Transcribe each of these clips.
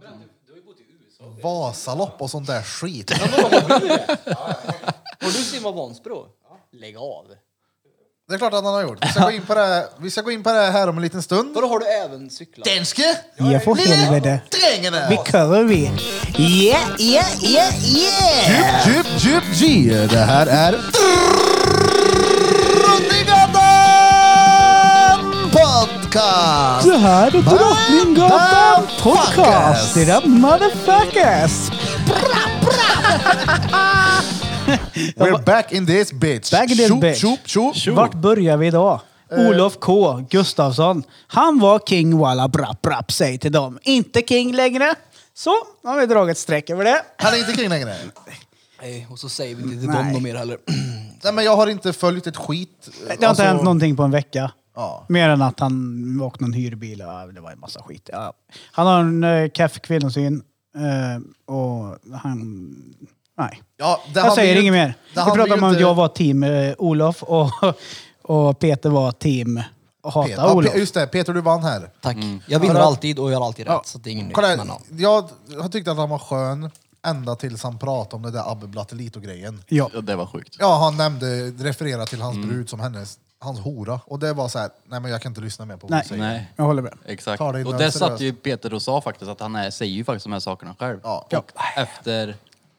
Brant, du, du har ju bott i USA. Vasalopp och sånt där skit. Har du simmat Vansbro? Lägg av. Det är klart att han har gjort. Vi ska gå in på det, vi ska gå in på det här om en liten stund. Vadå, har du även cyklat? Danske! Ja, för helvete. Drängen Vi är! kör vi. Yeah, yeah, yeah, yeah! Djup, djup, djup, Det här är Drottninggatan Podcast! Det här är Drottninggatan Podcast. Det där motherfuckers! We're back in this bitch! Back in this Tjopp, bitch. tjopp, tjopp. Eh. Vart börjar vi idag? Olof K Gustafsson. Han var king walla brapp brapp säg till dem. Inte king längre. Så, nu har vi dragit ett streck över det. Han är inte kring längre. Nej, och så säger vi inte till Nej. dem något mer heller. Nej, men jag har inte följt ett skit. alltså, Det har inte hänt någonting på en vecka. Ja. Mer än att han åkte någon hyrbil och ja, det var en massa skit. Ja. Han har en äh, keff kvinnosyn eh, och han... Nej. Ja, det jag handlar säger ju inget inte- mer. det Vi handlar pratade ju om att inte- jag var team eh, Olof och, och Peter var team Peter. hata Ja, Olof. Pe- just det, Peter du vann här. Tack. Jag vinner Har du- alltid och jag har alltid rätt. Så det är ingen nytt. Kolla, Men, ja. här. jag, jag tyckte att han var skön ända tills han pratade om det där Abbe Blattelito-grejen. Ja. Ja, det var sjukt. Ja, han nämnde, refererade till hans brud som hennes, hans hora. Och det var så här, nej men jag kan inte lyssna mer på vad Nej. du säger. Nej, Jag håller med. exakt. Ta det innan Och det är det satt seriöst. ju Peter och sa faktiskt att han är, säger ju faktiskt de här sakerna själv. Ja. Och efter...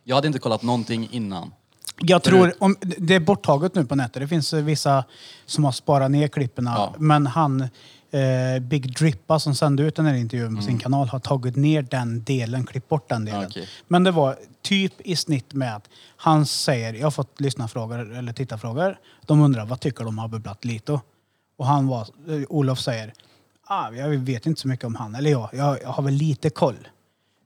Jag hade inte kollat någonting innan. Jag tror, om, det är borttaget nu på nätet. Det finns eh, vissa som har sparat ner klippen. Ja. Men han, eh, Big Drippa som sände ut den här intervjun på sin kanal har tagit ner den delen, klippt bort den delen. Ja, Mm. okej. Men det var typ i snitt med att han säger, jag har fått lyssna frågor eller titta frågor. De undrar, vad tycker de om Abbe Blattelito? Och han var, eh, Olof säger, ah, jag vet inte så mycket om han. Eller jag, jag, jag har väl lite koll.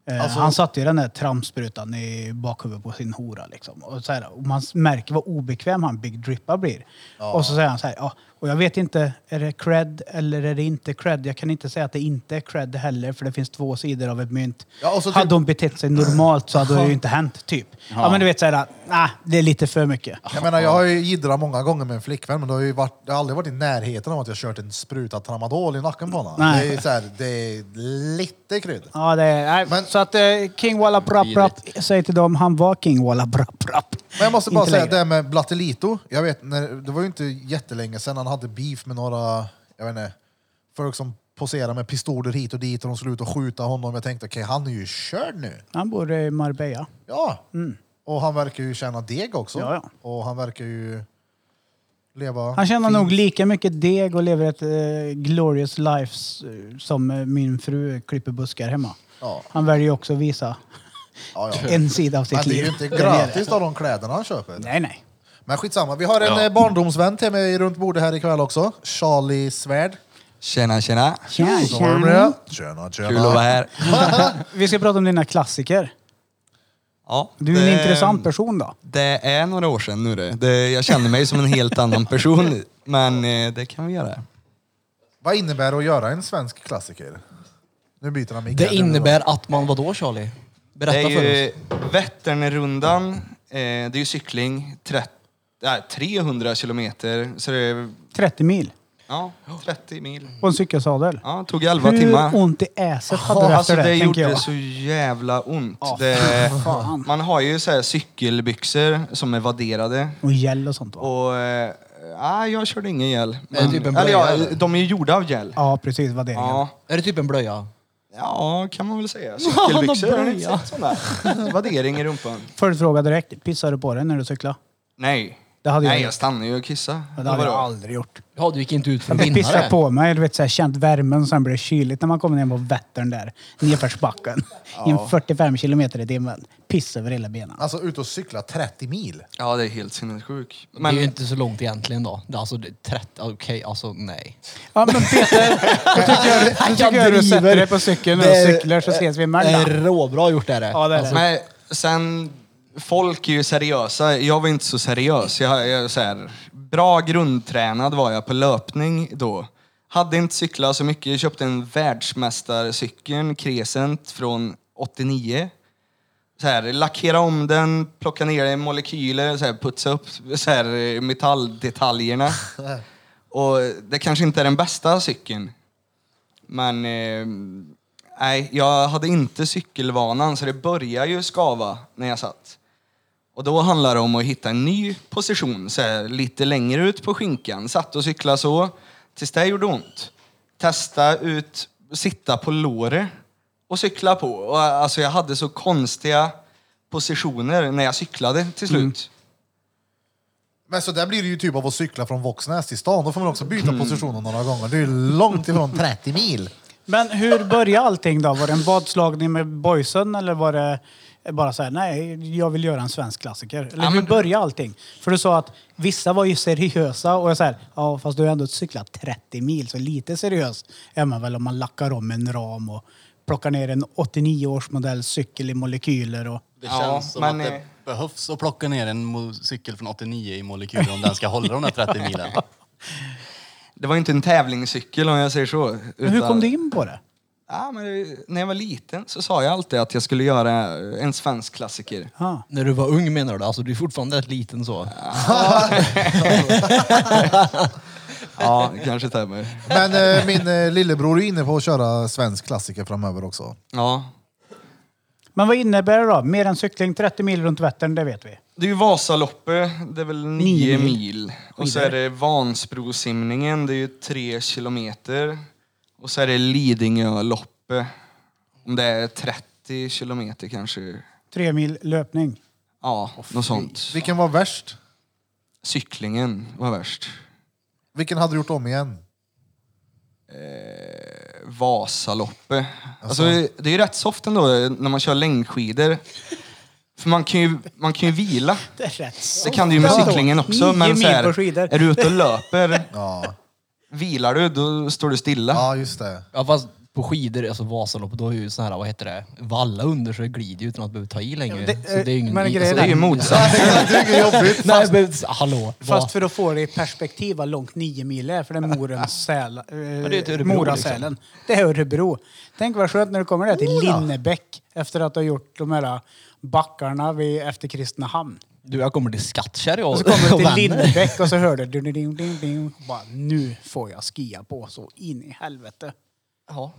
Eh, Alltså- han satte ju den där trampsprutan i bakhuvudet på sin hora. Liksom. Och så här, och man märker vad obekväm han Big Drippa blir. Och så säger han så här, ja, och jag vet inte, är det cred eller är det inte cred? Jag kan inte säga att det inte är cred heller, för det finns två sidor av ett mynt. Ja, och så hade typ- hon betett sig normalt så hade det ju inte hänt, typ. Ja, men du vet så här, nej, det är lite för mycket. Jag menar, jag har ju jiddrat många gånger med en flickvän, men det har ju varit, det har aldrig varit i närheten av att jag kört en spruta tramadol i nacken på honom. Nej. Det är, så här, det är lite krydd. Ja, det är, nej, Men- så att eh, King Walla Brapp Brapp, säg till dem, han var King Walla Brapp Brapp. Men jag måste bara Inte säga längre. det här med Blattelito. Jag vet, när, det var ju inte jättelänge sedan han hade beef med några, jag vet inte, folk som poserade med pistoler hit och dit och de skulle ut och skjuta honom. Jag tänkte okej, han är ju körd nu. Han bor i Marbella. Ja. Och han verkar ju tjäna deg också. Mm. Ja, ja. Och han verkar ju leva... Han tjänar fint. nog lika mycket deg och lever ett eh, glorious life s- som eh, min fru klipper buskar hemma. Ja. Han väljer ju också att visa Ja, ja. en sida av Men sitt det är liv. ju inte där nere. gratis av de kläderna han köper. Nej, nej. Men skitsamma, vi har en Ja. eh, barndomsvän till mig runt bordet här ikväll också. Charlie Svärd. Tjena, tjena. Tjena, Tjena, tjena. Kul att vara här. Vi ska prata om dina klassiker. Ja, Du är en intressant person då. Det är några år sedan nu det. det. Jag känner mig som en helt annan person. Men eh, det kan vi göra. Vad innebär det att göra en svensk klassiker? Nu byter han mick. Det här. innebär att man, vadå Charlie? Berätta det är för oss. ju Vätternrundan. Eh, det är ju cykling. Tre, nej, 300 kilometer. Så det är Trettio mil ja, 30 mil. på en cykelsadel. Ja, tog 11 Hur timmar. ont i äset hade Ja, du alltså efter det det, tänker gjorde jag. så jävla ont. det, fan. man har ju så här cykelbyxor som är vadderade. Och gel och sånt va? Och... Eh, ah, jag körde ingen gel. Är det typ en eller blöja, ja, eller? de är ju gjorda av gel. Ja, precis. Vad det är. Ja. Är det typ en blöja? ja, kan man väl säga. har Cykelbyxor, har ni inte blöja. sett sådana? Vaddering i rumpan. Följdfråga direkt. Pissar du på dig när du cyklar? Nej. Det hade jag Nej, gjort. jag stannade ju och kissade. Ja, Det hade jag Vadå? aldrig gjort. Ja, du gick inte ut för Jag vinnare. pissar på mig, du vet, så här, känt värmen sen blir det kyligt när man kommer ner på Vättern där, nedförsbacken. I en 45 kilometer i timmen. Piss över hela benen. Alltså ut och cykla 30 mil. Ja, det är helt sinnessjukt. Men... Det är ju Men inte så långt egentligen då. Det är Alltså, det är 30, okej, alltså nej. Ja men Peter, jag tycker, jag tycker jag du sätter dig på cykeln nu och cyklar så ses vi Det i är Möllan. Eh, råbra gjort är det. Alltså, Ja, det är det. Alltså, men sen, folk är ju seriösa. Jag var inte så seriös. Jag, jag, så här, bra grundtränad var jag på löpning då. Hade inte cyklat så mycket. Jag köpte en världsmästarcykel, Crescent, från 89. Så här, lackera om den, plocka ner den i molekyler, så här, putsa upp så här, metalldetaljerna. Och det kanske inte är den bästa cykeln. Men eh, Nej, jag hade inte cykelvanan så det började ju skava när jag satt. Och då handlar det om att hitta en ny position, så här, lite längre ut på skinkan. Satt och cyklade så, tills det gjorde ont. Testa ut, sitta på låret och cykla på. Och, alltså jag hade så konstiga positioner när jag cyklade till Mm. slut. Men så där blir det ju typ av att cykla från Våxnäs till stan. Då får man också byta positioner några gånger. Det är ju långt ifrån 30 mil. Men hur började allting då? Var det en vadslagning med boysen eller var det bara så här, nej, jag vill göra en svensk klassiker? Eller Ja, hur men- började allting? För du sa att vissa var ju seriösa och jag så här, ja fast du har ändå cyklat 30 mil så lite seriös är man väl om man lackar om en ram och plockar ner en 89 års modell cykel i molekyler och Det Ja, känns som men, att det eh, behövs att plocka ner en mo- cykel från 89 i molekyler om den ska hålla de där 30 milen. Det var ju inte en tävlingscykel om jag säger så. Men hur utan- kom du in på det? Ja, men det- när jag var liten så sa jag alltid att jag skulle göra en svensk klassiker. Ja. När du var ung menar du? Alltså du är fortfarande rätt liten så. Ja, kanske stämmer. Men eh, min eh, lillebror är inne på att köra svensk klassiker framöver också. Ja. Men vad innebär det då? Mer än cykling 30 mil runt Vättern, det vet vi. Det är ju Vasaloppet, det är väl nio mil. mil. Och så är det Vansbrosimningen, det är ju tre kilometer. Och så är det Lidingöloppet, om det är 30 kilometer kanske. Tre mil löpning. Ja, något sånt. Vilken var värst? Cyklingen var värst. Vilken hade du gjort om igen? Vasaloppet. Alltså, det är ju rätt soft ändå eh, när man kör längdskidor. För man kan ju, man kan ju vila. Det är rätt Det kan du ju med soft. cyklingen också. Nio Men så mil på skidor. här, är du ute och löper, Ja, vilar du, då står du stilla. ja just det. Ja fast på skidor, alltså Vasaloppet, då är ju sån här, vad heter det, valla under så det glider ju utan att behöva ta i längre. Ja, men det- så det är ju ingen... men grejen Det är ju motsatsen. Det är ju jobbigt. Nej, men, hallå. Fast för att få det i perspektiv vad långt nio mil är, för det är Morens säl, eh, det är till Örebro, liksom. Morasälen. Det är Örebro. Tänk vad skönt när du kommer där till Linnebäck efter att du har gjort de här backarna vid, efter Kristinehamn. Du, jag kommer till Skattkärr Och jag så kommer och du till vänder. Linnebäck och så hör du ding, ding, ding, ding, och bara, nu får jag skia på så in i helvete. Ja.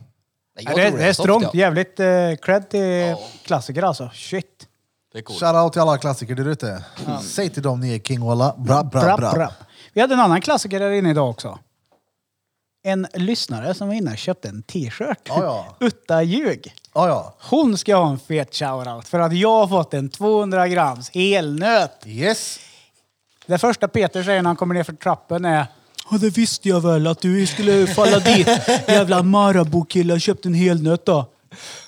Nej, Ja, jag det, tror är- det är soft, strongt. ja. Jävligt eh, cred till klassiker alltså. Shit. Det är coolt. Shoutout till alla klassiker där ute. Säg till dem ni är king walla. Bra, bra, Brapp, bra. brapp. Vi hade en annan klassiker här inne idag också. En lyssnare som var inne och köpte en t-shirt. Ja, Utta ljug. Ja, ja. Hon ska ha en fet shoutout för att jag har fått en 200 grams helnöt. Yes. Det första Peter säger när han kommer ner för trappen är Ja, det visste jag väl att du skulle falla dit. Jävla Marabou-kille, köpte en helnöt då.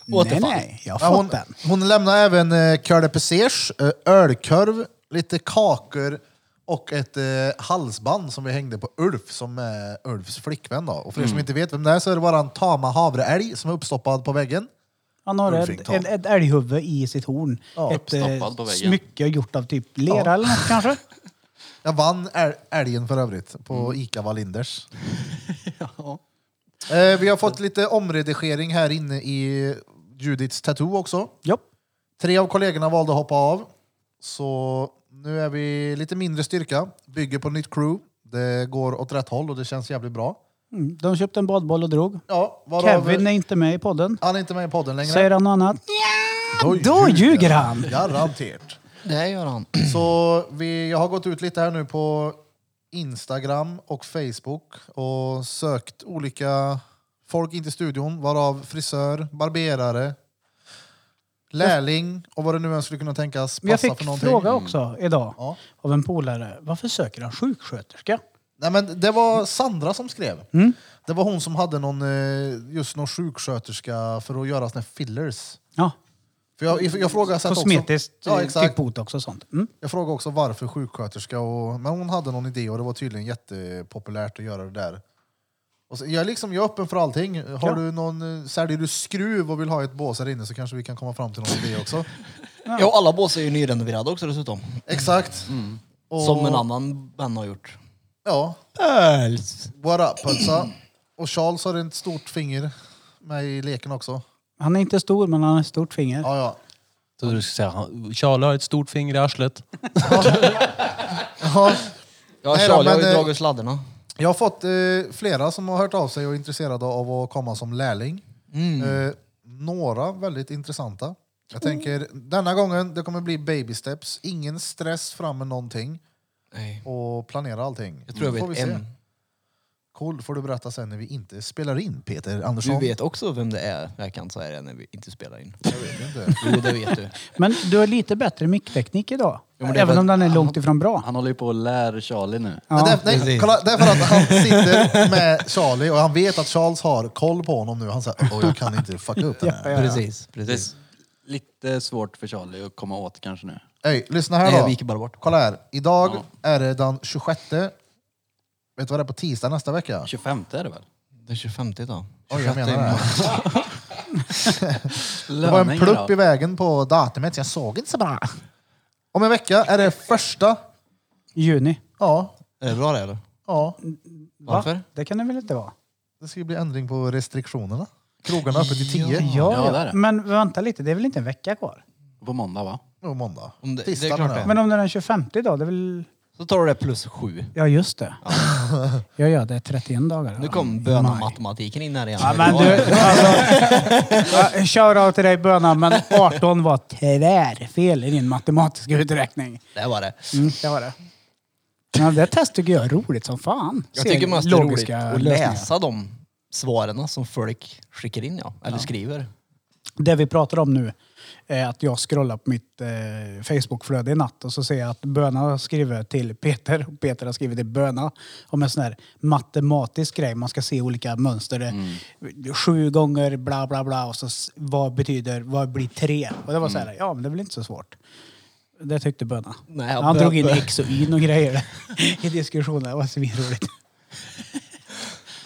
Mm. Nej, nej, jag har Ja, fått hon, den. hon lämnar även eh, cœur de pesers, eh, ölkorv, lite kakor och ett eh, halsband som vi hängde på Ulf, som är Ulfs flickvän. Då. Och för er som inte vet vem det är så är det bara en tama havreälg som är uppstoppad på väggen. Han har ett, Ulfington. ett, ett älghuvud i sitt horn. ett Uppstoppad på väggen. eh, smycke gjort av typ lera eller något kanske. Jag vann äl- älgen för övrigt på Ica Wallinders. eh, vi har fått lite omredigering här inne i Judiths Tattoo också. Japp. Tre av kollegorna valde att hoppa av. Så nu är vi lite mindre styrka, bygger på nytt crew. Det går åt rätt håll och det känns jävligt bra. Mm, de köpte en badboll och drog. Ja, varav, Kevin är inte med i podden. Han är inte med i podden längre. Säger han något annat? då, Då ljuger han! Garanterat. Det gör han. Så vi, jag har gått ut lite här nu på Instagram och Facebook och sökt olika folk in till studion, varav frisör, barberare, lärling och vad det nu än skulle kunna tänkas Men Jag passa för fick någonting. fråga också idag Ja. av en polare. Varför söker han sjuksköterska? Nej, men det var Sandra som skrev. Mm. Det var hon som hade någon, eh, just någon sjuksköterska för att göra såna här fillers. Ja, För jag, jag frågade så att kosmetiskt. Också, ja, eh, exakt. Typ botox och sånt. Mm. Jag frågade också varför sjuksköterska, och, men hon hade någon idé och det var tydligen jättepopulärt att göra det där. Och så, jag, är liksom, jag är öppen för allting. Har Ja. du någon, eh, säljer du skruv och vill ha ett bås här inne så kanske vi kan komma fram till någon idé också. Ja, och alla bås är ju nyrenoverade också dessutom. Exakt. Och, Som en annan vän har gjort. Ja, Öls. what up pölsa. Och Charles har ett stort finger med i leken också. Han är inte stor, men han har ett stort finger. Ja, ja. Så du ska säga, Charlie har ett stort finger i arslet. ja. Ja, Nej då, Charlie har men, ju eh, dragit sladderna. Jag Mm. har fått eh, flera som har hört av sig och är intresserade av att komma som lärling. Eh, några väldigt intressanta. Jag tänker denna gången, det kommer bli baby steps. Ingen stress fram med någonting Nej. och planera allting. Jag tror jag Får vet vi se. en. Cool, får du berätta sen när vi inte spelar in Peter Andersson. Du vet också vem det är. Jag kan säga det när vi inte spelar in. Jag vet inte. Jo, det vet du. Men du har lite bättre mickteknik idag. men det Även var- om den är långt ifrån bra. Han håller ju på och lär Charlie nu. Men det, nej, precis. kolla, det är för att han sitter med Charlie och han vet att Charles har koll på honom nu. Han säger åh jag kan inte fucka upp det här. Precis. Det är precis. s- lite svårt för Charlie att komma åt kanske nu. Hej, lyssna här Nej, då. vi gick bara bort. Kolla här. Idag är det den 26. Vet du vad det är på tisdag nästa vecka? 25 är det väl? Den 25 då. Oj, jag menar det. Det var en Löning plupp i idag. vägen på datumet, så jag såg inte så bra. Om en vecka är det första... Juni. Ja, Är det bra det eller? ja. Va? Varför? Det kan det väl inte vara? Det ska ju bli ändring på restriktionerna. Krogarna öppet till 10 Ja, det är det. Men vänta lite, det är väl inte en vecka kvar? På måndag va? på måndag. Om det- det är Tisdag klart menar jag. det. Men om det är den 25 idag, det är väl... Så tar du det plus sju. Ja, just det. Ja, ja, det är 31 dagar. Nu kom Maj. bönan-matematiken in här igen. Ja, men du, alltså, shoutout till dig Böna, men 18 var tvärfel i din matematiska uträkning. Det var det. Mm, det var det. Ja, det här testet tycker jag är roligt som fan. Jag Se tycker mest det är roligt logiska att lösningar. läsa de svaren som folk skickar in, ja. Eller skriver. Det vi pratar om nu är att jag scrollar på mitt eh, Facebookflöde i natt och så ser jag att Böna har skrivit till Peter och Peter har skrivit till Böna om en sån här matematisk grej. Man ska se olika mönster. Det- Sju gånger bla bla bla och så s- vad betyder, vad blir tre? Och det var så här, ja men det är väl inte så svårt. Det tyckte Böna. Nej, Han Bö- drog in Bö- X och Y och grejer i diskussionen. Det var svinroligt.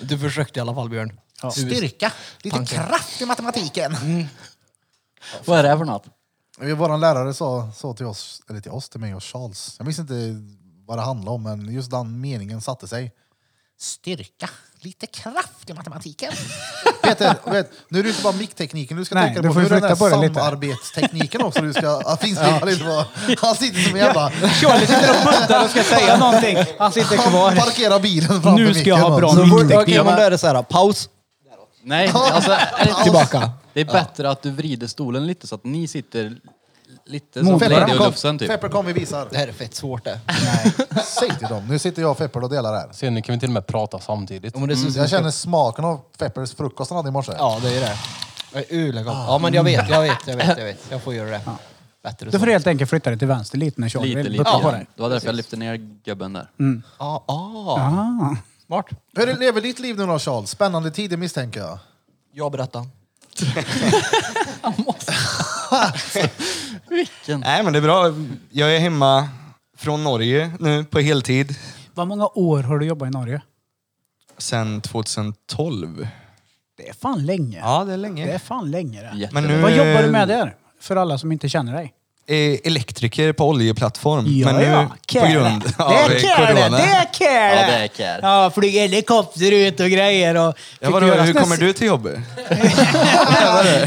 Du försökte i alla fall, Björn. Ja. Styrka, lite Tanken. kraft i matematiken. Vad är det här för något? Vår lärare sa, sa till oss, eller till oss, till mig och Charles. Jag minns inte vad det handlade om, men just den meningen satte sig. Styrka, lite kraft i matematiken. Peter, vet, nu är det inte bara micktekniken du ska Nej, tänka du på, får nu är det den flytta på här det lite. samarbetstekniken också. Du ska, ja, finns det, lite på. Han sitter som en jävla... Charlie sitter och puttar och ska säga någonting. Han sitter kvar. Han parkerar bilen framför Nu ska jag ha micken, bra alltså. mick. Okej, men då är det så här, paus. Nej, alltså, är det inte- Tillbaka. Det är bättre att du vrider stolen lite så att ni sitter lite som Mot Lady Fepper, och kom, Lufsen typ. Fepper, kom vi visar. Det här är fett svårt det. Säg till dem. Nu sitter jag och Fepper och delar här. Sen nu kan vi till och med prata samtidigt. Ja, men det är så- Jag känner smaken av Feppers frukost han hade i morse. Ja, det är det. Det är urläggat. Ja, men jag vet, jag vet, jag vet, jag vet. Jag får göra det. Bättre Du så. får helt enkelt flytta dig till vänster lite när Charlie Lite, vill lite. putta på Ja, dig. det var därför jag lyfte ner gubben där. Mm. Ah, ah. Ah. Smart. Hur lever ditt liv nu då Charles? Spännande tider misstänker jag. Jag berättar. Vilken? Nej men det är bra. Jag är hemma från Norge nu på heltid. Vad många år har du jobbat i Norge? Sen 2012. Det är fan länge. Ja, det är Det är länge. fan länge det. Jätte- Men nu Vad jobbar du är- med där? För alla som inte känner dig. eh, elektriker på oljeplattform. Ja, Mm. men nu ja. på Kärle. grund av det är kär det! corona. Det är kär Ja, det är kär. Ja, flyga helikopter ut och grejer. Och Ja, vadå, hur kommer du till jobbet?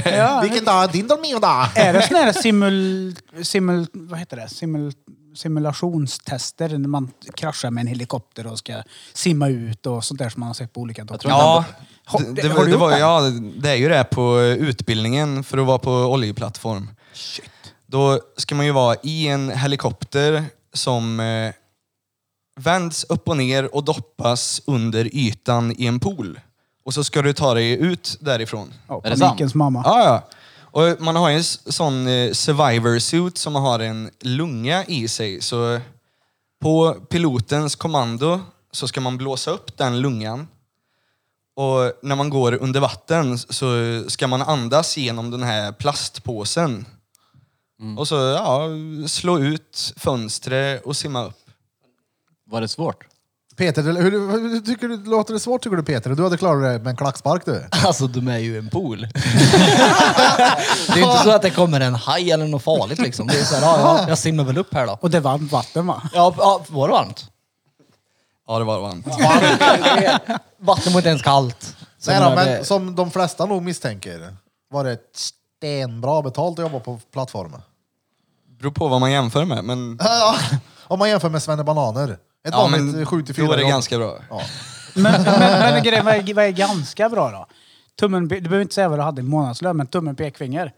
Ja. Vilken dag är din Dolmio-dag? Är det sådana här simul, simul, vad heter det? Simul, simulationstester när man kraschar med en helikopter och ska simma ut och sånt där som man har sett på olika dokumentärer? Ja, Har- det, har det, du det, gjort var, det? ja, det är ju det här på utbildningen för att vara på oljeplattform. Shit. Då ska man ju vara i en helikopter som eh, vänds upp och ner och doppas under ytan i en pool. Och så ska du ta dig ut därifrån. Ja, Är det sant? panikens mamma. Ja, ja. Och man har ju en s- sån eh, survivor suit som har en lunga i sig. Så på pilotens kommando så ska man blåsa upp den lungan. Och när man går under vatten så ska man andas genom den här plastpåsen. Mm. Och så ja, slå ut fönstret och simma upp. Var det svårt? Peter, hur, hur, hur tycker du, låter det svårt tycker du Peter? Du hade klarat det med en klackspark du. Alltså, de är ju en pool. det är ju inte så att det kommer en haj eller något farligt liksom. Det är så här, ja, ja, jag simmar väl upp här då. Och det var vatten va? Ja, ja var det varmt? Ja, det var varmt. Vatten var inte ens kallt. Så Nej jag då, menar, men det- som de flesta nog misstänker var det stenbra betalt att jobba på plattformen. Beror på vad man jämför med. Men, Om man jämför med Svenne Bananer. Ett vanligt 7 till 4 då är det jobb. ganska bra. Ja. Men, men, men grejen, vad, är, vad är ganska bra då? Tummen, du behöver inte säga vad du hade i månadslön, men tummen pekfinger.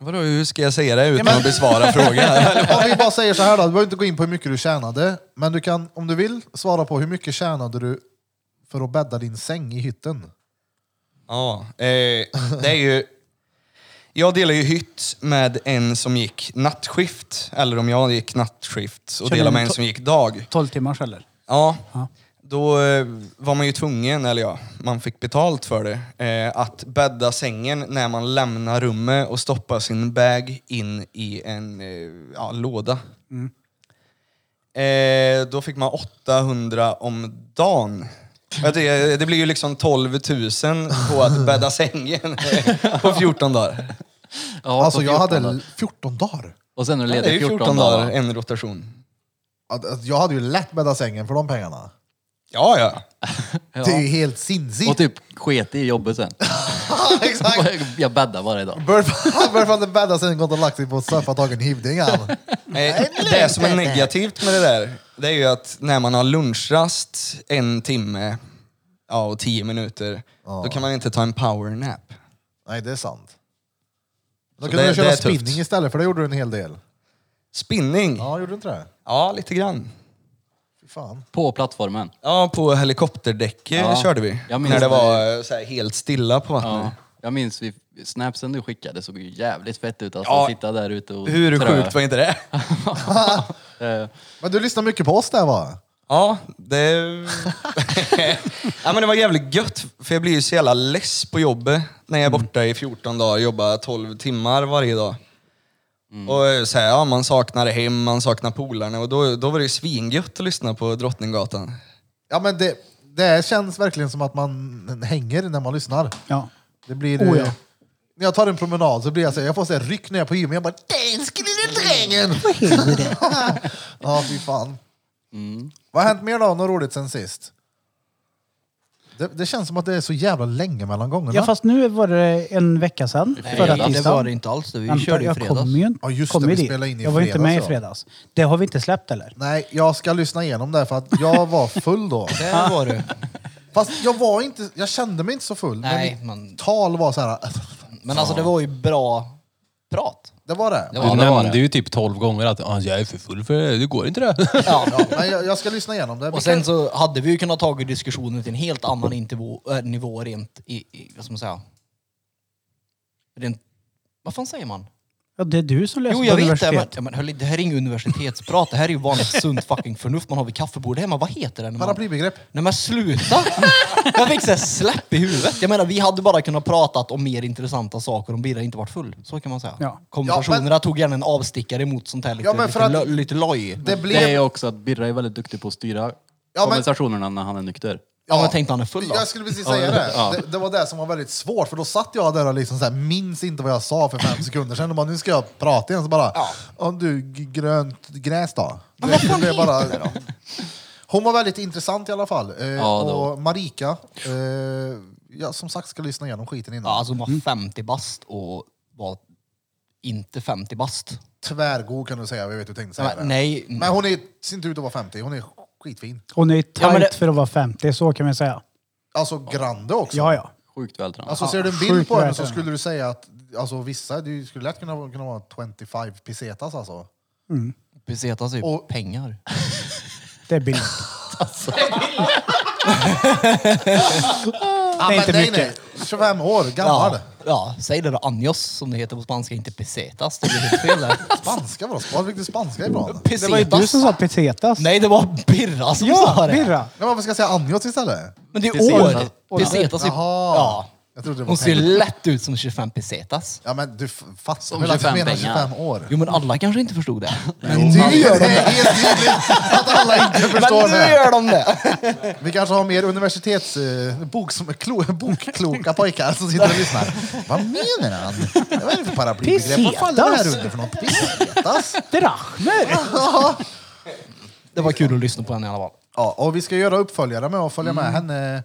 Vadå, hur ska jag säga det utan men- att besvara frågan? Om vi bara säger så här då, du behöver inte gå in på hur mycket du tjänade, men du kan, om du vill, svara på hur mycket tjänade du för att bädda din säng i hytten? Ja, eh, det är ju... Jag delar ju hytt med en som gick nattskift, eller om jag gick nattskift, och Känner delade du med en to- som gick dag. 12 timmars eller? Ja, Ja. då eh, var man ju tvungen, eller ja, man fick betalt för det, eh, att bädda sängen när man lämnar rummet och stoppa sin bag in i en eh, ja, låda. Eh, då fick man 800 om dagen. Ja, Det, det blir ju liksom 12 000 på att bädda sängen på 14 dagar. Ja, alltså på jag 14 hade dagar. 14 dagar. Och sen är du Det är ledig ju 14, 14 dagar. dagar, en rotation. Att- att Jag hade ju lätt bäddat sängen för de pengarna. Ja, ja. Ja. Det är ju helt Och sinnessjukt. typ sket i jobbet sen. Exakt. jag bäddar bara idag. Varför hade bäddat sängen gått och lagt sig på soffan tagit en hyvding han? Eh, Det som är negativt med det där, det är ju att när man har lunchrast en timme ja, och tio minuter, då kan man inte ta en powernap. Nej, det är sant. Då Så kunde det- du det är köra tufft. spinning istället, för det gjorde du en hel del. Spinning? Ja, Ja, gjorde du inte det? lite grann. Fy fan. På plattformen. Ja, på helikopterdäcket Ja. körde vi. Jag minns När det när var eh, så här, helt stilla Ja. på vattnet. Mm. Jag minns vi, snapsen du skickade såg ju jävligt fett ut. Alltså, Ja. att sitta där ute och Hur trö. sjukt var inte det? Eh, Men du lyssnar mycket på oss där va? Ja, det... ja, men det var jävligt gött, för jag blir ju så jävla less på jobbet när jag Mm. är borta i 14 dagar och jobbar 12 timmar varje dag. Mm. Och eh, så här, ja, man saknar hem, man saknar polarna och då, då var det ju svingött att lyssna på Drottninggatan. Ja, men det, det känns verkligen som att man hänger när man lyssnar. Ja. Det blir... Oh, eh, ja. När jag tar en promenad så blir jag så här, jag får så här ryck när jag är på gymmet. Jag bara Den skulle du drängen! ja, fy fan. Vad har hänt mer då? Något roligt sen sist? Det, det känns som att det är så jävla länge mellan gångerna. ja, fast nu var det en vecka sedan. Förra fredags. Nej, det var det tisdagen. inte alls. Vi Vänta, körde ju jag fredags. kom ju inte. Ja, just kom det, ju vi dit. spelade in i Jag var inte fredags, med i ja. fredags. Det har vi inte släppt eller? Nej, jag ska lyssna igenom det för att jag var full då. Där var du. Fast jag var inte, jag kände mig inte så full. Nej, men men- mitt tal var så här. Men alltså det var ju bra prat. Det var det. Det Du var det. nämnde ju typ 12 gånger att ah, jag är för full för det, det går inte det. Ja, men jag, jag ska lyssna igenom det. Och sen så hade vi ju kunnat ta diskussionen till en helt annan nivå, äh, nivå rent i, i, vad ska man säga? Rent, vad fan säger man? Ja, det är du som läser Alltså, Jo, på jag vet det. universitet. Men, ja, men hörni, det här är inget universitetsprat. Det här är ju vanligt sunt fucking förnuft man har vid kaffebordet hemma. Vad heter det? när man- Paraplybegrepp. Nej men sluta! Jag fick såhär släpp i huvudet. Jag menar vi hade bara kunnat pratat om mer intressanta saker om Birra inte varit full. Så kan man säga. Ja. Konversationerna Ja, tog gärna en avstickare mot sånt här lite, Ja, men för lite, att- lo, lite Det loj. Det är ju blev... också att Birra är väldigt duktig på att styra men- konversationerna när han är nykter. Ja, men jag tänkte han är full då. Jag skulle precis säga det. det. Det var det som var väldigt svårt, för då satt jag där och liksom så här, minns inte vad jag sa för fem sekunder sedan. Och bara, nu ska jag prata igen. Så bara, om du, g- grönt gräs då? Du vet, det blev bara... Hon var väldigt intressant i alla fall. Eh, Ja, det var- och Marika, eh, jag som sagt ska lyssna igenom skiten innan. Ja, alltså hon var 50 bast och var inte 50 bast. Tvärgod kan du säga, jag vet hur du tänkte säga det. Men, nej. Men hon är, ser inte ut att vara 50, hon är skitfin. Hon är tight Ja, men det- för att vara 50, så kan vi säga. Alltså grande också. Ja, ja. Sjukt vältränad. Alltså ser du en sjukt bild på henne så verkligen. skulle du säga att alltså, vissa, du skulle lätt kunna, kunna vara 25 pesetas alltså. Pesetas är ju Och- pengar. Det är billigt. Ja, Det är inte nej, mycket. nej. 25 år gammal. Ja, ja, säg det då. Anjos som det heter på spanska, inte pesetas. Det blir helt fel där. Spanska vadå? Var fick du spanska ifrån? Pesetas. Det var ju du som sa pesetas. Nej, det var Birra som sa ja, det. Birra! Ja, varför ska jag säga anjos istället? Men det är Pesetas. år. Pesetas är... Jaha. Ja. Jag trodde det var Hon ser pengar. lätt ut som 25 pesetas. Ja men du f- fattar Som väl att jag 25 menar pengar. 25 år? Jo men alla kanske inte förstod det. Men du gör det! är helt tydligt att alla inte förstår men nu det. gör de det! Vi kanske har mer universitets... Eh, bok som är klo, bokkloka pojkar som sitter och lyssnar. Vad menar han? Vad är det för paraplybegrepp? Vad faller det här Pesetas. under för något? Pesetas? Drachmer! Det var kul att lyssna på henne i alla fall. Ja, och vi ska göra uppföljare med och följa Mm. med henne.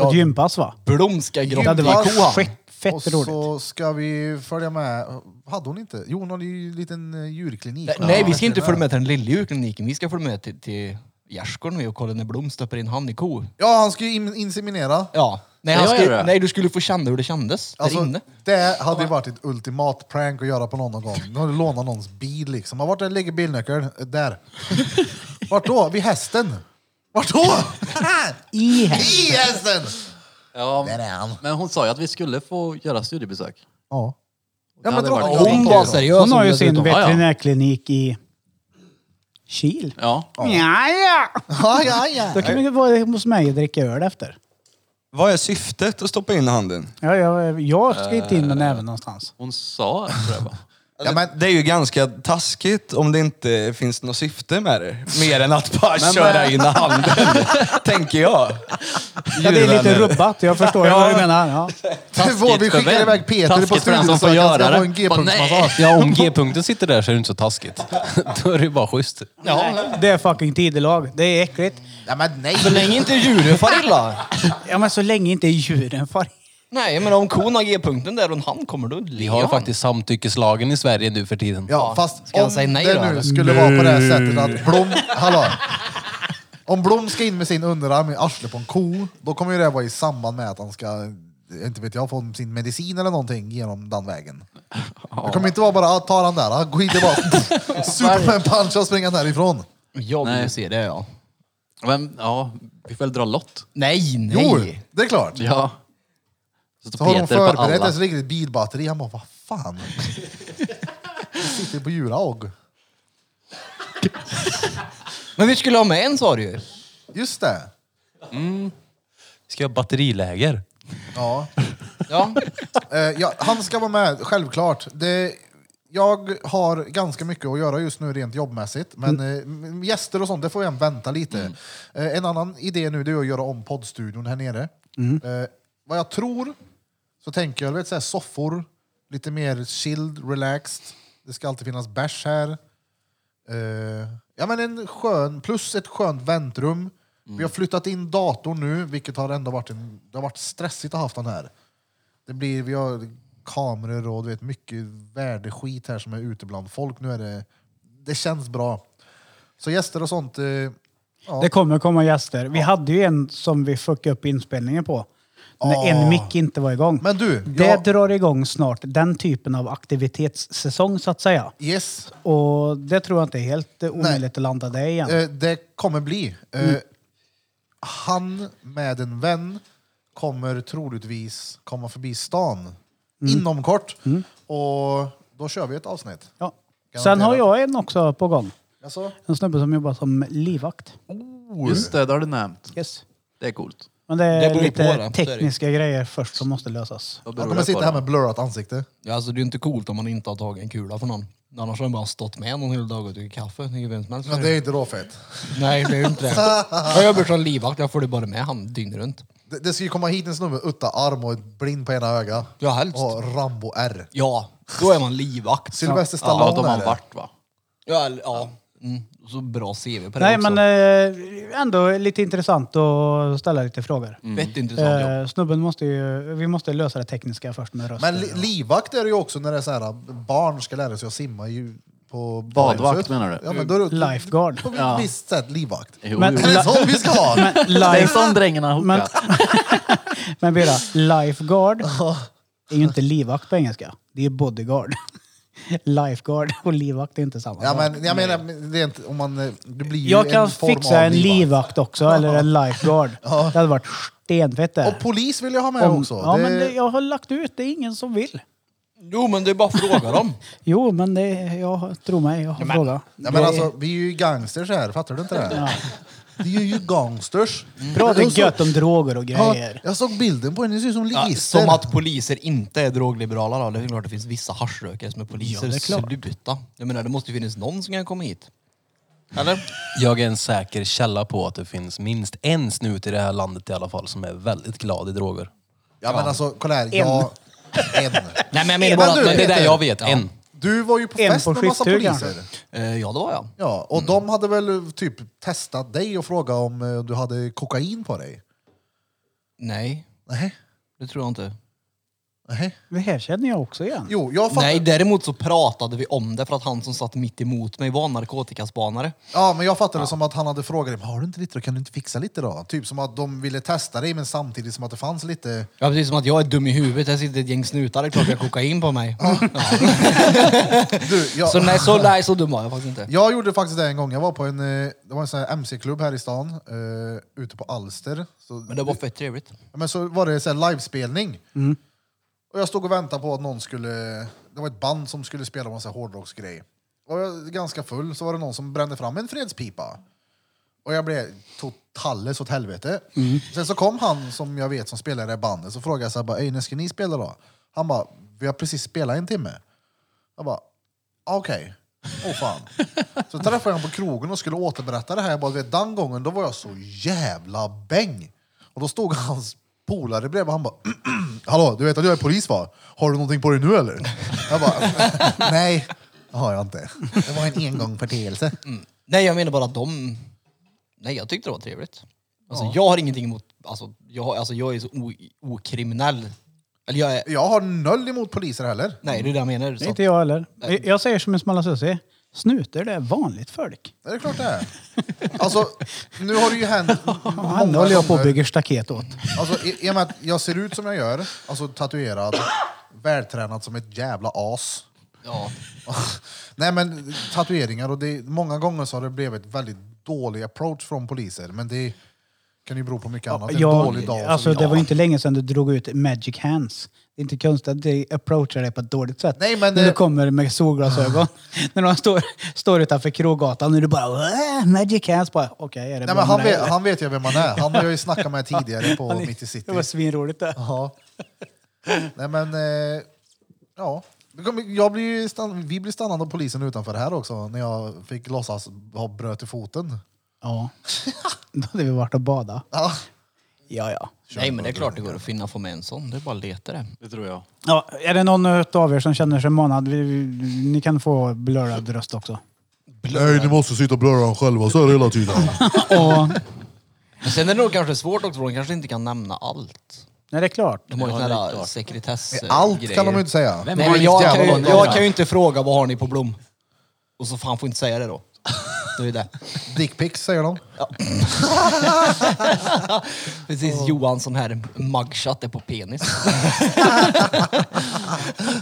Ett gympass va? Blom ska grotta hade i varit kohan. skit- fett och roligt. så ska vi följa med. Hade hon inte? Jo, hon hade ju en liten eh, djurklinik. Nej, vi ska Ja, inte följa med till den lilla djurkliniken. Vi ska följa med till, till gärdsgården och kolla när Blom stöper in han i ko. Ja, han ska ju in- inseminera. Ja. Nej, Ska han jag skulle- göra det? nej, du skulle få känna hur det kändes där Alltså, inne. det hade ju varit ett ultimat prank att göra på någon någon gång. Nu har du lånat någons bil liksom. Ja, Vart är- ligger bilnyckeln? Eh, Där. Vart då? Vid hästen. Vart då? I här. I hästen! Ja, Där är han. men hon sa ju att vi skulle få göra studiebesök. Ja. Det hade varit drottningen kul. tänker Hon Hon var så. seriös. Hon har om ju det sin dessutom. ja. veterinärklinik i Kil. Ja. Ja, ja. Ja, ja, ja. Då kan vi vara hos mig och dricka öl efter. Vad är syftet att stoppa in handen? Ja, jag, jag har skrivit in den även någonstans. Hon sa tror jag, va? Alltså, det är ju ganska taskigt om det inte finns något syfte med det. Mer än att bara köra eh, in handen, tänker Ja, jag. det är lite Djurvänner. rubbat, jag förstår ju vad du menar. Ja. Vår, vi för skickar vem? iväg Peter Taskigt på för den som får studiebesök. Han ska göra få det. Bara, en G-punktsmassage. Ja, om G-punkten sitter där så är det inte så taskigt. Då är det ju bara schysst. Det är fucking tidelag. Det är äckligt. Nej, men nej. Så länge inte djuren far illa. Ja, men så länge inte djuren far Nej, men om kon har G-punkten där och en hand kommer, då Vi ler har ju han. faktiskt samtyckeslagen i Sverige nu för tiden. Ja, fast Ska han om säga nej det då, nu eller? skulle vara på det här sättet att Blom... Hallå! Om Blom ska in med sin underarm i arslet på en ko, då kommer ju det vara i samband med att han ska, inte vet jag, få sin medicin eller någonting genom den vägen. Det kommer inte vara bara, ah, ta den där, ah, gå hit tillbaka, superman punch och springa därifrån. Jag vill ju se det, ja. Men, ja, vi får väl dra lott. Nej, Jo, nej. det är klart. Ja. Så Så står har de Peter på förberett ett alla. riktigt bilbatteri, han bara, vad fan? Det sitter på djurag. Men vi skulle ha med en sa du ju. Just det. Ska jag ha batteriläger? Ja. Ja. Eh, ja, han ska vara med, självklart. Det, jag har ganska mycket att göra just nu rent jobbmässigt, men eh, m- gäster och sånt, det får jag vänta lite. Eh, en annan idé nu det är att göra om poddstudion här nere. Eh, vad jag tror, så tänker jag, du vet, så här, soffor, lite mer chilled, relaxed. Det ska alltid finnas bärs här. Eh, ja, men en skön, plus ett skönt väntrum. Vi har flyttat in datorn nu, vilket har ändå varit, en, det har varit stressigt att ha haft den här. Det blir, vi har kameror och du vet, mycket värdeskit här som är ute bland folk. Nu är det, det känns bra. Så gäster och sånt. Eh, ja. Det kommer komma gäster. Vi hade ju en som vi fuckade upp inspelningen på. När Ah. en mick inte var igång. Men du, det jag, drar igång snart, den typen av aktivitetssäsong så att säga. yes, Och det tror jag inte är helt eh, omöjligt att landa det igen. eh, det kommer bli. Eh, Han med en vän kommer troligtvis komma förbi stan inom kort. Och då kör vi ett avsnitt. ja. Sen har jag en också på gång. Alltså, En snubbe som jobbar som livvakt. Just det, det har du nämnt. Yes. Det är coolt. Men det är Det beror ju på det, så lite är det ju. tekniska grejer först som måste lösas. Vad beror han det kommer på sitta då? här med blurrat ansikte. Ja, Alltså det är ju inte coolt om man inte har tagit en kula från någon. Annars har den bara stått med någon hel dag och druckit kaffe. Det är ju vem som helst. Men det är inte råfett. Nej, det är ju inte det. Jag jobbar som livvakt, jag får det bara med han dygnet runt. Det, det ska ju komma hit en snubbe utan arm och blind på ena ögat. Ja, helst. Och Rambo R. Ja, då är man livvakt. Sylvester Ja, de Stallone är har det. varit va? Ja, eller- ja. Mm. Så bra CV på det Nej också. men eh, ändå lite intressant att ställa lite frågor. Fett intressant jobb. Eh, snubben måste ju, vi måste lösa det tekniska först med rösten. Men li, livvakt är det ju också när det är så här, barn ska lära sig att simma ju på Badvakt, badhuset. menar du? Ja, men då är det typ Lifeguard. på ett Ja. Eh. visst sätt livvakt. Jo, Men- jo. Det är sån vi ska ha! Det är Life, som drängarna men, hokar. men Vera, lifeguard är ju inte livvakt på engelska. Det är bodyguard. Lifeguard och livvakt är inte samma Ja, sak. men jag menar, rent, om man, eh, det blir ju Jag kan en form fixa av en livvakt också, eller en lifeguard. Det hade varit stenfett det. Och polis vill jag ha med Om- också. Ja, det, men det, jag har lagt ut, det är ingen som vill. Jo, men det är bara att fråga dem. Jo, men det, jag tror mig, jag har frågat. ja, men alltså, vi är ju gangsters här, fattar du inte det? Det är ju gangsters. Bra, det Jag är såg- Mm. gött om droger och Ja, grejer. jag såg bilden på henne, ni ser ut som Ja, ligister. som att poliser inte är drogliberala då. Det är klart det finns vissa haschrökare som är poliser. Ja, det är klart. Sluta. Jag menar, det måste ju finnas någon som kan komma hit. Eller? Jag är en säker källa på att det finns minst en snut i det här landet i alla fall som är väldigt glad i droger. Ja, men alltså, kolla här. Jag, en. Nej, men jag Men menar bara du, att... Men det är Peter. det jag vet, en. Du var ju på En fest på med massa skifttur, poliser. kanske. Eh, ja, det var jag. Ja, och de hade väl typ testat dig och frågat om eh, du hade kokain på dig? Nej, Nej. det tror jag inte. Nej. Det här känner jag också igen. Jo, jag fattar. Nej, däremot så pratade vi om det för att han som satt mitt emot mig var narkotikaspanare. Ja, men jag fattade det som att han hade frågat dig, har du inte lite då? Kan du inte fixa lite då? Typ som att de ville testa dig, men samtidigt som att det fanns lite... Ja, precis som att jag är dum i huvudet. Här sitter ett gäng snutar. Det är klart jag har kokain på mig. Du, jag... Så nej, så, nej, så dum var jag faktiskt inte. Jag gjorde faktiskt det en gång. Jag var på en, eh, det var en sån här MC-klubb här i stan, eh, ute på Alster. Så, Men det var fett trevligt. Ja, men så var det så här livespelning. Och jag stod och väntade på att någon skulle... Det var ett band som skulle spela en massa hårdrocksgrej. Och jag var ganska full, så var det någon som brände fram en fredspipa. Och jag blev totalt åt helvete. Sen så kom han som jag vet som spelar i det här bandet, så frågade jag så här, bara, "Ey, när ska ni spela då? Han bara, vi har precis spelat en timme. Jag bara, "Ah, okej. Åh fan. Så träffade jag honom på krogen och skulle återberätta det här. Jag bara, "Du vet, den gången då var jag så jävla bäng. Och då stod hans polare bredvid och han bara, hallå du vet att jag är polis va? Har du någonting på dig nu eller? Jag bara, nej det har jag inte. Mm. Det var en engångsförteelse. Nej, jag menar bara att de... Nej, jag tyckte det var trevligt. Alltså, jag har ingenting emot... Alltså, jag, har- alltså, jag är så o- okriminell. Eller jag är... Jag har noll emot poliser heller. Nej, det är det jag menar. Det Så är att, inte jag heller. Jag- Jag säger som en smala sussie. Snuter, det är vanligt folk. Det är klart det är. Alltså, nu har det ju hänt m- Han många håller jag på och gånger. bygger staket åt. Alltså, i, I och med att jag ser ut som jag gör, alltså tatuerad, vältränad som ett jävla as. ja. Nej men tatueringar och det, många gånger så har det blivit väldigt dålig approach från poliser. Men det kan ju bero på mycket annat. En Ja, dålig dag. och så alltså, det vidare. var ju inte länge sedan du drog ut magic hands. Det är inte konstigt att de approachar dig på ett dåligt sätt. Nej, men eh, när det- du kommer med solglasögon. när de står, står utanför Krogatan och du bara "Åh, magic hands. Bara, Okej, är det Nej, bra men han, med dig, vet, eller?" han vet ju vem man är. Han har jag ju snackat med tidigare på Han är- Mitt i City. Det var svinroligt det. Ja. Nej men, eh, ja. Det kommer- Jag blir ju stann, vi blir stannade av polisen utanför här också när jag fick låtsas ha bröt i foten. Ja. Då hade vi varit och badat. Ja. Ja, ja. Nej, men det är klart det går att finna få med en sån. Det är bara att leta det. Det tror jag. ja. Är det någon av er som känner sig manad? Vi, vi, ni kan få blurrad röst också. Nej, ni måste sitta och blöra själva så här hela tiden. Och, Men sen är det nog kanske svårt också, för de kanske inte kan nämna allt. nej, det är klart. De har ju Ja, såna det är här klart. sekretess... Eh, Allt kan de ju inte säga. Vem Nej, har men jag, riktigt kan jävla ju, koll på jag det? kan ju inte fråga vad har ni på Blom? Och så fan får inte säga det då. Det är ju det. Dickpics säger de. Precis, Johansson här, mugshot är på penis. Jag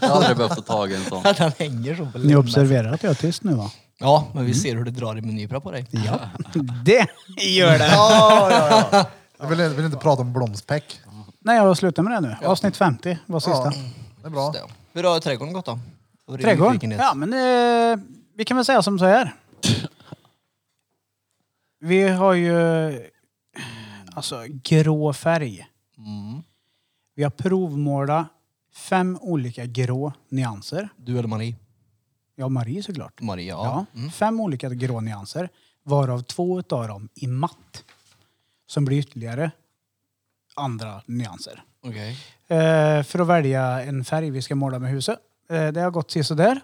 hade aldrig behövt ta tag i en sån. Den hänger så på Ni läppen. observerar att jag är tyst nu va? Ja, men vi ser hur det drar i menybra på dig. Ja, det gör det. Ja, ja, ja. Jag vill, vill inte prata om blomspäck. Nej, jag slutar med det nu. Avsnitt 50 var sista. Ja, det är bra. Så, Hur har trädgården gått då? Vad är din Trädgården? nyfikenhet? Ja, men eh, vi kan väl säga som så här. Vi har ju alltså grå färg. Vi har provmålat fem olika grå nyanser. Du eller Marie? Ja, Marie såklart. Marie, Mm, ja. Ja, Fem olika grå nyanser, varav två utav dem i matt. Som blir ytterligare andra nyanser. Okej. Eh, för att välja en färg vi ska måla med huset. Eh, det har gått sådär.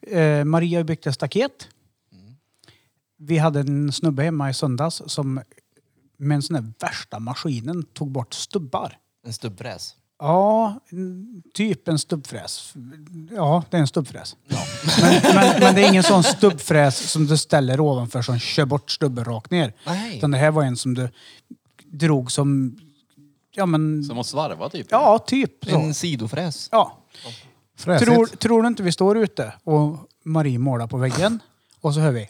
Eh, Maria har byggt ett staket. Vi hade en snubbe hemma i söndags som med en sån där värsta maskinen tog bort stubbar. En stubbräs. Ja, n- typ en stubbfräs. Ja, det är en stubbfräs. Men, men, men det är ingen sån stubbfräs som du ställer ovanför som kör bort stubben rakt ner. Nej. Utan det här var en som du drog som... Ja, men... Som att svarva typ. Ja, typ så. En sidofräs. Ja. Fräsigt. Tror, tror du inte vi står ute och Marie målar på väggen och så hör vi...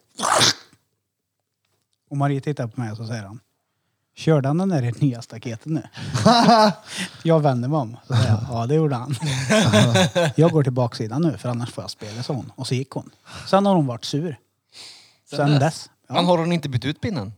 Och Marie tittar på mig och så säger han. Körde han den där i nya staketet nu? jag vänder mig om. Så säger jag, ja, det gjorde han. jag går till baksidan nu för annars får jag spela så hon. Och så gick hon. Sen har hon varit sur. Sen, dess. Men Ja. har hon inte bytt ut pinnen?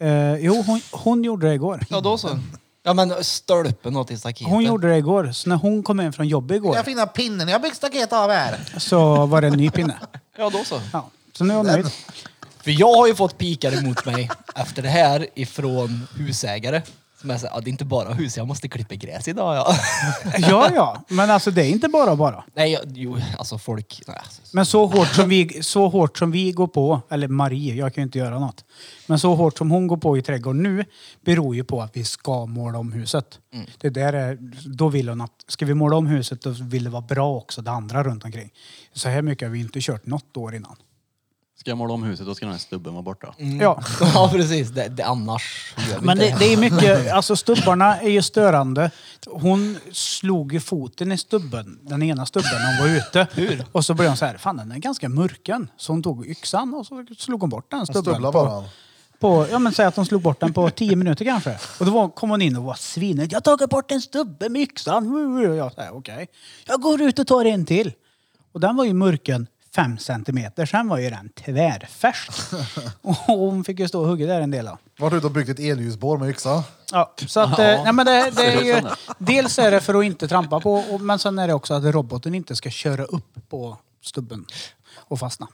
Eh, jo, hon, hon gjorde det igår. Ja, då så. Ja, men stölpen åt i staketet. Hon gjorde det igår. Så när hon kom in från jobbet igår Jag finna pinnen jag byggt staket av här. så var det en ny pinne. Ja, då så. Ja. Så nu är jag nöjd. För jag har ju fått pikar emot mig efter det här ifrån husägare Som är så, här, ja, det är inte bara hus, jag måste klippa gräs idag. Ja. Ja, ja. Men alltså det är inte bara bara. Nej, jag, jo, alltså folk... Nej, alltså, Men så hårt, som vi, så hårt som vi går på, eller Marie, jag kan ju inte göra något. Men så hårt som hon går på i trädgården nu beror ju på att vi ska måla om huset. Det där är, då vill hon att, ska vi måla om huset då vill det vara bra också det andra runt omkring. Så här mycket har vi inte kört något år innan. Ska jag måla om huset, då ska den här stubben vara borta. Ja. ja, precis. Det, det, annars gör vi Men inte det, det är mycket, alltså stubbarna är ju störande. Hon slog ju foten i stubben, den ena stubben, när hon var ute. Och så blev hon så här, fan den är ganska mörken. Så hon tog yxan och så slog hon bort den stubben. Stubbla På, bara. på, ja men säg att hon slog bort den på tio minuter kanske. Och då var, kom hon in och var svinig. Jag har tagit bort en stubbe med yxan. Och jag sa, okej. Jag går ut och tar en till. Och den var ju mörken fem centimeter. Sen var ju den tvärfärsk. Och hon fick ju stå och hugga där en del av. Vart ute och byggt ett elljusspår med yxa. Ja, så att, eh, nej, men det, det är ju, dels är det för att inte trampa på, och, men sen är det också att roboten inte ska köra upp på stubben och fastna.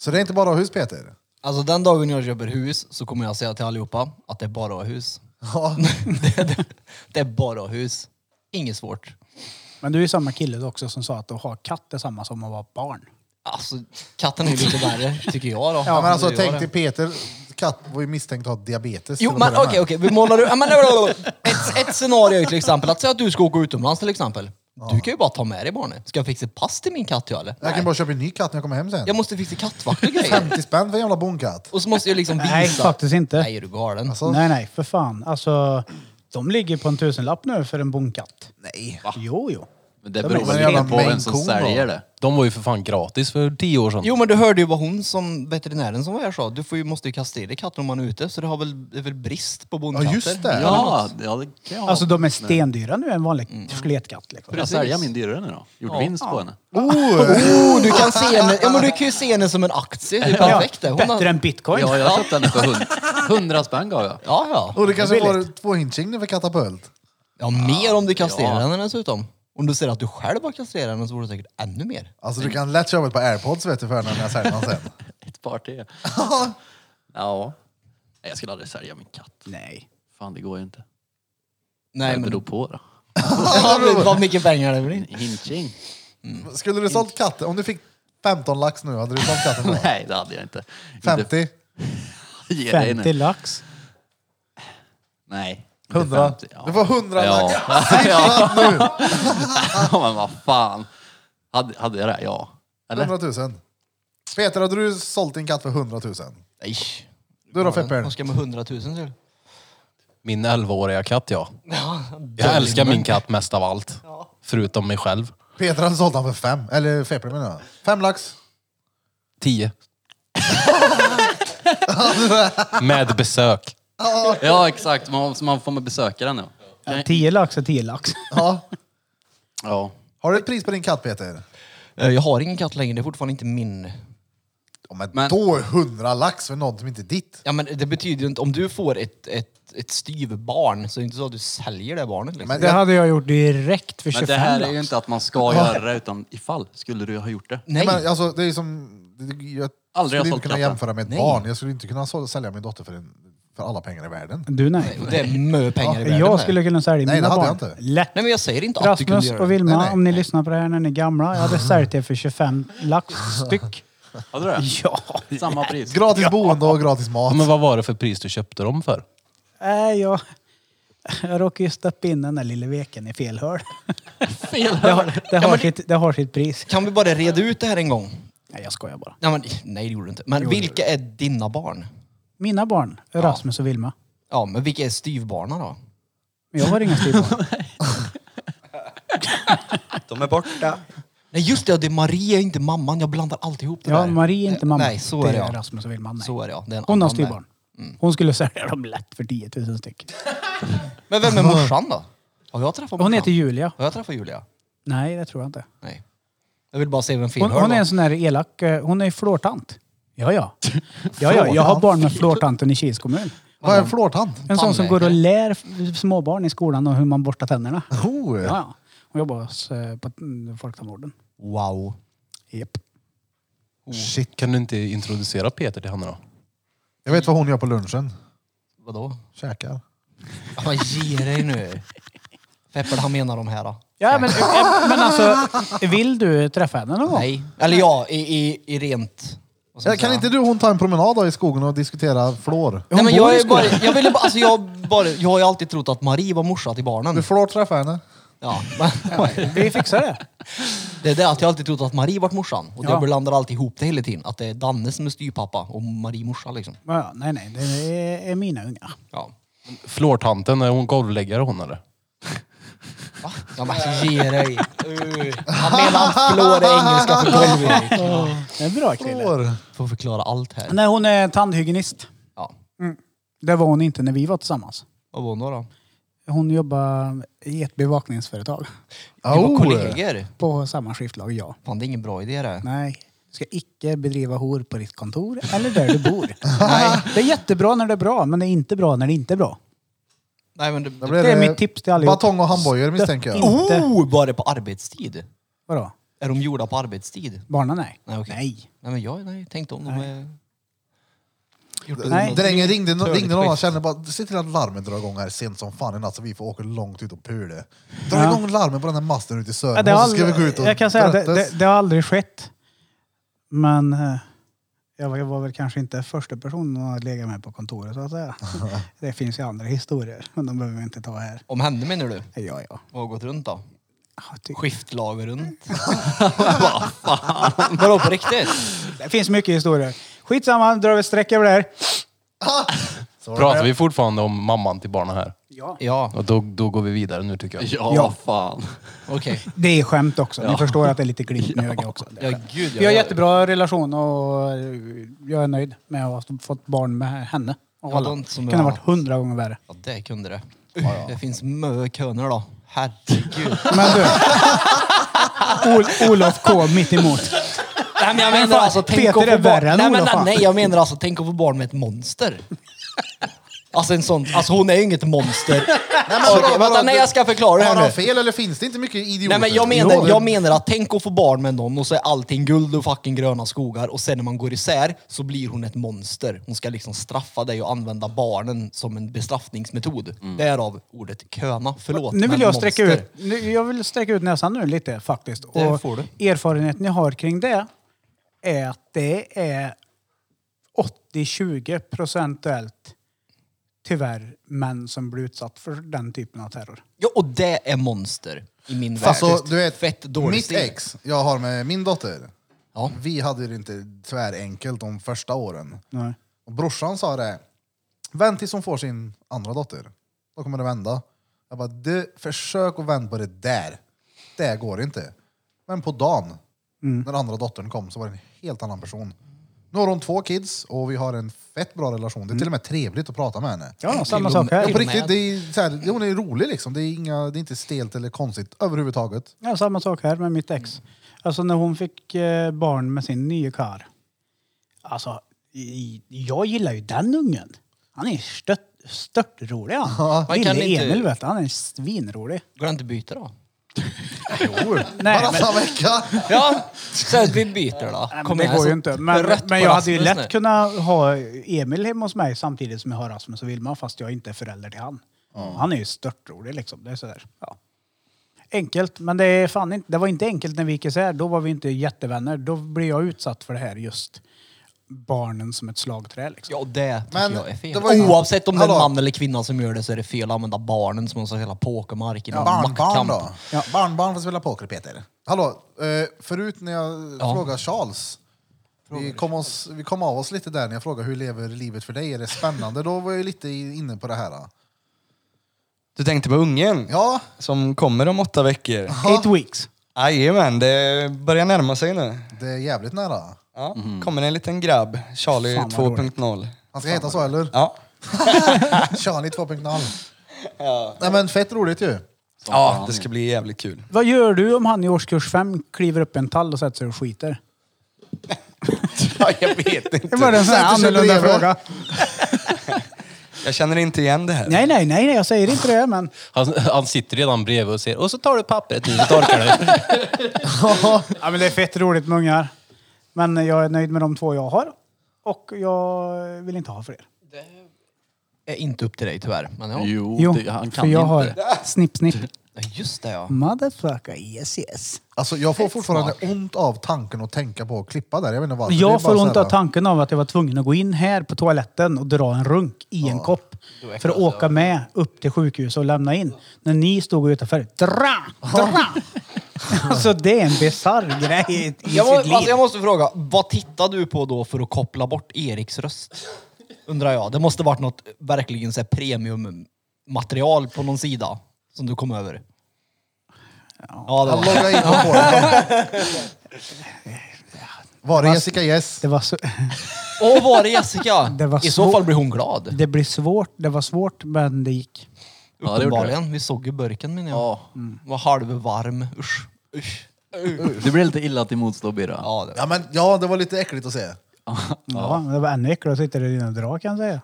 Så det är inte bara hus Peter? Alltså den dagen jag köper hus så kommer jag säga till allihopa att det är bara hus. Ja. det, det, det är bara hus. Inget svårt. Men du är ju samma kille då också som sa att att ha katt är samma som att vara barn. Alltså katten är ju lite värre tycker jag då. ja men alltså Det var tänk det. dig Peter, katt var ju misstänkt att ha diabetes. Jo till att men börja med. okej, okej, vi målar upp... ja, men, ett, ett scenario är ju till exempel att säga att du ska åka utomlands till exempel. Du kan ju bara ta med dig barnet. Ska jag fixa ett pass till min katt jag eller? Jag kan Nej. bara köpa en ny katt när jag kommer hem sen. Jag måste fixa kattvakt och grejer. 50 spänn för en jävla bonkatt. Och så måste jag liksom visa. Nej, faktiskt inte. Nej, är du galen? Alltså, Nej, nej, för fan. Alltså, de ligger på en tusenlapp nu för en bonkatt. Nej. Jo, jo. Men det Det beror var väl en jävla lite på vem main som coon då. säljer det. De var ju för fan gratis för tio år sedan. Jo men du hörde ju vad hon som veterinären som var här sa. Du får ju, måste ju kastrera katten om man är ute så det, har väl, det är väl brist på bondkatter. Ja, just det. Ja, ja, det kan jag Alltså de är stendyra nu, en vanlig skeletkatt. Liksom. Får jag sälja min dyrare nu då? Gjort vinst på henne. Oh, du, kan se henne, ja, men du kan ju se henne som en aktie. Det är Ja, perfekt det. Hon bättre har, än bitcoin. Ja, jag köpte henne för hund- hundra spänn gav jag. ja, ja. Och du kanske billigt. får två hinching för katapult. ja, mer om du kastrerar henne dessutom. Om du ser att du själv har kastrerat henne så vore det säkert ännu mer. Alltså du kan lätt köpa ett par airpods vet du för när jag säljer dem sen. Ett par till. ja. Nej, jag skulle aldrig sälja min katt. Nej. Fan, det går ju inte. Nej, Det men beror på då. ja, men vad mycket pengar det blir. Hinching? Skulle du sålt katten, om du fick 15 lax nu, hade du sålt katten då? Nej, det hade jag inte. 50? Inte ge dig nu. 50 lax. Nej. inte 100? 50, Du får 100 lax. Ja. ja. ja, men vad fan. Hade, hade jag det? Ja. Eller? 100 000. Peter, hade du sålt din katt för 100 000? Nej. Du då Feppel? Vad ska jag med hundratusen till? Min 11-åriga katt, ja. Jag älskar min katt mest av allt. Förutom mig själv. Peter hade sålt den för fem. Eller Feppel menar jag. Fem lax. Tio. Med besök. Ja, exakt. Man, så man får med besökare nu. Ja, 10 lax är 10 lax. Ja. Ja. Har du ett pris på din katt Peter? Eh, Jag har ingen katt längre, det är fortfarande inte min. Ja, men, Men- då är 100 lax för något som inte är ditt. Ja, men det betyder ju inte, om du får ett, ett, ett styvbarn så är det inte så att du säljer det barnet. Liksom. Men Det hade jag gjort direkt för Men 25 det här är ju lax. inte att man ska göra det, utan ifall skulle du ha gjort det. Nej. Men, alltså, det är som, jag Aldrig har skulle sålt inte kunna katten. jämföra med ett Nej. barn. Jag skulle inte kunna så- sälja min dotter för, en, för alla pengar i världen. Du nej. Och Det är mö pengar i världen. Jag här. skulle kunna Nej, sälja det mina hade barn. jag inte. Lätt. Nej men jag säger inte att du kunde Rasmus göra och det. Vilma, Nej, nej. om ni lyssnar på det här när ni är gamla. Jag hade sällt det för 25 lax styck. Hade du det? Ja. Samma pris. Gratis boende och gratis mat. Men vad var det för pris du köpte dem för? Nej, Äh, jag, jag råkade ju stoppa in den där lilla veken i fel hörn. Det har, det, har sitt, det har sitt pris. Kan vi bara reda ut det här en gång? Nej, jag skojar bara. Nej, men, nej det gjorde du inte. Men vilka är dina barn? Mina barn, Rasmus och Vilma. Ja, men vilka är styvbarnen då? Men jag har inga styvbarn. De är borta. Nej just det, ja, det är Maria, inte mamman. Jag blandar alltid ihop det Ja, där. Marie är inte mamma. Nej, så är det det. är ja. Rasmus och Vilma. Nej. Så är det ja. Mm. Det är en Hon har annan där. styvbarn. Hon skulle sälja dem lätt för 10 000 styck. Men vem är morsan då? Har jag träffat Hon morsan? heter Julia. Har jag träffat Julia? Nej, det tror jag inte. Nej. Jag vill bara se vem fel Hon, hör hon då. är en sån där elak... eh, Hon är flårtant. Ja, ja. ja, ja. Jag har barn med flårtanten i Kils kommun. Vad är en flårtant? En sån som Tandläkare. går och lär f- småbarn i skolan om hur man borstar tänderna. Oh. Ja, ja. Hon jobbar hos, eh, på mm, Folktandvården. Wow. Japp. Oh. Shit, kan du inte introducera Peter till henne då? Jag vet vad hon gör på lunchen. Vadå? Käkar. Ja, men ge dig nu. Feppel, han menar de här. Då. Ja, men, eh, men alltså, vill du träffa henne någon gång? Nej. Eller ja, i, i, i rent... vad ska man Kan säga? inte du och hon ta en promenad då i skogen och diskutera flår? Nej, men bor jag, i är bara, jag, ville bara, alltså jag, bara, jag har ju alltid trott att Marie var morsa till Du barnen. flår träffa henne. Ja. Vi fixar det. Det är det att jag alltid trott att Marie vart morsan. Och Ja. jag blandar alltid ihop det hela tiden. Att det är Danne som är styrpappa och Marie morsa liksom. Men ja, nej, nej, det är, är mina ungar. Ja. Flårtanten, är hon golvläggare hon eller? Va? Ja men alltså, ge dig. Uh. Han menar att flår är engelska för golv Erik. Det är bra kille. Flår. Får förklara allt här. Nej, hon är tandhygienist. Ja. Det var hon inte när vi var tillsammans. Vad var hon då? då? Hon jobbar i ett bevakningsföretag. Vi var Oh. kollegor. På samma skiftlag, ja. Fan det är ingen bra idé det. Nej, du ska icke bedriva hor på ditt kontor eller där du bor. Nej. Det är jättebra när det är bra, men det är inte bra när det inte är bra. Nej men det... Då Det blir är, mitt tips till allihop. Batong och handbojor misstänker jag. inte- Oh! Var det på arbetstid? Vadå? Är de gjorda på arbetstid? Barnen? Nej. Nej, okej. nej. Nej men jag nej, tänkte om de är... Gjort det Nej. Drängen ringde, Törligt ringde någon och skift. kände bara, se till att larmet drar igång här sent som fan i natt så vi får åka långt ut och pule. Dra igång larmet på den här masten ute i Ja, det söder har och så ska vi gå ut och aldrig, jag kan säga att det, tröttas. det, det har aldrig skett. Men eh, jag var- jag var väl kanske inte första personen att lägga med på kontoret så att säga. det finns ju andra historier, men de behöver vi inte ta här. Om henne menar du? Ja, ja. Vad har gått runt då? Jag tycker- Skiftlag runt? Vad fan? Vadå på riktigt? Det finns mycket historier. Skitsamma, drar vi ett streck över det här. Pratar vi fortfarande om mamman till barnen här? Ja. Ja, Och då, då går vi vidare nu tycker jag. Ja, Ja. fan. okej. Det är skämt också. Ni förstår att det är lite glimt i ögat också. Det är Ja, skämt. gud Vi har jättebra relation och eh, jag är nöjd med att ha fått barn med henne. Och Ja, alla. de som kunde ha jag- varit hundra gånger värre. Ja, det kunde det. Det finns mö köner då. Herregud. Men du. Ol- Olof K mitt emot. Nej, men jag menar fan, alltså, tänk Peter att få är värre barn. än Nej, men, Olof, nej, fan. nej, jag menar alltså, tänk att få barn med ett monster. Alltså en sån, alltså hon är ju inget monster. Nej, men Okej, vadå, vänta, vadå, nej jag ska förklara det Har här han nu. fel eller finns det inte mycket idioter? Nej men jag menar, jag menar att tänk att få barn med någon och så är allting guld och fucking gröna skogar och sen när man går isär så blir hon ett monster. Hon ska liksom straffa dig och använda barnen som en bestraffningsmetod. Mm. Därav ordet köna. Förlåt. Nu vill men jag sträcka monster. ut, nu, jag vill sträcka ut näsan nu lite faktiskt. Det Och får erfarenheten jag har kring det är att det är 80-20 procentuellt tyvärr män som blir utsatt för den typen av terror. Ja, och det är monster i min värld. Alltså, du vet, Fett dålig mitt stil. ex jag har med min dotter, Ja. vi hade det inte tvärenkelt de första åren. Nej. Och brorsan sa det, vänt tills hon får sin andra dotter. Då kommer det vända. Jag bara, du försök att vända på det där. Det går inte. Men på dagen, Mm. när andra dottern kom, så var det en helt annan person. Nu har hon två kids och vi har en fett bra relation. Det Mm. är till och med trevligt att prata med henne. Ja, samma och- sak till Och på och här. med- riktigt, det är så här, hon är rolig liksom. Det är, inga, det är inte stelt eller konstigt överhuvudtaget. Ja, samma sak här med mitt ex. Alltså när hon fick eh, barn med sin nya kar. Alltså, i- jag gillar ju den ungen. Han är stört, störtrolig han. Man kan Lille inte- Emil vet du, han är svinrolig. Går det inte att byta då? Nej, men, Varannan vecka! Ja, så att vi byter då. nej, men Kom det igen, går ju så- inte. Äh, Men, alltså, rött men på jag hade ju Rasmus lätt nu. kunnat ha Emil hemma hos mig samtidigt som jag har Rasmus och Vilma fast jag inte är förälder till han. Han är ju störtrolig liksom. Det är sådär. Ja. Enkelt, men det, är fan inte, det var inte enkelt när vi gick isär. Då var vi inte jättevänner. Då blev jag utsatt för det här just barnen som ett slagträ. Liksom. Ja, och det tycker Men jag är fel. det var ju- Oavsett om det är en Hallå. man eller kvinna som gör det så är det fel att använda barnen som någon sorts hela pokermark i någon Barnbarn maktkamp. då? Barnbarn får spela poker Peter. Hallå, eh, förut när jag Ja. frågade Charles, vi kom, oss, vi kom av oss lite där när jag frågade hur lever livet för dig, är det spännande? Då var jag lite i- inne på det här. då. Du tänkte på ungen? Ja, Som kommer om åtta veckor. Eight weeks. Jajamän, det börjar närma sig nu. det är jävligt nära. Ja. Mhm. Kommer en liten grabb, Charlie Fan, vad 2.0. Han ska heta så eller? Ja. Charlie 2.0. Nej men fett roligt ju. ja, det ska bli jävligt kul. Vad gör du om han i årskurs fem kliver upp i en tall och sätter sig och skiter? Ja, jag vet Det var inte. en sån här Sätter sig annorlunda bredvid. fråga. Jag känner inte igen det här. Nej, nej, nej, nej, jag säger inte det, men Han, han sitter redan bredvid och ser. Och så tar du pappret nu och torkar det. Ja, men det är fett roligt med ungar. Men jag är nöjd med de två jag har. Och jag vill inte ha fler. är inte upp till dig tyvärr. Men ja. Jo, Jo, Oh, det, han för kan jag inte. har snipp, snipp. Ja, Just det ja. Motherfucker, yes yes. Alltså jag får fortfarande ont av tanken att tänka på att klippa där. Jag vet inte varför. Det är Jag bara får ont så här- av tanken av att jag var tvungen att gå in här på toaletten och dra en runk i en kopp. För att åka med upp till sjukhuset och lämna in. När ni stod utanför. Dra! Dra! alltså det är en bisarr grej i i Jag, må, sitt liv. alltså, jag måste fråga, vad tittar du på då för att koppla bort Eriks röst? Undrar jag. Det måste varit något verkligen så här premiummaterial på någon sida som du kom över. Ja, det Han var loggar in på det. Var det Jessica Yes? Det, var så, Åh, var det Jessica? Det var I så svår- fall blir hon glad. det blir svårt, det var svårt men det gick. Ja, det gjorde det. Uppenbarligen. Vi såg ju burken menar jag. Ja. Var halvvarm. Usch. Usch. Du blir lite illa till motstå Birra. Ja, det... Ja, men, ja, det var lite äckligt att se. Ja, det var ännu äckligare att sitta där inne och dra kan jag säga.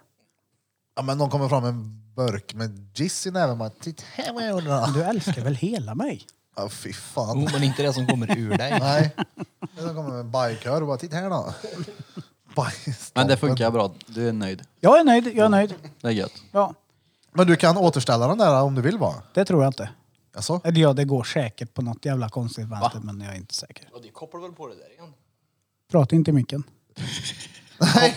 Ja, men någon kommer fram med en burk med giss i näven. Man, Titta här vad jag gjorde. då." Du älskar väl hela mig? Ja, fy fan. Jo, Oh. men inte det som kommer ur dig. Nej. Men De kommer med en bajkör och bara, titta här då. Bajs. Men det funkar bra. Du är nöjd. Jag är nöjd, jag är nöjd. Det är gött. Ja, Men du kan återställa den där om du vill va? det tror jag inte. Alltså? Eller ja, det går säkert på något jävla konstigt vänster men jag är inte säker. Det kopplar väl på det där igen? Prata inte i micken.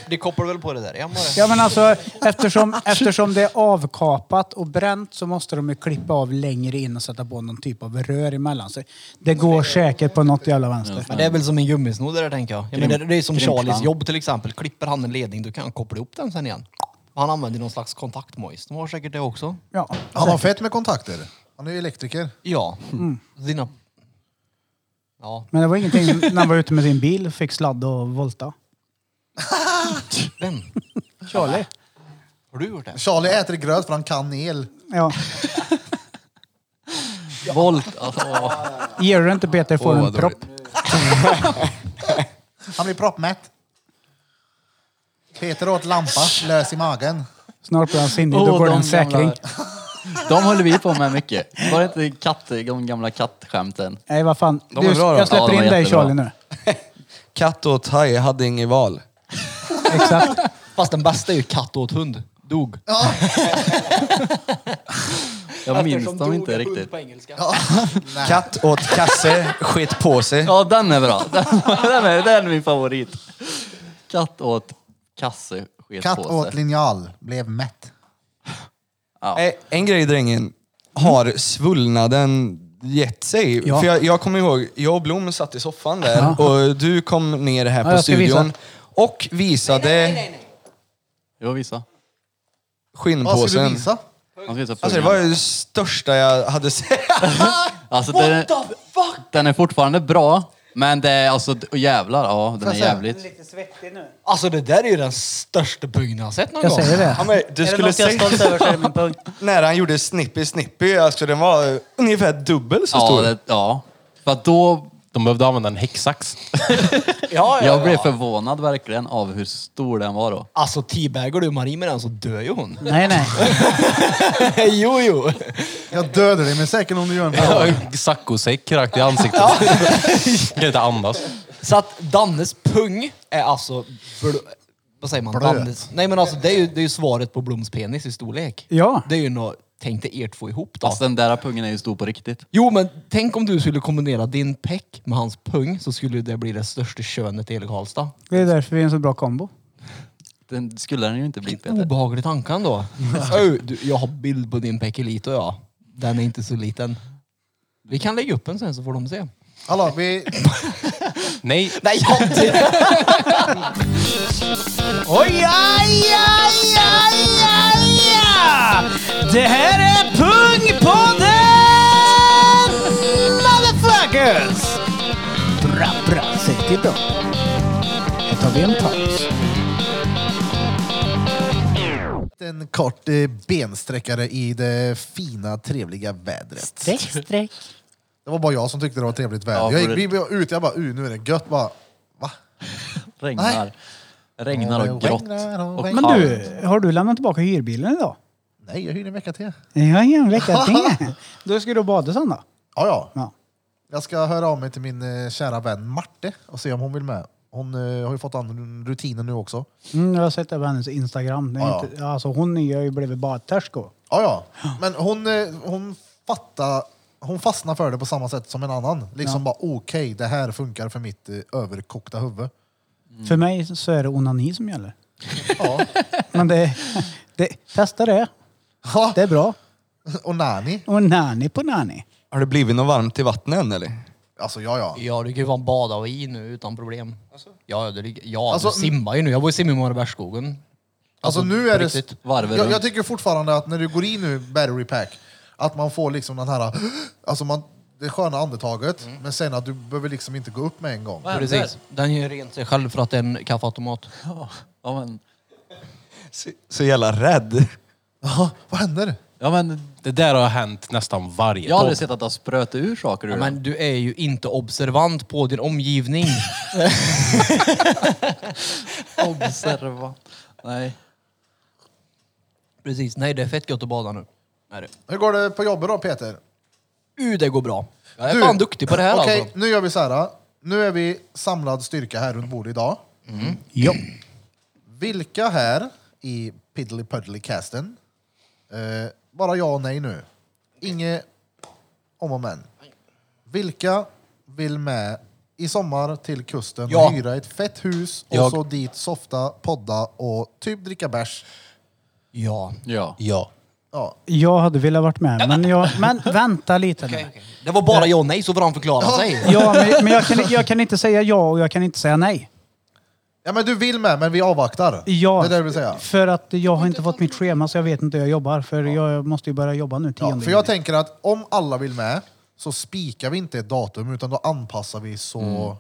Det kopplar väl på det där igen bara. Ja men alltså eftersom, eftersom det är avkapat och bränt så måste de ju klippa av längre in och sätta på någon typ av rör emellan. Så det går säkert på något jävla vänster. Men det är väl som en gummisnodd det där tänker jag. jag menar, det är som Grymt Charlies fan. jobb till exempel. Klipper han en ledning, då kan han koppla ihop den sen igen. Han använder någon slags kontaktmojs. De har säkert det också. Ja. Han har fett med kontakter. Han är ju elektriker. Ja. Dina... Ja, Men det var ingenting när han var ute med sin bil och fick sladd och volta. vem? Charlie? Har du gjort det? Charlie äter gröt för han kan el. Ja. Volt. Alltså, åh. Ger du inte Peter får Åh, du en vad dåligt. propp. Han blir proppmätt. Peter åt lampa, lös i magen. Snart blir han sinnig, Åh, då går det de en säkring. gamla- De höll vi på med mycket. Var det inte katt, de gamla kattskämten? Nej vad fan. De är Du, bra då. jag Ja, släpper de är in dig jättebra. Charlie nu. Katt och thai hade inget val. Exakt. Fast den bästa är ju katt åt hund. Dog. Jag minns dem inte riktigt. Katt åt kasse, skit på sig. Ja, den är bra. Den, den, är, den är min favorit. Katt åt kasse sket Katt på åt sig. linjal, blev mätt. Eh, En grej drängen, har svullnaden gett sig? Ja. För jag, jag kommer ihåg, jag och Blom satt i soffan där och du kom ner här Ja, på jag ska visa. studion och visade Jo, visa. Vad ska du skinnpåsen. visa? Han ska visa Alltså det pungen. var det största jag hade sett. Alltså, den, den är fortfarande bra, men det är alltså, d- och jävlar, ja, den är jag säga? jävligt. Lite svettig nu. Alltså det där är ju den största pungen jag har sett någon Jag gång. säger det. Ja, men du skulle se över så är det min pung. när han gjorde snippy snippy, alltså den var ungefär dubbel så Ja, stor. det, ja. För att då... De behövde använda en häcksax. Ja, ja, Jag blev ja. förvånad verkligen av hur stor den var då. Alltså teabaggar du Marie med den så dör ju hon. Nej nej. jo, jo. Jag dödar dig med säkern om du gör en bra. Saccosäck rakt i ansiktet. Kan inte andas. Så att Dannes pung är alltså... bl- Vad säger man? Blöt. Dannes, nej men alltså det är, ju, det är ju svaret på Bloms penis i storlek. Ja. Det är ju något... Tänk dig er två ihop då. Fast den där pungen är ju stor på riktigt. Jo men tänk om du skulle kombinera din peck med hans pung så skulle det bli det största könet i hela Karlstad. Det är därför vi är en så bra kombo. Den skulle den ju inte bli Peter. Obehaglig tanke ändå. Ö, du, jag har bild på din pekelito ja. Den är inte så liten. Vi kan lägga upp en sen så får de se. Hallå, vi... Nej, Nej, jag Oj, aj, aj, aj, aj, aj. Det här är Pungpodden! Motherfuckers! Bra, bra, säg till dem. Här tar vi en paus. En kort eh, bensträckare i det fina, trevliga vädret. Sträck, sträck. Det var bara jag som tyckte det var trevligt väder. Ja, jag för gick, vi var ute, jag bara, uh, nu är det gött. Bara, va? Regnar. Regnar och grått. Regnar och Och Men kallt. du, har du lämnat tillbaka hyrbilen idag? Nej, jag hyr en vecka till. Ja, en vecka till. Då ska du bada sen då? Ja, ja. Ja. Jag ska höra av mig till min eh, kära vän Marte och se om hon vill med Hon eh, har ju fått an rutinen nu också. Mm, jag har sett det på hennes Instagram. Det är Ja, ja. inte, alltså, hon har ju blivit badterska. Ja, ja. Men hon, eh, hon fattar, hon fastnar för det på samma sätt som en annan. Liksom bara okej, det här funkar för mitt eh, överkokta huvud. För mig så är det onani som gäller. Ja. Men det, det, testa det. Ja. Det är bra. Och Nani, Och nani på nani. Har det blivit något varmt i vattnet än eller? alltså ja ja. Ja, du kan ju fan bada och i nu utan problem. Ja, det, ligger- ja Alltså, du simmar ju nu. Jag var ju simma i Marabärsskogen. Alltså nu på är det... riktigt. Varvet Jag, runt. jag tycker fortfarande att när du går in nu battery pack, att man får liksom den här... Alltså man, det sköna andetaget, men sen att du behöver liksom inte gå upp med en gång. Precis. Den gör rent sig själv för att det är en kaffeautomat. Ja men, Så, så jävla rädd. Ja, vad händer? Ja, men det där har hänt nästan varje jag har aldrig podd. sett att det har spröt ur saker ur Ja, den. men du är ju inte observant på din omgivning. Observant. Nej. Precis. Nej, det är fett gött att bada nu. Är det? Hur går det på jobbet då Peter? Uh, det går bra. Jag är fan duktig på det här okej, alltså. nu gör vi så här. Nu är vi samlad styrka här runt bordet idag. Mm. Ja. Vilka här i Piddly Puddly casten? Eh, bara ja och nej nu. Inget om och men. Vilka vill med i sommar till kusten Ja. och hyra ett fett hus och Jag. så dit softa, podda och typ dricka bärs? Ja. Ja. Ja. Ja. Jag hade velat varit med, men, jag, men vänta lite nu. Det var bara ja och nej så får han förklara sig. Ja, men, men jag, kan, jag kan inte säga ja och jag kan inte säga nej. ja, men du vill med, men vi avvaktar. Ja, Det är det jag vill säga. För att jag har inte fått mitt schema så jag vet inte hur jag jobbar. För jag måste ju börja jobba nu 10 Ja, för jag tänker att om alla vill med så spikar vi inte ett datum utan då anpassar vi så Mm.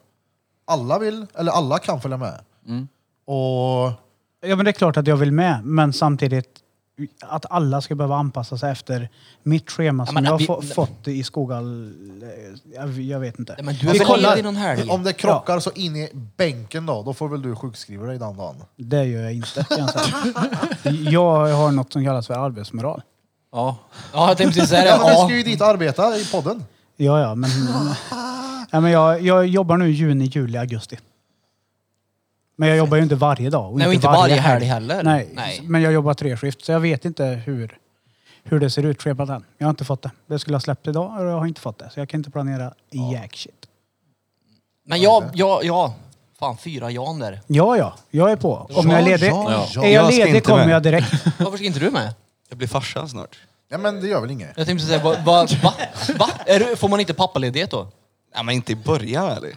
alla vill, eller alla kan följa med. Och Alltså, Ja, men det är klart att jag vill med, men samtidigt att alla ska behöva anpassa sig efter mitt schema som men jag har vi- få, fått i Skogal... Jag, jag vet inte. Nej, men du är vi väl kollar. ledig någon helg? Alltså, om det krockar så in i bänken då, då får väl du sjukskriva dig den dagen. Det gör jag inte. kan jag säga. Jag har något som kallas för arbetsmoral. Ja. Ja, jag tänkte precis säga det. Ja, men vi Ja. ska ju dit och arbeta i podden. Ja, ja, men... ja, men jag, jag jobbar nu juni, juli, augusti. Men jag jobbar ju inte varje dag. Nej, och inte varje helg heller. Nej, Nej. men jag jobbar tre skift, så jag vet inte hur, hur det ser ut schemat än. Jag har inte fått det. Det skulle ha släppt idag och jag har inte fått det. Så jag kan inte planera jack shit. Men ja, ja, ja. Fan, fyra jan där. Ja, ja, jag är på. Om jag är ledig, Ja, ja. är Jag jag ska ledig inte kommer med. jag direkt. Varför ska inte du med? Jag blir farsa snart. Ja, men det gör väl inget. Jag tänkte säga, va? va, va? va? Är du, får man inte pappaledighet då? Ja, men inte i början eller?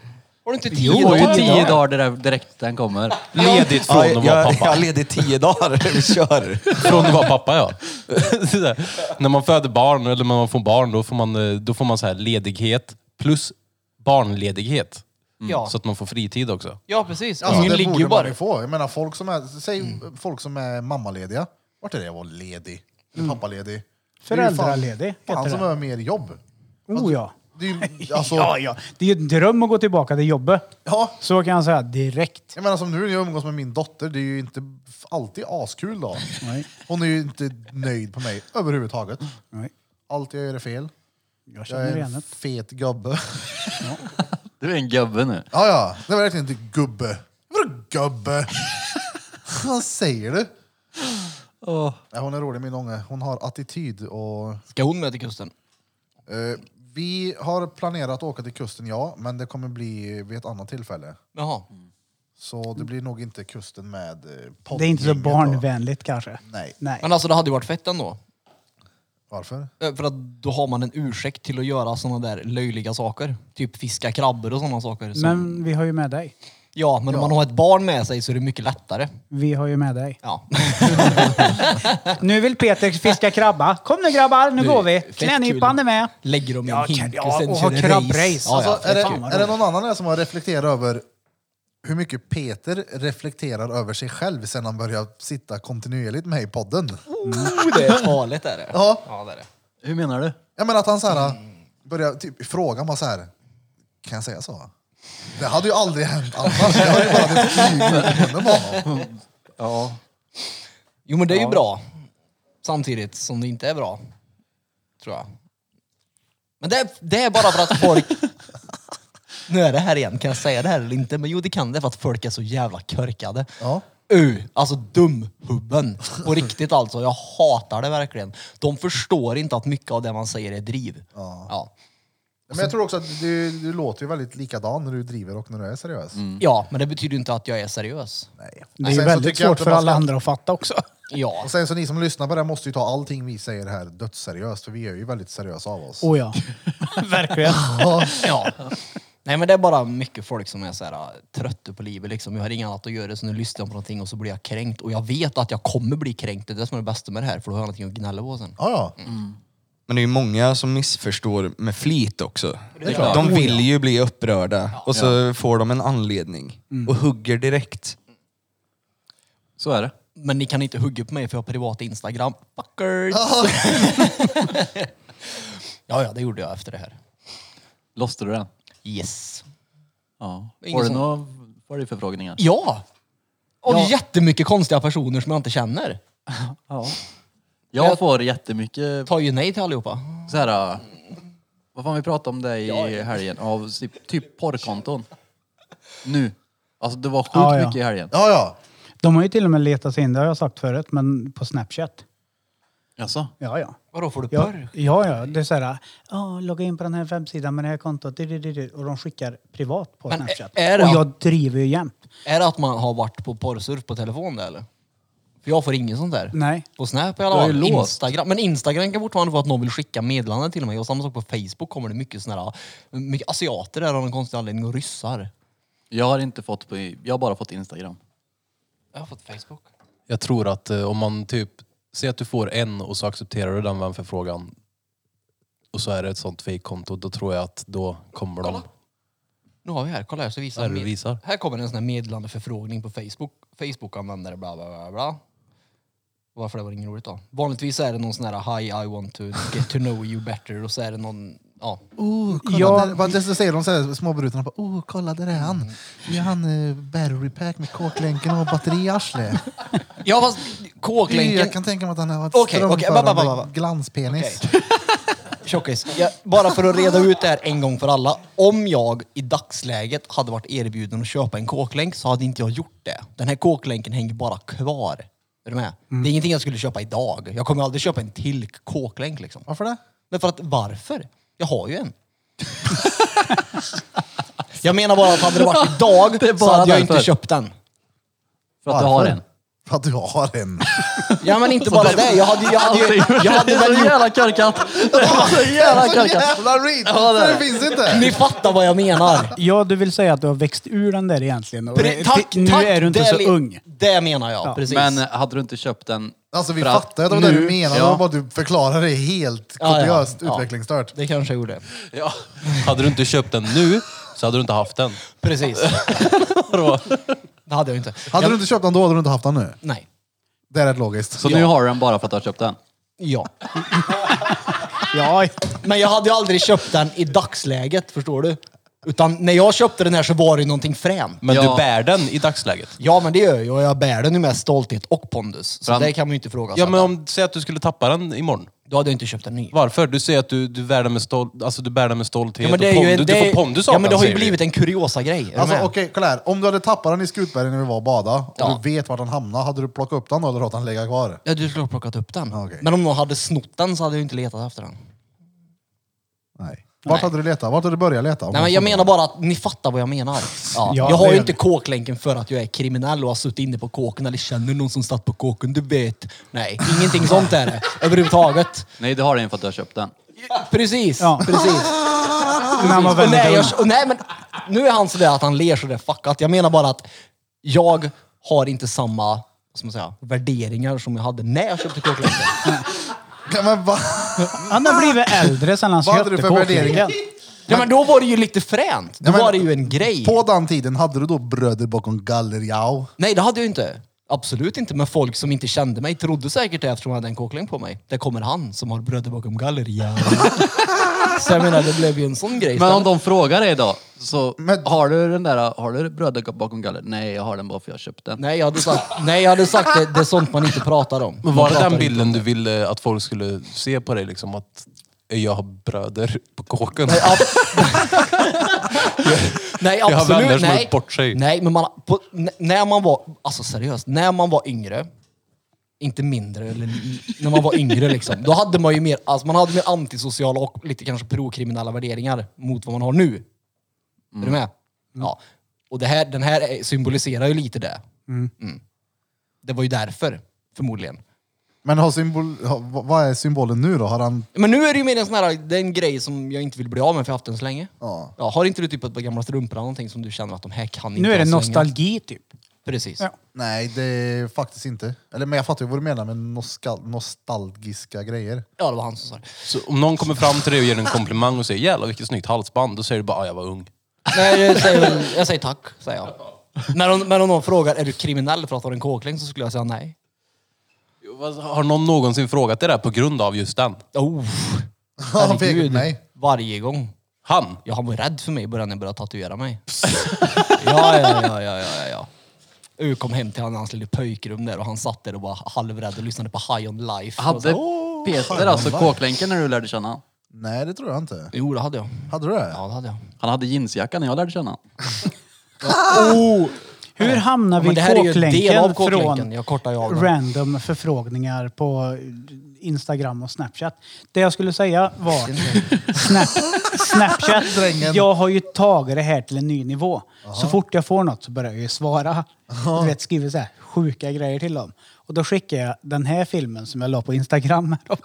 Har du inte tio Jo, det var ju dagar? tio dagar det där direkt den kommer. Ledigt från jag, att vara jag, pappa. jag leder tio dagar. Vi kör. Från att vara pappa, ja. Så där. när man föder barn, eller när man får barn, då får man, eh, då får man så här ledighet plus barnledighet. Ja. Mm, Så att man får fritid också. ja, precis. Alltså, Ungen det ligger borde ju man bara... Mm. ju få. Jag menar, folk som är, säg folk som är mammalediga. Vart är det jag var ledig? Eller Mm. pappaledig? Det är ju fan- Föräldraledig heter Fan som det. har mer jobb. Oh ja. Det är ju, alltså, Ja, ja. Det är ju en dröm att gå tillbaka till jobbet. ja, Så kan jag säga direkt. Jag menar som nu när jag umgås med min dotter, det är ju inte f- alltid askul då. Nej. Hon är ju inte nöjd på mig överhuvudtaget. Nej. Allt jag gör är fel. Jag Jag känner är igen det. en fet gubbe. Du är en gubbe nu. Ja, ja. Det var verkligen inte gubbe. Vadå gubbe? Vad säger du? Nej, hon är rolig min unge. Hon har attityd och... Ska hon med till kusten? Eh, vi har planerat att åka till kusten, ja. Men det kommer bli vid ett annat tillfälle. Jaha. Så det blir nog inte kusten med eh, Mm. Det är inte så poddgänget då. barnvänligt kanske. Nej. Nej. Men alltså det hade ju varit fett ändå. Varför? Eh, För att då har man en ursäkt till att göra sådana där löjliga saker. Typ fiska krabbor och sådana saker. som- Men vi har ju med dig. ja, men om man har ett barn med sig så är det mycket lättare. Vi har ju med dig. Ja. Nu vill Peter fiska krabba. Kom nu grabbar, nu Det går vi. fett Knänypan kul. är med. Lägger dem i en Ja, hink kan- ja, och sen och kör ha det krabbrace. race. Ja, ja. Alltså, är, fan vad det, är det roligt. någon annan här som har reflekterat över hur mycket Peter reflekterar över sig själv sen han började sitta kontinuerligt med i podden? Oh, det är farligt är det. Ja. ja det är det. Hur menar du? Jag menar att han så här, börjar typ fråga bara så här. kan jag säga så? Det hade ju aldrig hänt annars. Jag har ju bara lite flygande med honom. Ja. Jo men det är ju bra. Samtidigt som det inte är bra. Tror jag. Men det är, det är bara för att folk... Nu är det här igen, kan jag säga det här eller inte? Men jo, det kan det för att folk är så jävla körkade. Ja. Uh, alltså dumhubben. På riktigt alltså. Jag hatar det verkligen. De förstår inte att mycket av det man säger är driv. Ja, ja. Men jag tror också att du, du låter ju väldigt likadan när du driver och när du är seriös. men det betyder ju inte att jag är seriös. Nej. Mm. Det Och är ju sen så väldigt tycker jag svårt inte för man alla ska- andra att fatta också. Ja. Och sen så ni som lyssnar på det här måste ju ta allting vi säger här dödsseriöst, för vi är ju väldigt seriösa av oss. Oh ja. Verkligen. ja. Nej men det är bara mycket folk som är så här, äh, trötta på livet liksom. Jag har inget annat att göra så nu lyssnar jag på någonting och så blir jag kränkt. Och jag vet att jag kommer bli kränkt. Det är det som är det bästa med det här för då har jag någonting att gnälla på sen. Ja, ja. Mm. Men det är ju många som missförstår med flit också. klart. De vill ju bli upprörda och så får de en anledning och hugger direkt. Så är det. Men ni kan inte hugga på mig för jag har privat Instagram. Fuckers! ja, ja, det gjorde jag efter det här. Låste du den? Yes. Ja. Ingen Var det sån. några var det förfrågningar? Ja! Av jättemycket konstiga personer som jag inte känner. Ja. Jag får jättemycket Tar ju nej till allihopa. så här. äh, Vad fan vi pratade om det i helgen av typ, typ porrkonton. Nu. Alltså det var sjukt Ja, ja. mycket i helgen. ja, ja. De har ju till och med letat sig in, det har jag sagt förut, men på Snapchat. Alltså. Ja, ja. Vadå, får du Ja, porr? ja, ja. det är så här, "Ja, logga in på den här webbsidan med det här kontot. di, di, di, di." Och de skickar privat på Men eh, Snapchat. är det- och jag driver ju jämt. Är det att man har varit på porrsurf på telefon där eller? För jag får inget sånt där. Nej. På Snap i Du alla har ju fall. låst. Instagram. Men Instagram kan fortfarande vara att någon vill skicka meddelanden till mig. Och samma sak på Facebook kommer det mycket såna här, mycket asiater där av någon konstig anledning och ryssar. Jag har inte fått på, jag har bara fått Instagram. Jag har fått Facebook. Jag tror att eh, om man typ, säg att du får en och så accepterar du den vänförfrågan och så är det ett sånt fejkkonto, då tror jag att då kommer de. Nu har vi här, kolla här så visar Vad är det med- du visar? Här kommer en sån här meddelande förfrågning på Facebook. Facebook-användare bla bla bla bla. Varför det var inget roligt då? Vanligtvis är det någon sån här Hi I want to get to know you better och så är det någon, ja. Mm. Oh, kolla Ja. där. Vad det så säger de så här, småbrutarna bara, oh, kolla där är han. Nu är han eh, battery pack med kåklänken och batteri i arslet. Ja fast Jag kåklänken, kan tänka mig att han har varit Okej, okej, strömförande ba, ba, ba, ba. glanspenis. tjockis. Jag, bara för att reda ut det här en gång för alla. Om jag i dagsläget hade varit erbjuden att köpa en kåklänk så hade inte jag gjort det. Den här kåklänken hänger bara kvar. Är du med? Det är ingenting jag skulle köpa idag. Jag kommer aldrig köpa en till kåklänk liksom. Varför det? Men för att varför? Jag har ju en. jag menar bara att hade det varit idag Det är så bara hade jag inte därför. köpt den. För att du har en. För att du har en. Ja men inte bara det. Jag hade, jag hade, ju- jag Det hade är väl så gjort... jävla korkat! Det är så jävla Så korkat! jävla reet! Ja, det är det det. finns inte! Ni fattar vad jag menar. Ja, du vill säga att du har växt ur den där egentligen. Och Pre- det- tack, nu tack. är du inte det så li- ung. Det menar jag, Ja. precis. Men eh, hade du inte köpt den... Alltså vi för att fattar att det var det nu- du menade, Ja. det var bara att du förklarade det helt Ja, ja, kopiöst ja. utvecklingsstört. det kanske jag gjorde. Ja. Hade du inte köpt den nu så hade du inte haft den. Precis. det hade jag inte. Hade jag, du inte köpt den då hade du inte haft den nu. Nej. Det är rätt logiskt. Så nu har du den bara för att du har köpt den? Ja. Ja, Men jag hade ju aldrig köpt den i dagsläget, förstår du? Utan när jag köpte den här så var det ju någonting fränt. Men Ja. du bär den i dagsläget. Ja, men det gör jag ju och jag bär den ju med stolthet och pondus. Så Fram- det kan man ju inte fråga. Ja men om, säg att du skulle tappa den imorgon. Då hade jag inte köpt en ny. Varför? Du säger att du, du, bär, den med stol, alltså, du bär den med stolthet Ja, men det och är ju, pondus. det, Du får pondus av Ja, men den, det har ju säger du. blivit en kuriosa-grej. Är Alltså du okej, med? kolla här. Om du hade tappat den i Skutberget när vi var och badade och Ja. du vet vart den hamnade, hade du plockat upp den då eller låtit den ligga kvar? Ja, du skulle ha plockat upp den. Okej. Men om någon hade snott den så hade jag ju inte letat efter den. Nej. Vart Nej. hade du letat? Vart hade du börjat leta? Om Nej, du men jag kunde. menar bara att ni fattar vad jag menar. Ja. Ja, jag har det ju gör inte kåklänken för att jag är kriminell och har suttit inne på kåken eller känner någon som satt på kåken. Du vet. Nej, ingenting sånt är det. Överhuvudtaget. Nej, det har den för att du har köpt den. Precis. Ja. precis. när han Ah. var Och nej, väldigt ung. jag, och nej, men nu är han sådär att han ler sådär fuckat. Jag menar bara att jag har inte samma vad ska man säga, värderingar som jag hade när jag köpte kåklänken. Ja, men va? Han har blivit äldre sen han Vad hade du köpte för värderingar? kåklänken. ja, men då var det ju lite fränt. Då Ja, men- var det ju en grej. På den tiden, hade du då bröder bakom gallerjau? Nej, det hade jag ju inte. Absolut inte. Men folk som inte kände mig trodde säkert det eftersom jag hade en kåkling på mig. Där kommer han som har bröder bakom gallerian. Så jag menar, det blev ju en sån grej. Men om de frågar dig då, så Men- har du den där, har du bröder bakom galler? Nej, jag har den bara för jag har köpt den. Nej, jag hade sagt, nej, jag hade sagt det, det är sånt man inte pratar om. Men Man var det pratar den inte bilden du ville att folk skulle se på dig? Liksom, att jag har bröder på kåken. Nej, ab- nej har absolut. vänner som har nej. gjort bort sig. Nej, men man, på, n- när man var, alltså seriöst, när man var yngre, inte mindre, eller li- när man var yngre liksom, då hade man ju mer, alltså man hade mer antisociala och lite kanske prokriminella värderingar mot vad man har nu. Mm. Är du med? Ja. Och det här, den här är- symboliserar ju lite det. Mm. Det var ju därför, förmodligen. Men har symbol, har, vad- vad är symbolen nu då? Har han... Men nu är det ju mer en sån här, det är en grej som jag inte vill bli av med för jag har haft den så länge. Ja. Ja, har inte du typ ett par gamla strumpor eller någonting som du känner att de här kan inte Nu är det jag slänga? nostalgi typ. Precis. Ja. Nej, det är faktiskt inte. Eller men jag fattar ju vad du menar med nostal, nostalgiska grejer. Ja, det var han som sa det. Så om någon kommer fram till dig och ger dig en komplimang och säger jävlar vilket snyggt halsband, då säger du bara ah, jag var ung. Nej, jag säger, väl- jag säger tack, säger jag. Men om, men om någon frågar, är du kriminell för att ha en kåkling? Så skulle jag säga nej. Har någon någonsin frågat dig det där på grund av just den? Oh, Han pekar på mig. varje gång. Han? Ja, han var ju rädd för mig i början när jag började tatuera mig. ja, ja, ja, ja, ja, ja, ja. Jag kom hem till han- hans lilla pojkrum där och han satt där och var halvrädd och lyssnade på High on Life. Och så, Hade "Åh." Peter alltså kåklänken när du lärde känna han? Nej, det tror jag inte. Jo, det hade jag. Hade du det? Ja, det hade jag. Han hade jeansjacka när jag lärde känna han. Hur hamnar Ja, vi men i det här är ju en del av kåklänken kåklänken. från Jag kortar ju av den. random förfrågningar på Instagram och Snapchat? Det jag skulle säga var Snap, Snapchat. Drängen. Jag har ju tagit det här till en ny nivå. Så fort jag får något så börjar jag ju svara. Du vet, skriver så här sjuka grejer till dem. Och då skickar jag den här filmen som jag la på Instagram härom,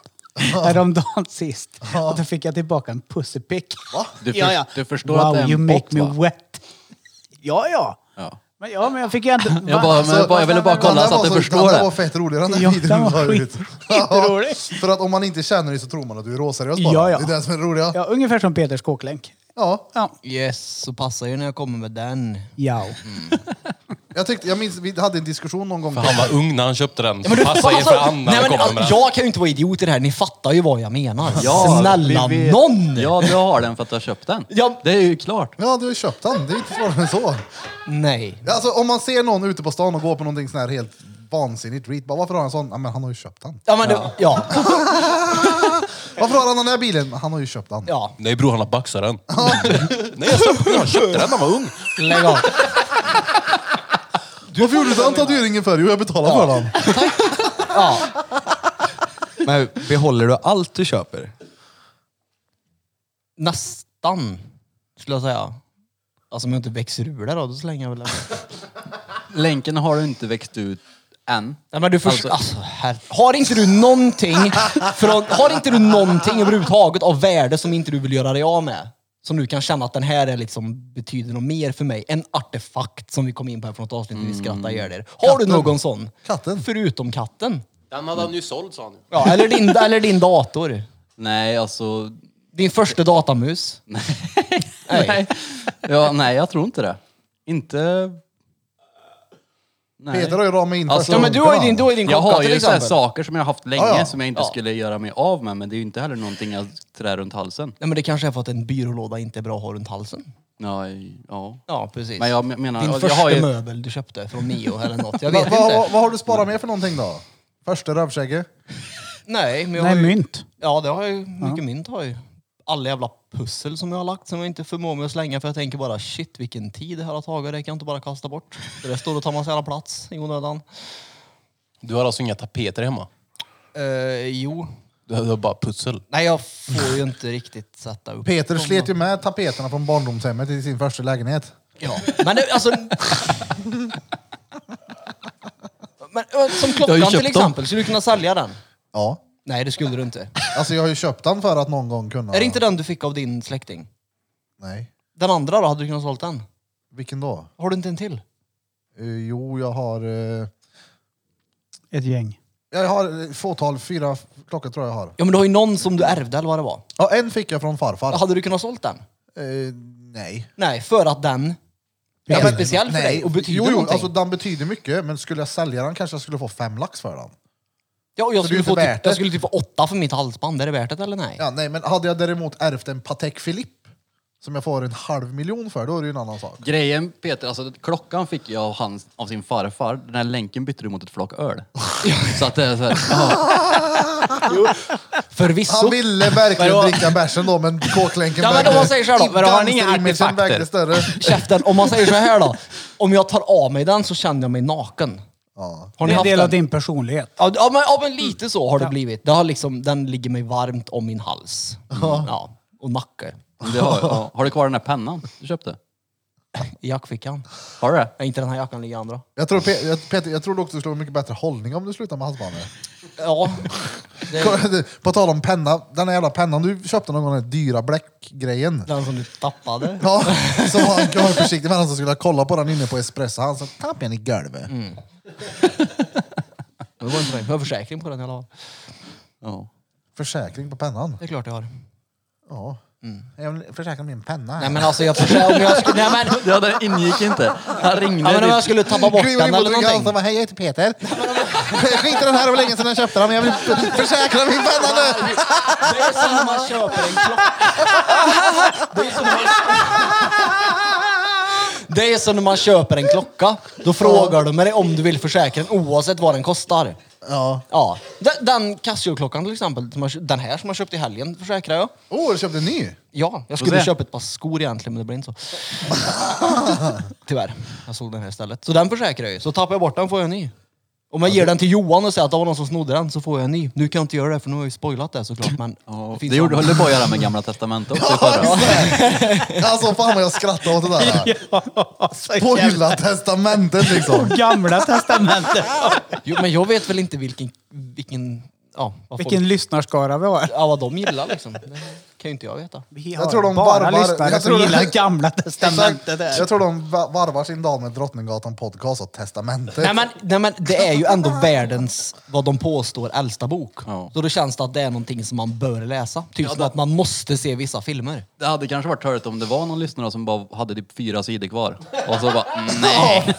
häromdagen sist. Och då fick jag tillbaka en pussypick. Du, för, du förstår wow, att det är you en make bot me va? wet. Ja, ja. Ja. Men, ja, men jag fick ju ändå... Jag, bara, men, jag bara, jag ville bara kolla så att du förstår Den där var det. fett rolig den där Ja, videon den du var la ut. skit- skitrolig. För att om man inte känner dig så tror man att du är råseriös bara. Ja, ja. Det är det som är det roliga. Ja. Ja, ungefär som Peters kåklänk. Ja. Yes, så passar ju när jag kommer med den. Ja. Mm. Jag, tyckte, jag minns, vi hade en diskussion någon gång. För han var ung när han köpte den. Ja, Så men du, passa er alltså, för han när nej, han men, kommer med alltså, den. jag kan ju inte vara idiot i det här, ni fattar ju vad jag menar. Ja, Snälla vi vet- någon! Ja, du har den för att du har köpt den. Ja. Det är ju klart. Ja, du har ju köpt den. Det är inte svårare än så. Nej. Alltså, om man ser någon ute på stan och går på någonting sån här helt vansinnigt reet, bara, varför har han en sån? Ja, men han har ju köpt den. Ja, men det, ja. Varför har han den här bilen? Han har ju köpt den. ja. Nej bror, han har baxat den. Nej, jag köpte den. Jag köpte den när han var ung. Lägg av. Varför gjorde du den tatueringen för? Jo, jag betalar för den. Ja. Men behåller du allt du köper? Nästan, skulle jag säga. Alltså om jag inte växer ur det då, då slänger jag väl den. Länken har du inte växt ut än. Nej, men du först, alltså, herre- har inte du någonting, från, har inte du någonting överhuvudtaget av värde som inte du vill göra dig av med? Som du kan känna att den här är liksom, betyder något mer för mig. En artefakt som vi kom in på här för något avsnitt när vi skrattade ihjäl er. Har du någon sån? Katten. Förutom katten? Den hade han ju såld sa han. Ja, eller, din, eller din dator. Nej, alltså... Din första datamus. Nej. Nej. Ja, nej, jag tror inte det. Inte... Nej. Peter har ju ramat in Alltså, första Ja, men du har ju din, du har ju din Jag klocka har till ju så här exempel. saker som jag har haft länge Ja, ja. som jag inte skulle göra mig av med, men det är ju inte heller någonting jag trär runt halsen. Nej, men det kanske är för att en byrålåda inte är bra att ha runt halsen. Nej, ja. Ja, precis. Men jag menar- din jag första har ju- möbel du köpte från Mio eller något. Jag Va, vet va, inte. va, vad har du sparat med för någonting då? Första rövkäke? Nej, men jag har Nej, ju- mynt. Ja, det har jag ju. Mycket mynt har jag ju. Alla jävla pussel som jag har lagt som jag inte förmår mig att slänga för jag tänker bara shit vilken tid det här har tagit. Det kan jag inte bara kasta bort. Det där står och tar massa jävla plats i onödan. Du har alltså inga tapeter hemma? Eh, jo. Du har du har bara pussel? Nej, jag får ju inte riktigt sätta upp Peter dem. slet ju med tapeterna från barndomshemmet i sin första lägenhet. Ja, men det, alltså... men, ö, som Du har ju klockan köpt till dem. exempel, skulle du kunna sälja den? Ja. Nej, det skulle du inte. Alltså jag har ju köpt den för att någon gång kunna... Är det inte den du fick av din släkting? Nej. Den andra då, hade du kunnat sålt den? Vilken då? Har du inte en till? Eh, jo, jag har... eh, Ett gäng. jag har ett fåtal, fyra f- klockor tror jag jag har. Ja, men du har ju någon som du ärvde eller vad det var. Ja, en fick jag från farfar. Hade du kunnat sålt den? Eh, nej. Nej, för att den är Ja, men- speciell för dig och betyder jo, jo, någonting. alltså den betyder mycket, men skulle jag sälja den kanske jag skulle få fem lax för den. ja, och jag, så det är skulle få inte värt typ, det. jag skulle typ få åtta för mitt halsband. Är det värt det eller nej? Ja, nej, men hade jag däremot ärvt en Patek Philippe som jag får en halv miljon för, då är det ju en annan sak. Grejen Peter, alltså klockan fick jag av, hans, av sin farfar. Den här länken bytte du mot ett flak öl. så att det är så här, ja, Förvisso. Han ville verkligen Vadå? dricka bärsen då, men kåklänken Ja men om man säger så här då, men då har han inga gangster-imagen vägde artefakter. större. Käften, om man säger så här då. Om jag tar av mig den så känner jag mig naken. Ja. Har Det ni är en haft del av den? din personlighet. Ja, ja, men, ja men lite så har det blivit. Det har liksom, den ligger mig varmt om min hals. Ja. Och nacke. det har, ja. har du kvar den här pennan du köpte? I jackfickan. Har du det? Ja, inte den här jackan, ligger i andra. Jag tror, Pe- jag- Peter, jag tror dock du skulle ha mycket bättre hållning om du slutar med halsbandet. Ja. Det, Kolla, På tal om penna, den här jävla pennan du köpte någon gång, den här dyra bläckgrejen. den som du tappade. Ja, så var han kvar försiktig med han som skulle ha kollat på den inne på espresso. Han sa tapp den i golvet. Mm. Det var inte mig. Jag har försäkring på den i alla fall. Ja. Försäkring på pennan. Det är klart jag har. Ja. Jag vill försäkra min penna. Mm. Nej men alltså jag försöker... Om jag skulle, nej, men, Ja, det ingick inte. Han ringde. typ- ja, men om jag skulle tappa bort Kliver den in på eller Trygg Hansa och någonting. bara, hej jag heter Peter. Jag skiter i den här, det var länge sedan jag köpte den men jag vill försäkra min penna nu. Det är som när man köper en klocka. Det är som när man köper en klocka. Då frågar de dig om du vill försäkra den oavsett vad den kostar. Ja. Ja. Den, den Casio-klockan till exempel, som jag kö- den här som jag köpte i helgen försäkrar jag. Oh, du köpte en ny. Ja, jag skulle se. köpa ett par skor egentligen men det blev inte så. Tyvärr. Jag såg den här istället. Så den försäkrar jag ju. Så tappar jag bort den får jag en ny. Om jag ger den till Johan och säger att det var någon som snodde den så får jag en ny. Nu kan jag inte göra det för nu har jag ju spoilat det såklart men... Ja, finns det gjorde, andra. höll du på att göra med Gamla Testamentet också i förra. Alltså fan vad jag skrattade åt det där. Jävla Spoila testamentet liksom. Gamla testamentet. Jo, men jag vet väl inte vilken... vilken ja, vad folk- Vilken lyssnarskara vi har. ja, vad de gillar liksom. Det kan ju inte jag veta. Vi Jag tror de bara varvar- lyssnare jag som tror de- gillar gamla Exakt. testamentet. Där. Jag tror de va- varvar sin dag med Drottninggatan podcast och testamentet. Nej men, nej men det är ju ändå världens, vad de påstår, äldsta bok. Ja. Så då känns det att det är någonting som man bör läsa. Typ som att man måste se vissa filmer. Det hade kanske varit törligt om det var någon lyssnare som bara hade typ fyra sidor kvar. Och så bara, nej.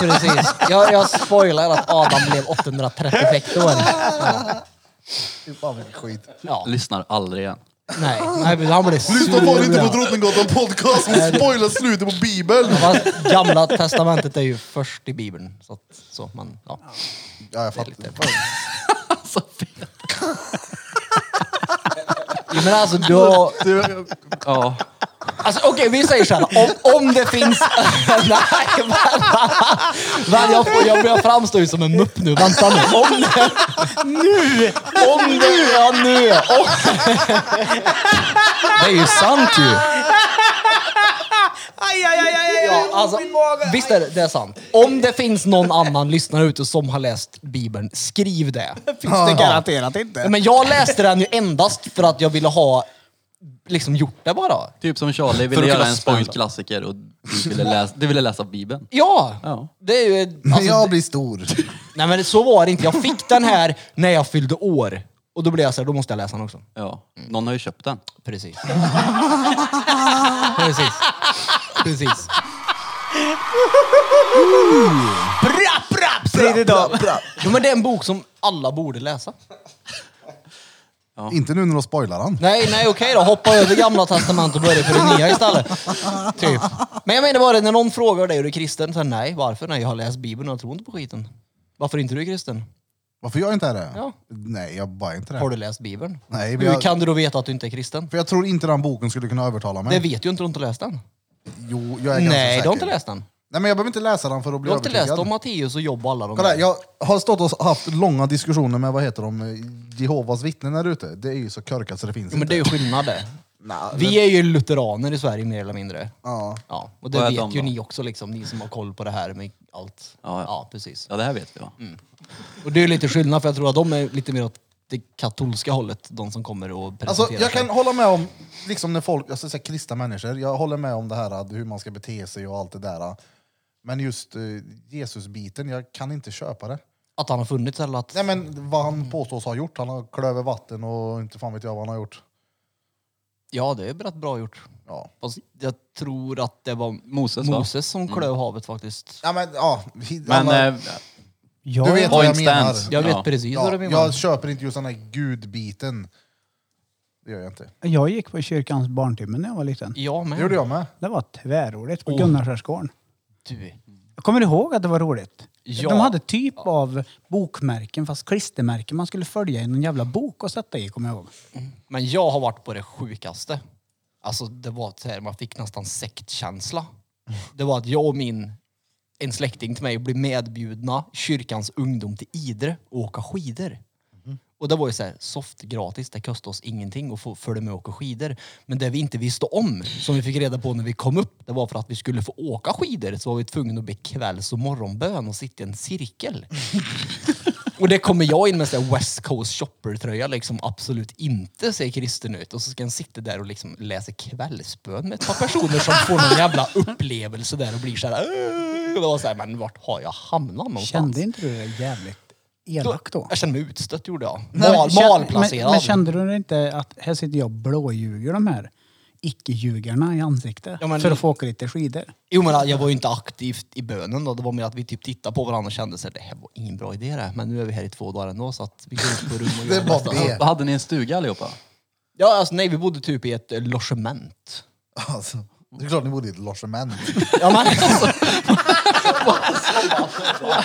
Precis. Jag, jag spoilar att Adam blev 836 år. Fy fan vilken skit. Ja, Lyssnar aldrig igen. nej. nej men han blev sur. Lyssna bara inte ja. på Drottninggatan podcast och spoila slutet på bibeln. Fast Gamla testamentet är ju först i bibeln. Så, att, så man, ja. Ja, jag fattar. Jo, Men alltså, då, Ja. Alltså okej, vi säger såhär. Om, om det finns... Nej, men, men jag, får- jag börjar framstå ju som en mupp nu. Vänta nu. Om det... Nu! Om det... Ja, nu! Om... Det är ju sant ju. Aj, aj, aj, aj, aj. Ja, alltså, visst är det, det är sant. Om det finns någon annan lyssnare ute som har läst Bibeln, skriv det. Finns det garanterat inte. Men jag läste den ju endast för att jag ville ha liksom gjort det bara. Typ som Charlie ville att göra kunna en spoila. svensk klassiker och du ville läsa, du ville läsa Bibeln. Ja! Ja. Det är ju... Men Alltså, jag blir stor. Nej men så var det inte. Jag fick den här när jag fyllde år. Och då blev jag såhär, då måste jag läsa den också. Ja. Någon har ju köpt den. Precis. Precis. Precis. Brapp, brapp, brapp, brapp, brapp. Jo, men det är en bok som alla borde läsa. Inte nu när de spoilar han. Nej, nej okej då. Hoppa över gamla testamentet och börja på det nya istället. Typ. Men jag menar bara när någon frågar dig, är du kristen? Så här, nej, varför? Nej, jag har läst bibeln och jag tror inte på skiten. Varför är inte du kristen? Varför gör jag inte det? Ja. Nej, jag bara inte det. Har du läst bibeln? Nej, men Hur jag, kan du då veta att du inte är kristen? för jag tror inte den boken skulle kunna övertala mig. Det vet ju inte om du inte läst den. Jo, jag är ganska Nej, säker. du har inte läst den. Nej, men jag behöver inte läsa den för att Du bli har inte övertygad. läst om Matteus och Job och alla de Kolla, här, där. jag har stått och haft långa diskussioner med, vad heter de, eh, Jehovas vittnen där ute. Det är ju så körkat så det finns Jo, men inte. det är ju skillnad det. Nah, Vi är ju lutheraner i Sverige mer eller mindre. Ja. Ja, och Vad det är vet de ju då? ni också, liksom, ni som har koll på det här med allt. Ja, ja. precis. Ja, det här vet vi va? Och det är ju lite skillnad för jag tror att de är lite mer åt det katolska hållet, de som kommer och presenterar Alltså, jag kan sig. hålla med om, liksom när folk, alltså, så här, kristna människor, jag håller med om det här att hur man ska bete sig och allt det där. Men just eh, Jesus-biten, jag kan inte köpa det. Att han har funnits eller att... Nej men vad han påstås ha gjort, han har klöver vatten och inte fan vet jag vad han har gjort. Ja, det är rätt bra gjort. Ja. Fast jag tror att det var Moses, va? Mm. Moses som klöv havet faktiskt. Ja men ja, hi- Men alla- eh, Jag, du vet vad jag point menar. stands. Jag vet Ja. precis vad Ja, du menar. jag köper inte just den här gudbiten. Det gör jag inte. Jag gick på kyrkans barntimme när jag var liten. Jag Det med. gjorde jag med. Det var tvärroligt på Gunnarskärsgården. Du. Jag kommer ihåg att det var roligt. Ja. De hade typ av bokmärken, fast klistermärken man skulle följa i någon jävla bok och sätta i, kommer jag ihåg. Men jag har varit på det sjukaste. Alltså det var så här, man fick nästan sektkänsla. Det var att jag och min, en släkting till mig blev medbjudna kyrkans ungdom till Idre och åka skidor. Och det var ju så här, soft gratis, det kostade oss ingenting att få följa med och åka skidor. Men det vi inte visste om, som vi fick reda på när vi kom upp, det var för att vi skulle få åka skidor så var vi tvungna att be kvälls och morgonbön och sitta i en cirkel. Och det kommer jag in med en West Coast shopper-tröja, liksom absolut inte ser kristen ut. Och så ska han sitta där och liksom läsa kvällsbön med ett par personer som får någon jävla upplevelse där och blir såhär... "Åh!" Och det var såhär, men vart har jag hamnat någonstans? Kände inte du det jävligt elakt då? Äh, Jag kände mig utstött gjorde jag. Nej, men Mal, kän- malplacerad. Men, men kände du inte att här sitter jag och blåljuger de här icke-ljugarna i ansiktet Ja, men- för att få åka lite skidor? Jo men jag var ju inte aktivt i bönen då. Det var mer att vi typ tittade på varandra och kände såhär, det här var ingen bra idé det. här." Men nu är vi här i två dagar ändå så att vi går ut på rum och Det gör är bara nästa. det. Hade ni en stuga allihopa? Ja alltså nej, vi bodde typ i ett eh, logement. Alltså, det är klart ni bodde i ett logement. Ja, men, alltså,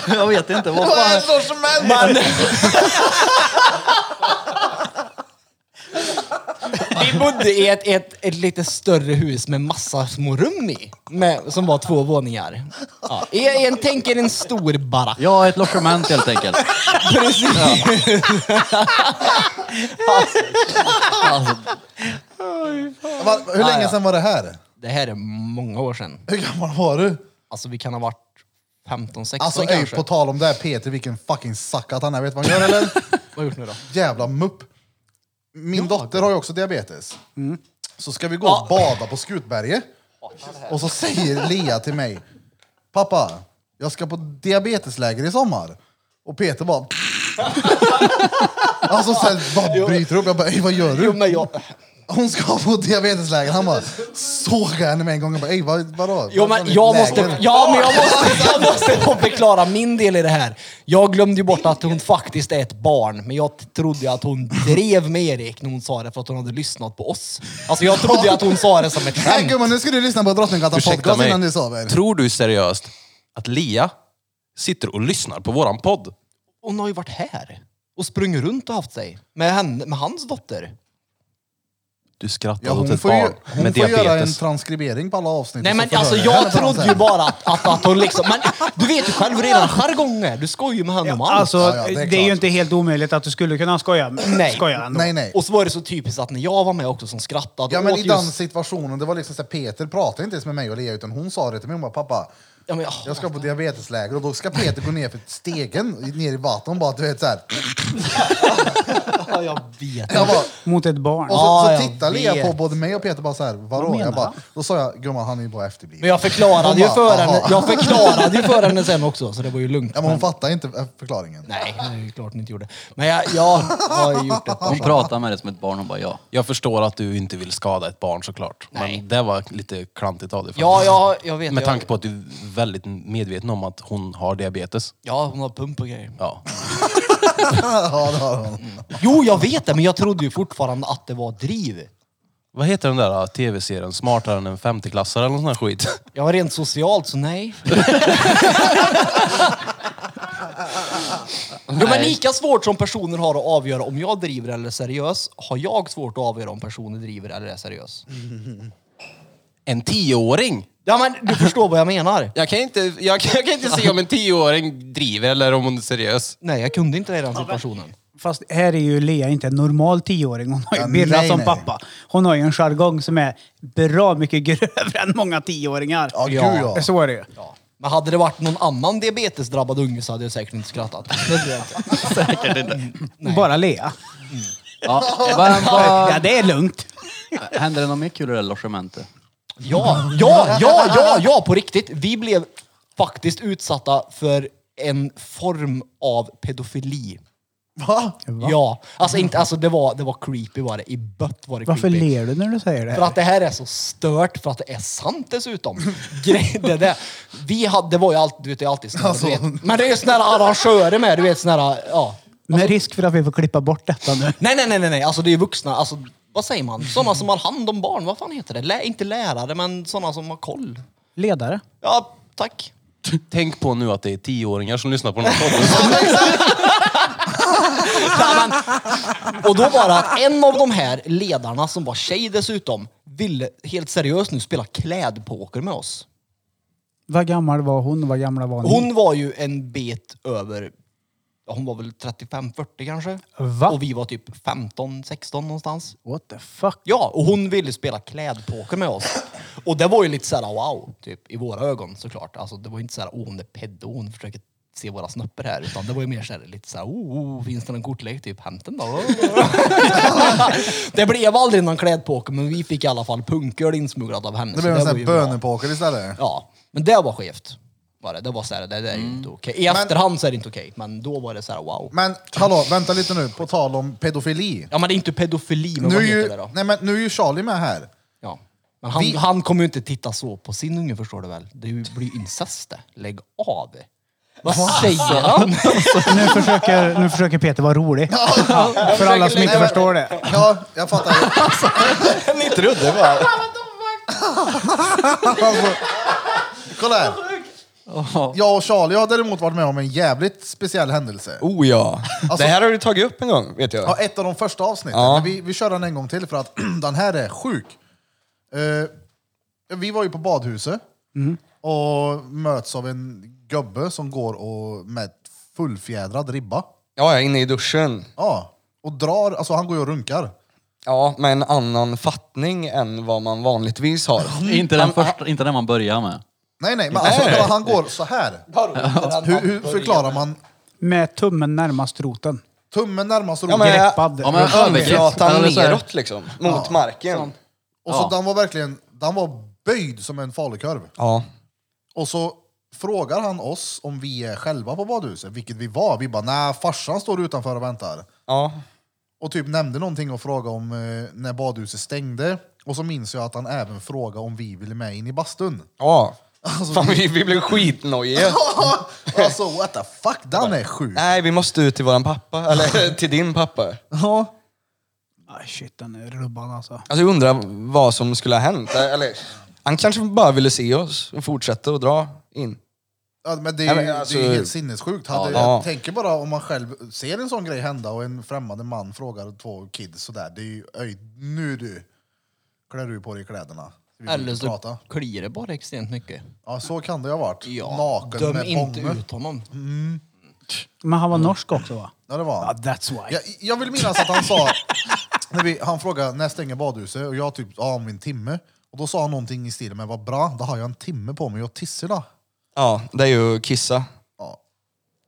jag vet inte. Vad Vad är fan? ett logement? Vi bodde i ett, ett, ett lite större hus med massa små rum i. Med, som var två våningar. Ja. I- i En, tänk er en stor barack. Ja, ett logement helt enkelt. Precis. Va, hur länge sedan var det här? Det här är många år sedan. Hur gammal var du? Alltså vi kan ha varit 15, 16 Alltså ey, kanske. på tal om det här Peter, vilken fucking suckat han är. Vet du vad han gör eller? Vad har gjort nu då? Jävla mupp. Min dotter har ju också diabetes. Mm. Så ska vi gå och bada på Skutberget. Och så säger Lea till mig, pappa, jag ska på diabetesläger i sommar. Och Peter bara... alltså sen bara bryter upp. Jag bara, "Ey, vad gör du? Jo, men jag, Hon ska på diabetesläger. Han bara sågade henne med en gång. Jag bara, "Ey, vad, vadå? jo, men jag, måste, ja, men jag måste Jag måste få förklara min del i det här. Jag glömde ju bort att hon faktiskt är ett barn, men jag t- trodde ju att hon drev med Erik när hon sa det för att hon hade lyssnat på oss. Alltså jag trodde ju att hon sa det som ett Nej skämt. gumman, nu ska du lyssna på Drottninggatan Ursäkta podcast mig. innan du sover. Tror du seriöst att Lia sitter och lyssnar på våran podd? Hon har ju varit här och sprungit runt och haft sig med, henne, med hans dotter. Du Ja, skrattar åt hon ett får, ju, barn hon med får göra en diabetes. transkribering på alla avsnitt. Nej och men så alltså förhöra henne jag på något trodde ju sätt. bara att, att, att hon liksom... Men du vet ju själv redan jargonger. Du skojar ju med henne om allt. Alltså, Ja, ja, det är det, är klart. ju inte helt omöjligt att du skulle kunna skoja, Nej. skoja ändå. Nej, nej. Och så var det så typiskt att när jag var med också som skrattade Ja men åt i den situationen, det var liksom så här, Peter pratade inte ens med mig och Lea utan hon sa det till mig. Hon bara, pappa, Ja, men, jag- jag ska på diabetesläger och då ska Peter gå ner för stegen, ner i vattnet. Hon bara, du vet såhär. ja, jag vet. Jag bara, Mot ett barn. och Ja, så, så jag tittade Lea vet. på både mig och Peter bara såhär, vadå? menar Jag bara, han? då sa jag, gumman han är ju bara efterbliven. Men jag förklarade ju Hon bara, för henne, "Aha." jag förklarade ju för henne sen också, så det var ju lugnt. Ja, men hon fattar inte eh, förklaringen. Nej, det är ju klart hon inte gjorde. Men jag, jag har ju gjort ett par Hon saker. pratar med dig som ett barn. Hon bara ja. Jag förstår att du inte vill skada ett barn såklart. Men det var lite klantigt av dig faktiskt. Ja, ja, jag vet. Med jag- tanke på att du är väldigt medveten om att hon har diabetes. Ja, hon har pump och grejer. Ja. Ja, det har hon. Jo, jag vet det, men jag trodde ju fortfarande att det var driv. Vad heter den där ah, tv-serien? Smartare än en femteklassare eller nån sån här skit? Jag var rent socialt, så nej. Jo, men lika svårt som personer har att avgöra om jag driver eller är seriös, har jag svårt att avgöra om personer driver eller är seriös. En tioåring! Ja, men du förstår vad jag menar. Jag kan, inte, jag, kan, jag kan inte se om en tioåring driver eller om hon är seriös. Nej, jag kunde inte det i den situationen. Fast här är ju Lea inte en normal tioåring. Hon har ju Ja, Birra nej, som nej. pappa. Hon har ju en jargong som är bra mycket grövre än många tioåringar. Ja, gud ja. Så är det ju. Men hade det varit någon annan diabetesdrabbad unge så hade jag säkert inte skrattat. Det tror jag inte. Säkert inte. Bara Lea. Ja. Vad, vad, Ja, det är lugnt. hände det något mer kul i det där logementet? Ja, ja, ja, ja, ja, på riktigt. Vi blev faktiskt utsatta för en form av pedofili. Va? Ja, alltså, inte, alltså det, var, det var creepy var det. I bött var det Varför creepy. ler du när du säger det? För att det här är så stört, för att det är sant dessutom. Grej- det, där. Vi hade, det var ju alltid, du vet, det är alltid snarare, Alltså. du vet. Men det är ju såna här arrangörer med, du vet såna här, ja. Med risk för att vi får klippa bort detta nu. Nej, nej, nej, nej, nej. alltså det är ju vuxna, alltså Vad säger man? Sådana som har hand om barn, vad fan heter det? Lä, inte lärare, men sådana som har koll. Ledare. Ja, tack. Tänk på nu att det är tioåringar som lyssnar på den här podden. Ja, men- Och då var det att en av de här ledarna, som var tjej dessutom, ville helt seriöst nu spela klädpoker med oss. Vad gammal var hon? Vad gamla var ni? Hon var ju en bit över, ja, hon var väl 35-40 kanske? Va? Och vi var typ 15-16 någonstans. What the fuck? Ja, och hon ville spela klädpoker med oss. Och det var ju lite såhär wow, typ i våra ögon såklart. Alltså det var ju inte såhär åh hon är pedo, hon försöker se våra snöppor här. Utan det var ju mer såhär lite såhär oh, oh, finns det någon kortlek? Typ hämta den då. det blev aldrig någon klädpoker men vi fick i alla fall punköl insmugglat av henne. Det så blev en var sån här ju bra. bönepoker istället. Ja, men det var skevt. Var det. det var såhär, det, det är ju Mm. inte okej. I efterhand så är det inte okej, men då var det såhär wow. Men hallå, vänta lite nu. På tal om pedofili. Ja men det är inte pedofili, men Nu är, vad heter det ju, då? nej, men nu är ju Charlie med här. Ja. Men han, Vi- han kommer ju inte titta så på sin unge förstår du väl? Det blir ju incest det. Lägg av. Vad säger han? Nu försöker, nu försöker Peter vara rolig. För alla som inte Nej, men- förstår det. Ja, jag fattar. Lite rudde Alltså, bara. Alltså, kolla här. Jag och Charlie har däremot varit med om en jävligt speciell händelse. Oh ja. Alltså- det här har du tagit upp en gång, vet jag. Ja, ett av de första avsnitten. Ja. Men vi, vi kör den en gång till för att den här är sjuk. Eh, vi var ju på badhuset Mm. och möts av en gubbe som går och med ett fullfjädrad ribba. Ja, jag är inne i duschen. Ja, och drar, alltså han går ju och runkar. Ja, med en annan fattning än vad man vanligtvis har. Inte den, första, inte den man börjar med. Nej, nej, men alltså kolla, han går så här. Hur, hur förklarar man? Med tummen närmast roten. Tummen närmast Ja, roten. men, Greppad. Ja, men övergrepp. Överflatan Eller så här- neråt liksom, mot marken. Och så Ja. den var verkligen, den var böjd som en falukorv. Ja. Och så frågar han oss om vi är själva på badhuset, vilket vi var. Vi bara, nej farsan står utanför och väntar. Ja. Och typ nämnde någonting och frågade om eh, när badhuset stängde. Och så minns jag att han även frågade om vi ville med in i bastun. ja. Fan, vi, vi blev skitnojiga. alltså what the fuck, den är sjuk. Nej, vi måste ut till våran pappa, eller till din pappa. Ja. Ah, shit, den är rubban alltså. Alltså jag undrar vad som skulle ha hänt. Eller, han kanske bara ville se oss och fortsätta och dra in. men det Nej, är, men ju- alltså- det är ju helt sinnessjukt. Hade, Ja. Jag tänker bara om man själv ser en sån grej hända och en främmande man frågar två kids sådär. Det är ju, öj, nu du, klär du på dig kläderna. Vi vill Eller inte prata. så kliar det bara extremt mycket. Ja, så kan det ha varit. Ja. Naken Döm med inte bånge. ut honom. Men han var norsk också va? Ja, det var Ja, han. that's why. Jag, jag vill minnas att han sa, när vi, han frågade när stänger badhuset och jag typ, ja om en timme. Och då sa han någonting i stil med, vad bra, då har jag en timme på mig att tissa då. Ja, det är ju kissa. Ja.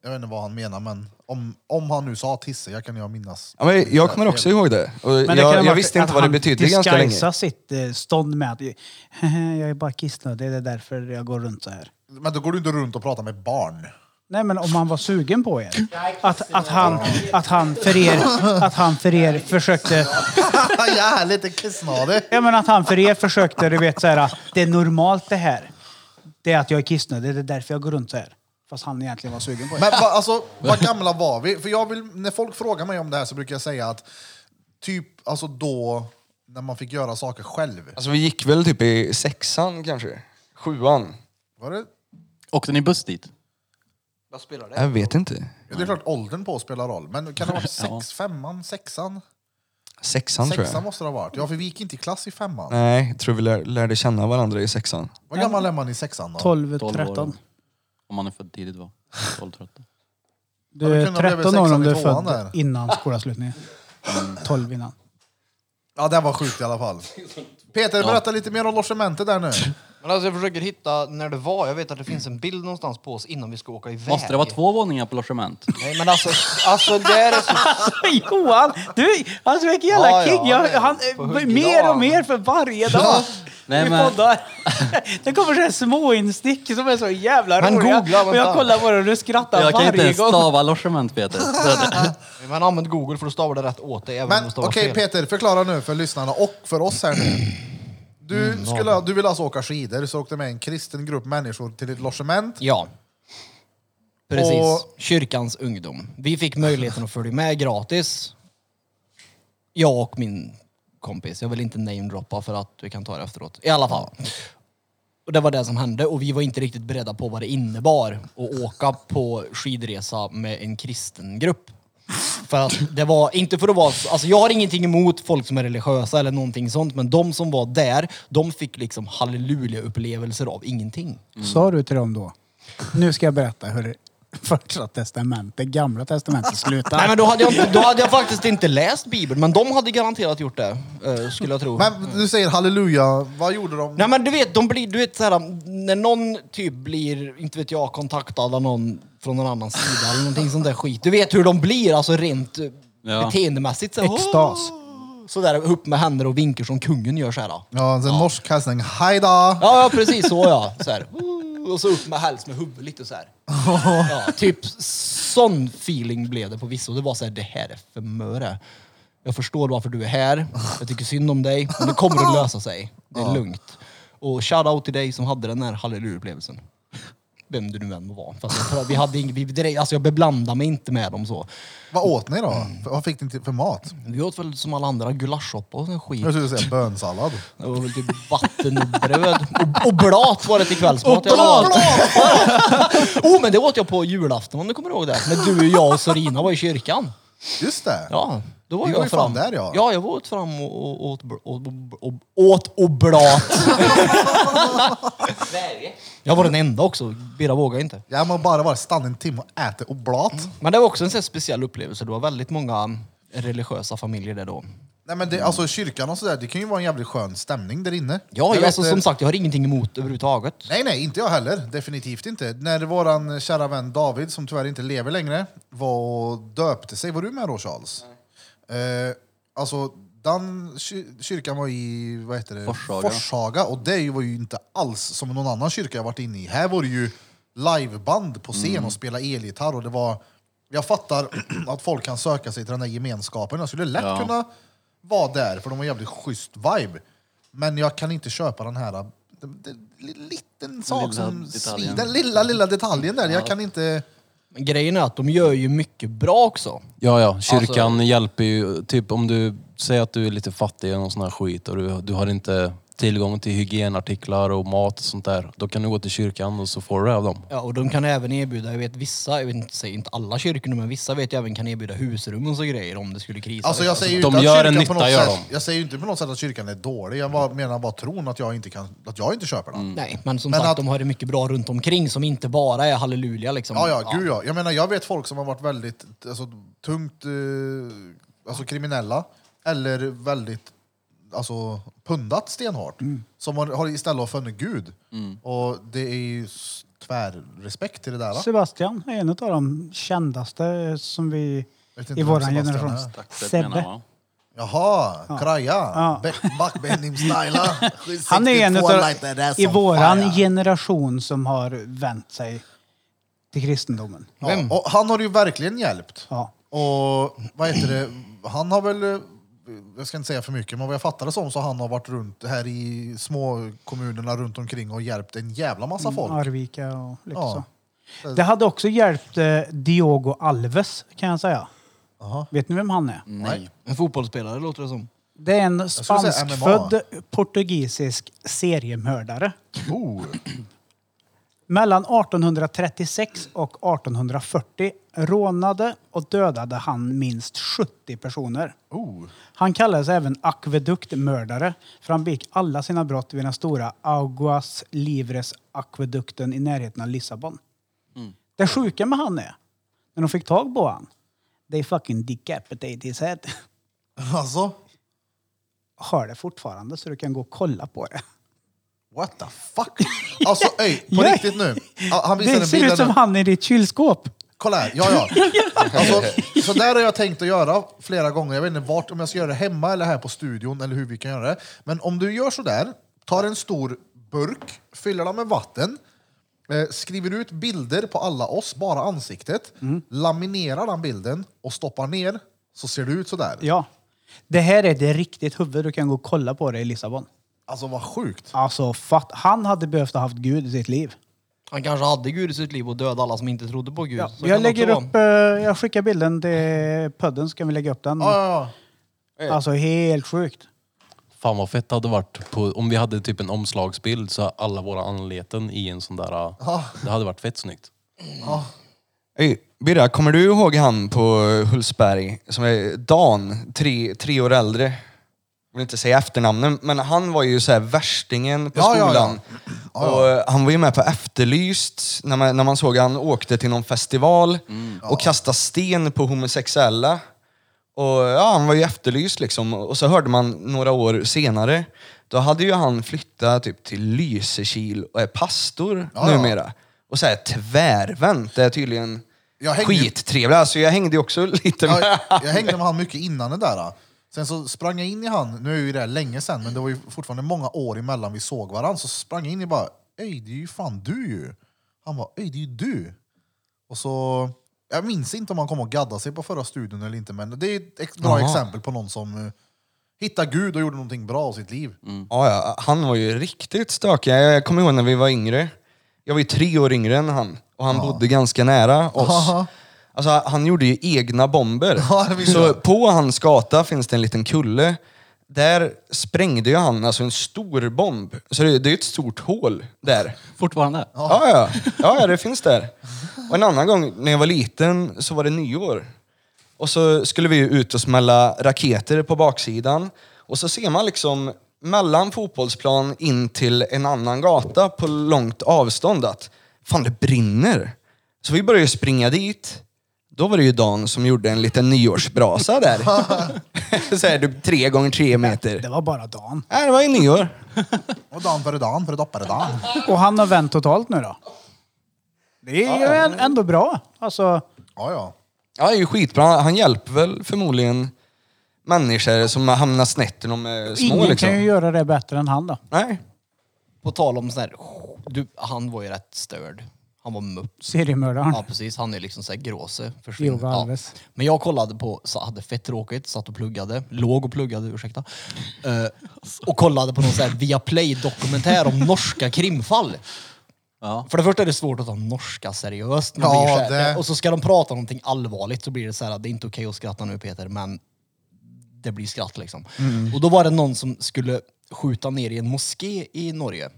Jag vet inte vad han menar men om, om han nu sa tissa, jag kan ju minnas. Ja, men jag kommer också ihåg det. Och Men det kan ha jag, jag varit visste inte att vad det han betydde ganska länge. disguisar sitt eh, stånd med att jag är bara kissnödig, det är därför jag går runt så här. Men då går du inte runt och pratar med barn. Nej men om han var sugen på er. Att, att, han, att, han, för er, att han för er försökte... jag är lite kissnadig. Ja men att han för er försökte, du vet så här, det är normalt det här. Det är att jag är kissnödig, det är därför jag går runt så här. Fast han egentligen var sugen på er. Men va, alltså, vad gamla var vi? För jag vill, när folk frågar mig om det här så brukar jag säga att typ alltså då när man fick göra saker själv. Alltså vi gick väl typ i sexan kanske? Sjuan? Var det, Åkte ni buss dit? Jag vet inte. ja, det är klart åldern på spelar roll, men kan det ha varit sex, femman, sexan? Sexan tror Sexan jag. måste det ha varit. Ja, för vi gick inte i klass i femman. Nej, jag tror vi lär, lärde känna varandra i sexan. Vad gammal är man i sexan då? 12, 12 13. år. Om man är född tidigt va? 12, 13. Du Ja, är då kunde han 13 blivit år om du är sexan i tvåan född där. innan skolavslutningen. 12 innan. Ja, det var sjukt i alla fall. Peter, berätta lite mer om logementet där nu. Men alltså jag försöker hitta när det var. Jag vet att det finns en bild någonstans på oss innan vi ska åka iväg. Måste det vara två våningar på logement? Nej men alltså, alltså där är så... Johan! Du, alltså vilken jävla Ja, ja, king! Jag, han är han, på hugg mer idag. och mer för varje dag. Nej, Vi men- poddar. Det kommer sådana små instick som är så jävla Men roliga. googla, och jag vänta. kollar på dig och du skrattar Jag kan varje inte ens gång. stava logement Peter. Man använder google för att stava det rätt åt dig även om Men det okej stavas fel. Peter, förklara nu för lyssnarna och för oss här nu. Mm, Du, skulle, du vill alltså åka skidor, så åkte med en kristen grupp människor till ett logement. Ja. Precis. Och- Kyrkans ungdom. Vi fick möjligheten att följa med gratis. Jag och min kompis. Jag vill inte namedroppa för att vi kan ta det efteråt. I alla fall. Och det var det som hände och vi var inte riktigt beredda på vad det innebar att åka på skidresa med en kristen grupp. För att det var, inte för att vara, alltså jag har ingenting emot folk som är religiösa eller någonting sånt, men de som var där, de fick liksom halleluja-upplevelser av ingenting. Sa du till dem då? Nu ska jag berätta hur första testamentet, gamla testamentet slutar. Nej men då hade, jag, inte- då hade jag faktiskt inte läst bibeln, men de hade garanterat gjort det, eh, skulle jag tro. Men du säger halleluja, vad gjorde de? Nej men du vet, de blir, du vet såhär, när någon typ blir, inte vet jag, kontaktad av någon från någon annan sida eller någonting sånt där skit. Du vet hur de blir, alltså rent eh, Ja. beteendemässigt. Så, Extas. Sådär upp med händer och vinkar som kungen gör såhär. Ja, Ja, en sån norsk hälsning. Hej då! ja precis så ja. Såhär. Och så upp med häls med huvudet lite såhär. Ja, typ sån feeling blev det på vissa. Och det var såhär, det här är för möre. Jag förstår varför du är här. Jag tycker synd om dig. Men det kommer att lösa sig. Det är lugnt. Och shout-out till dig som hade den här halleluja-upplevelsen. Vem du nu än var. Fast jag, tror att vi hade ing- vi, direkt, alltså jag beblandade mig inte med dem så. Vad åt ni då? Mm. Vad fick ni till- för mat? Vi åt väl som alla andra gulaschsoppa och sån skit. Jag skulle säga bönsallad. Det var väl typ vatten och bröd. Och, och blat var det till kvällsmat. Och i alla fall. blat! oh, men det åt jag på julafton om du kommer ihåg det. När du, och jag och Sorina var i kyrkan. Just det! Ja, då var Det jag var ju fram. fan där, ja. Ja, jag var åt fram och, och åt, br- åt, och, åt och blat. jag var den enda också. Birra vågade inte. Jag må bara vara stanna en timme och äta oblat. Men det var också en sån här speciell upplevelse. Det var väldigt många religiösa familjer där då. Nej men det, alltså kyrkan och sådär, det kan ju vara en jävligt skön stämning där inne. Ja, jag, vet, alltså, eh, som sagt, jag har ingenting emot överhuvudtaget. Nej, nej, inte jag heller. Definitivt inte. När våran kära vän David, som tyvärr inte lever längre, var och döpte sig. Var du med då Charles? Eh, alltså, den ky- kyrkan var i vad heter det? Forshaga. Forshaga, Och det var ju inte alls som någon annan kyrka jag varit inne i. Här var det ju liveband på scen och spela elgitarr. Och det var, jag fattar att folk kan söka sig till den där gemenskapen. Jag skulle lätt kunna vara där, för de har jävligt schysst vibe. Men jag kan inte köpa den här den, den, liten sak lilla som detaljen. svider. Den lilla, lilla detaljen där. Jag kan inte... Men Grejen är att de gör ju mycket bra också. Ja, ja. Alltså- Kyrkan hjälper ju. Typ om du säger att du är lite fattig eller någon sån här skit och du, du har inte tillgång till hygienartiklar och mat och sånt där. Då kan du gå till kyrkan och så får du det av dem. Ja, och de kan även erbjuda, jag vet vissa, jag vet inte, säger inte alla kyrkor nu, men vissa vet jag även kan erbjuda husrum och så grejer om det skulle krisa. Alltså jag lite. säger ju de inte att gör en kyrkan nytta, på något gör sätt, de. Jag säger ju inte på något sätt att kyrkan är dålig. Jag bara, menar bara tron att jag inte, kan, att jag inte köper den. Mm. Mm. Nej, men som Men sagt, att- de har det mycket bra runt omkring som inte bara är halleluja liksom. Ja, ja, gud ja. Jag menar, jag vet folk som har varit väldigt alltså, tungt eh, alltså, kriminella eller väldigt alltså, pundat stenhårt. Mm. Som har, har istället funnit Gud. Och det är ju s- tvärrespekt till det där. va? Sebastian är en av de kändaste som vi vet inte i vem vår Sebastian generation. är. Sebbe. Menar, va? Jaha, kraja. Ja. Be- Backbenim styla. Han är en 62 utav, like that, that's i on våran fire. generation som har vänt sig till kristendomen. Ja, och han har ju verkligen hjälpt. Ja. Och vad heter det, han har väl, eh, jag ska inte säga för mycket, men vad jag fattade som så han har varit runt här i små kommunerna runt omkring och hjälpt en jävla Mm, massa folk. Arvika och lite Ja. så. Det hade också hjälpt eh, Diogo Alves kan jag säga. Aha. Mm. Vet ni vem han är? Nej. En fotbollsspelare låter det som. Det är en skulle säga spanskfödd portugisisk seriemördare. Oh. Mellan 1836 och 1840 rånade och dödade han minst 70 personer. Oh. Han kallades även akveduktmördare för han begick alla sina brott vid den stora Aguas Livres akvedukten i närheten av Lissabon. Mm. Det sjuka med han är, när de fick tag på han, they fucking decapitate his head. Alltså, Har det fortfarande så du kan gå och kolla på det. what the fuck? Alltså öj, på Ja. riktigt nu. Ja, Han visar Det en ser ut bild som nu. han i ditt kylskåp. Kolla här, ja ja. Alltså, så där har jag tänkt att göra flera gånger. Jag vet inte vart, om jag ska göra det hemma eller här på studion eller hur vi kan göra det. Men om du gör så där, tar en stor burk, fyller den med vatten, eh, skriver ut bilder på alla oss, bara ansiktet, laminerar den bilden och stoppar ner, så ser det ut så där. Ja. Det här är det riktigt huvud. Du kan gå och kolla på det i Lissabon. Alltså vad sjukt. Alltså, fatt. Han hade behövt ha haft Gud i sitt liv. Han kanske hade Gud i sitt liv och dödade alla som inte trodde på Gud. Ja, Så kan jag, det lägger också upp, eh, jag skickar bilden till podden så kan vi lägga upp den. Ja, ja, ja. Alltså helt sjukt. Fan vad fett det hade varit på, om vi hade typ en omslagsbild så alla våra anleten i en sån där... äh, Ah. Det hade varit fett snyggt. Ey, Birra, kommer du ihåg han på Hultsberg som är Dan, tre, tre år äldre? Jag vill inte säga efternamnen, men han var ju så här värstingen på Ja, ja, ja. skolan. Och eh, han var ju med på Efterlyst när man, när man såg han åkte till någon festival Mm. och kastade sten på homosexuella. Och ja, han var ju efterlyst liksom. Och så hörde man några år senare, då hade ju han flyttat typ till Lysekil och är pastor ja. numera. Och så här tvärvänt, det är tydligen Jag hängde ju- skittrevlig. Alltså jag hängde ju också lite med. Jag, jag hängde med han mycket innan det där. då. Sen så sprang jag in i han, nu är ju det här länge sen, men det var ju fortfarande många år emellan vi såg varandra. Så sprang jag in i bara, öj det är ju fan du ju. Han bara, öj det är ju du. Och så, jag minns inte om han kom och gaddade sig på förra studion eller inte, men det är ett ex- bra exempel på någon som eh, hittade Gud och gjorde någonting bra av sitt liv. Mm. Ja, ja, han var ju riktigt stökig. Jag kommer ihåg när vi var yngre. Jag var ju tre år yngre än han och han bodde ganska nära oss. Alltså, han gjorde ju egna bomber. Ja, det visste Så jag. på hans gata finns det en liten kulle. Där sprängde ju han alltså en stor bomb. Så det, det är ju ett stort hål där. Fortfarande? Ja, ja. ja, ja det finns där. Och en annan gång när jag var liten så var det nyår. Och så skulle vi ju ut och smälla raketer på baksidan. Och så ser man liksom mellan fotbollsplan in till en annan gata på långt avstånd att fan det brinner. Så vi började springa dit. Då var det ju Dan som gjorde en liten nyårsbrasa där. så här, typ tre gånger tre meter. Det var bara Dan. Nej, det var ju nyår. Och dan före dan före doppare dan. Och han har vänt totalt nu då? Det är ju en- ändå bra. Alltså, Ja, ja. Ja, det är ju skitbra. Han hjälper väl förmodligen människor som har hamnat snett när de är små ingen liksom. kan ju göra det bättre än han då. Nej. På tal om sån här, du, han var ju rätt störd. Han var mupp. Seriemördaren. Ja precis, han är liksom såhär gråse. Diogo Alves. Men jag kollade på, så hade fett tråkigt, satt och pluggade, låg och pluggade, ursäkta. Eh, och kollade på någon sån här Viaplay-dokumentär om norska krimfall. Ja. För det första är det svårt att ta norska seriöst. Man Ja, blir så här, det- Och så ska de prata om någonting allvarligt så blir det så här, det är inte okej att skratta nu Peter, men det blir skratt liksom. Mm. Och då var det någon som skulle skjuta ner i en moské i Norge.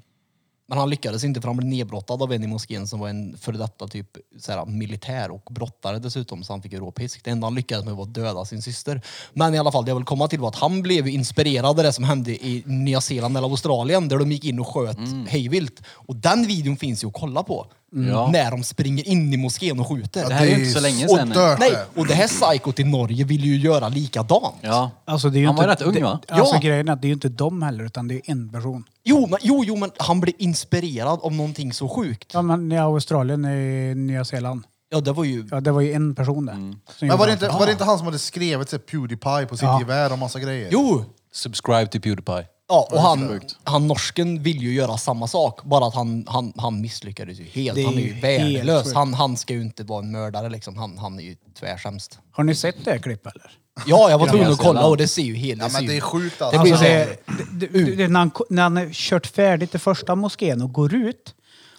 Men han lyckades inte för han blev nedbrottad av en i moskén som var en före detta typ så här, militär och brottare dessutom så han fick ju råpisk. Det enda han lyckades med var att döda sin syster. Men i alla fall, det jag vill komma till var att han blev ju inspirerad av det som hände i Nya Zeeland eller Australien där de gick in och sköt Mm. hejvilt. Och den videon finns ju att kolla på. Ja. När de springer in i moskén och skjuter. Det här är ju inte så länge sedan nu. dört Nej, det. och det här psykot i Norge vill ju göra likadant. Ja. Alltså, det är ju Han var inte, rätt ung, va? Det, alltså, Ja. Grejen är att det är ju inte de heller, utan det är en person. Jo, men, jo, jo, men han blir inspirerad av någonting så sjukt. Ja, men i Australien, i Nya Zeeland. Ja, det var ju... Ja, det var ju en person där. som Men var gjorde det, inte, var det inte han som hade skrivit så här, Pewdiepie på sitt Ja. gevär och massa grejer? Jo! Subscribe till Pewdiepie. Ja, och han, han norsken vill ju göra samma sak, bara att han, han, han misslyckades ju helt. Det är han är ju ju helt värdelös. sjukt. Han, han ska ju inte vara en mördare liksom. Han, han är ju tvärsämst. Har ni sett det här klippet eller? Ja, jag var tvungen att Jävla kolla jävla. och det ser ju helt... Ja, men ser det Mm. ju- är sjukt alltså. Det blir Alltså, så- det, det, det, det, när, han, ko- när han har kört färdigt i första moskén och går ut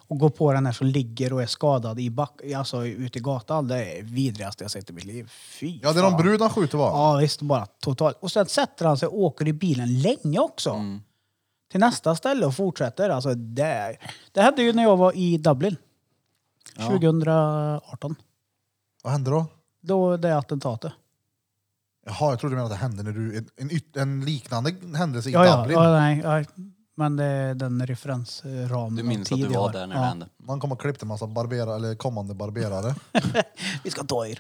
och går på den här som ligger och är skadad i back, alltså ute i gatan. Det är det vidrigaste jag sett i mitt liv. Fy Ja, det är de fan. brud han skjuter va? Ja visst, bara totalt. Och sen sätter han sig och åker i bilen länge också. Till nästa ställe och fortsätter. Alltså, det, det hände ju när jag var i Dublin. 2018. Vad hände då? Då det attentatet. Jaha, jag trodde du menade att det hände när du... En, en, yt- en liknande händelse i Ja, ja, Dublin. ja, nej, ja. Men det är den referensramen. Du minns av att tid du jag var har. där när Ja. det hände. Man kom och klippte en massa barberare, eller kommande barberare. Vi ska ta er.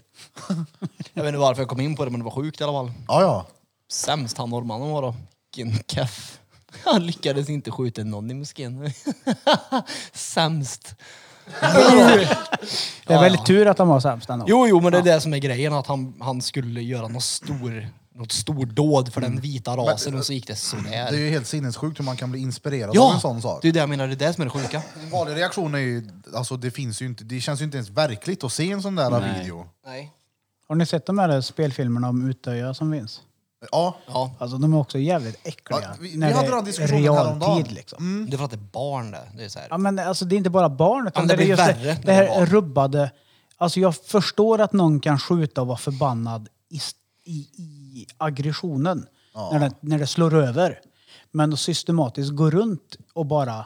Jag vet inte varför jag kom in på det, men det var sjukt i alla fall. ja, ja. Sämst han norrmannen var då. Vilken keff. Han lyckades inte skjuta någon i moskén. Sämst. Det är Ja, väl ja. tur att han var sämst ändå. Jo, jo, men det är det som är grejen. Att han, han skulle göra något stor, något stor dåd för den vita rasen och så gick det sådär. Mm. Det är ju helt sinnessjukt hur man kan bli inspirerad av ja, en sån sak. det är det jag menar. Det är det som är det sjuka. En vanlig reaktion är ju... Alltså, det, finns ju inte, det känns ju inte ens verkligt att se en sån där video. Nej. Har ni sett de här spelfilmerna om Utöja som finns? Ja, Ja, Alltså de är också jävligt äckliga. Ja, vi- vi när det hade är den diskussionen häromdagen. realtid, liksom. Mm. det är för att det är barn det. Det är så här. Ja, men alltså, det är inte bara barn, Ja, utan men det, det är blir just värre det, när det det är här barn. rubbade... Alltså jag förstår att någon kan skjuta och vara förbannad i, i, i aggressionen. När, det, när det slår över. Men att systematiskt gå runt och bara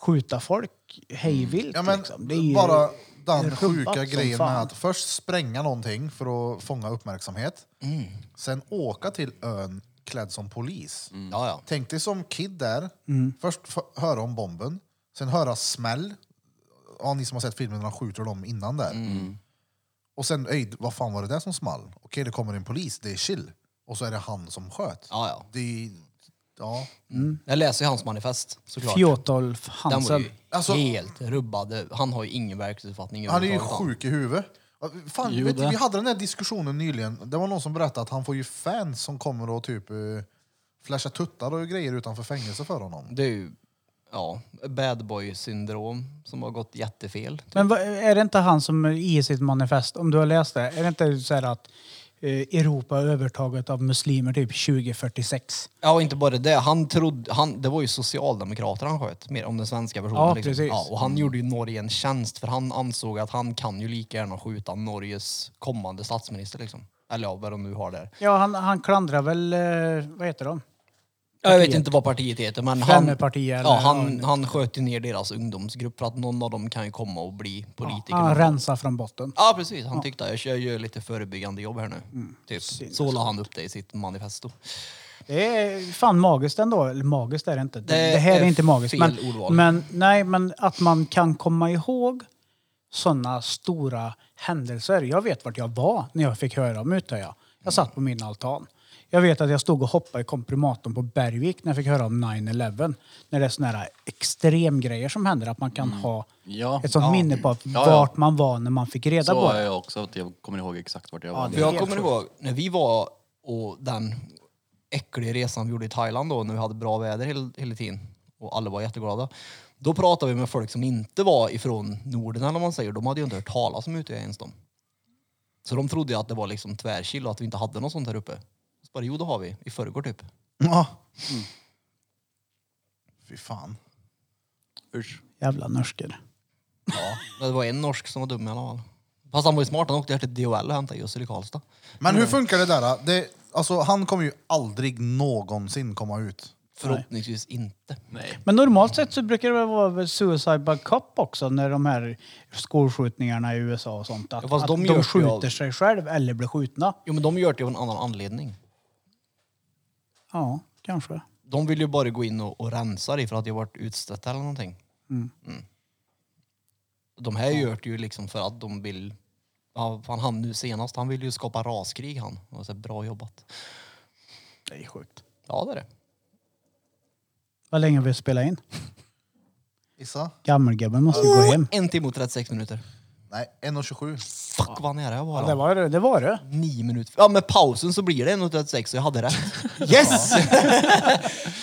skjuta folk Mm. hejvilt. Ja, men liksom. Det är ju bara den rubbat som sjuka grejen fan. med att först spränga någonting för att fånga uppmärksamhet. Mm. Sen åka till ön klädd som polis. Mm. Ja, ja. Tänk dig som kid där. Först f- höra om bomben, sen höra smäll. Ja, ni som har sett filmen när han skjuter dem innan där. Mm. Och sen, öj, vad fan var det där som small? Okej, det kommer en polis, det är chill. Och så är det han som sköt. Ja, ja. Det är, ja. Jag läser ju hans manifest såklart. Fjotolf Den var Hansen. ju Alltså- helt rubbad. Han har ju ingen verklighetsuppfattning Han är ju överhuvudtaget. sjuk i huvudet. Fan, Jo, vet, du, det. vi hade den här diskussionen nyligen. Det var någon som berättade att han får ju fans som kommer och typ eh, flashar tuttar och grejer utanför fängelse för honom. Det är ju, ja, bad boy syndrom som har gått jättefel. Men vad- är det inte han som i sitt manifest, om du har läst det, är det inte så här att eh, Europa är övertaget av muslimer typ 2046? Ja, och inte bara det. Han trodde, han, det var ju socialdemokrater han sköt, mer om den svenska versionen. Ja, liksom. precis. Mm. Ja, och han gjorde ju Norge en tjänst för han ansåg att han kan ju lika gärna skjuta Norges kommande statsminister. Liksom. Eller ja, vad de nu har där. Ja, han, han klandrar väl, eh, vad heter de? Jag vet inte vad partiet heter men han, Femmerpartiet eller- ja, han, han sköt ju ner deras ungdomsgrupp för att någon av dem kan ju komma och bli politiker. Han rensar från botten. Ja precis, han tyckte jag kör- gör lite förebyggande jobb här nu. Mm. Typ. Så alltså. la han upp det i sitt manifesto. Det är fan magiskt ändå. Eller magiskt är det inte. Det, Det det här är, är inte magiskt. fel Men, ordval. men, nej, men att man kan komma ihåg sådana stora händelser. Jag vet vart jag var när jag fick höra om Utöya. Jag satt på min altan. Jag vet att jag stod och hoppade i komprimatorn på Bergvik när jag fick höra om 9-11. När det är sådana här extremgrejer som händer. Att man kan ha Ja, ett sånt ja. minne på vart Ja, ja. man var när man fick reda Så på är eh, det. jag också, att jag kommer ihåg exakt vart jag var. det- För jag kommer ihåg när vi var och den äckliga resan vi gjorde i Thailand då när vi hade bra väder hela, hela tiden och alla var jätteglada. Då pratade vi med folk som inte var ifrån Norden eller vad man säger. De hade ju inte hört talas om Utöya ens de. Så de trodde ju att det var liksom tvärchill och att vi inte hade något sånt här uppe. Så bara, jo det har vi, i förrgår typ. Ja. Mm. Fy fan. Jävla norsker. Ja, det var en norsk som var dum i alla fall. Fast han var ju smart, han åkte här till DHL och hämtade Jussil i Karlstad. Men hur funkar det där? då? Det, alltså, han kommer ju aldrig någonsin komma ut. Förhoppningsvis inte. Men normalt sett så brukar det väl vara suicide by cop också när de här skolskjutningarna i USA och sånt. Att, Ja, fast att de de, görs ju skjuter av- sig själv eller blir skjutna. Jo men de gör det av en annan anledning. Ja, kanske. De vill ju bara gå in och, och rensa det för att jag varit utstött eller någonting. Mm. De här gör det ju liksom för att de vill... Ja, fan, han nu senast, han vill ju skapa raskrig han. Och så, här, bra jobbat. Det är sjukt. Ja det är det. Vad länge har vi spelat in? Issa? Gammelgubben måste ju gå hem. En timme och 36 minuter. Nej, 1.27. Fuck vad nära jag var. Det då. var det. det, var det. Nio minuter. Ja med pausen så blir det 1 och 36 så jag hade rätt. Yes!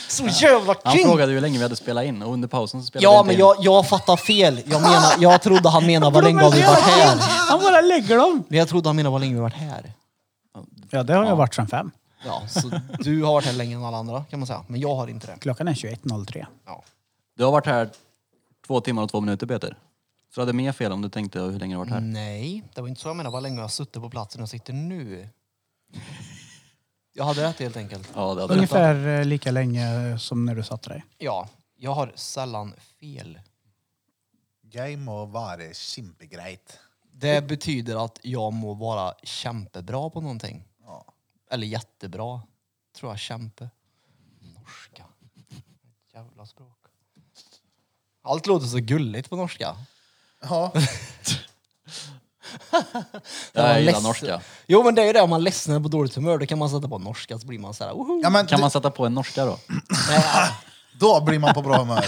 så jävla Han king! frågade hur länge vi hade spelat in och under pausen så spelade vi Ja inte men in. jag, jag fattar fel. Jag, menar, jag trodde han menade vad länge har vi varit här. Han bara lägger dem! Men jag trodde han menade vad länge vi varit här. Ja, det har jag varit sedan fem. Ja, så du har varit här längre än alla andra kan man säga. Men jag har inte det. Klockan är 21.03. Du har varit här två timmar och två minuter Peter. Så du hade mer fel om du tänkte hur länge du har varit här. Mm. Nej, det var inte så jag menade. Vad länge har jag suttit på platsen jag sitter nu? Jag hade rätt helt enkelt. Ja, det hade du. Ungefär eh, lika länge som när du satte dig. Ja, jag har sällan fel. Jag må vara kimpegrejt. Det betyder att jag må vara kämpebra på någonting. Ja. Eller jättebra. Tror jag, kämpe. Norska. Jävla språk. Allt låter så gulligt på norska. Ja. Man Jag gillar ledsen- norska. Jo men det är ju det, om man ledsnar på dåligt humör då kan man sätta på norska så blir man såhär woho! ja men, Kan man sätta på en norska då? Nej, Då blir man på bra humör.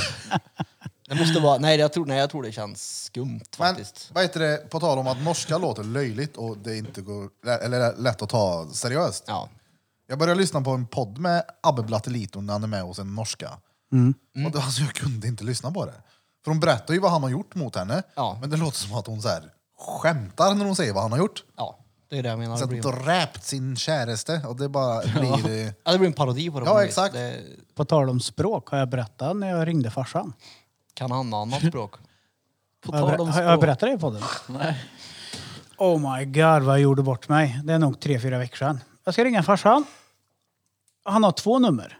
det måste vara, nej, jag tror, nej jag tror det känns skumt Men faktiskt. vad heter det, på tal om att norska låter löjligt och det inte går, eller lätt att ta seriöst. Ja. Jag började lyssna på en podd med Abbe Blattelito när han är med hos en norska. Mm. Och det, alltså, jag kunde inte lyssna på det. För hon berättar ju vad han har gjort mot henne, Ja. men det låter som att hon så här, skämtar när hon säger vad han har gjort. ja, det är det jag menar. Så Det att blir, dräpt sin käraste och det bara blir... eh, ja, det blir en parodi på det. Ja, på något vis. exakt. Det På tal om språk, har jag berättat när jag ringde farsan? kan handla om annat språk. På Har jag, tal ber- om har jag språk. berättat det i podden? Nej. Oh my god vad jag gjorde bort mig. Det är nog tre, fyra veckor sedan. Jag ska ringa farsan. Han har två nummer.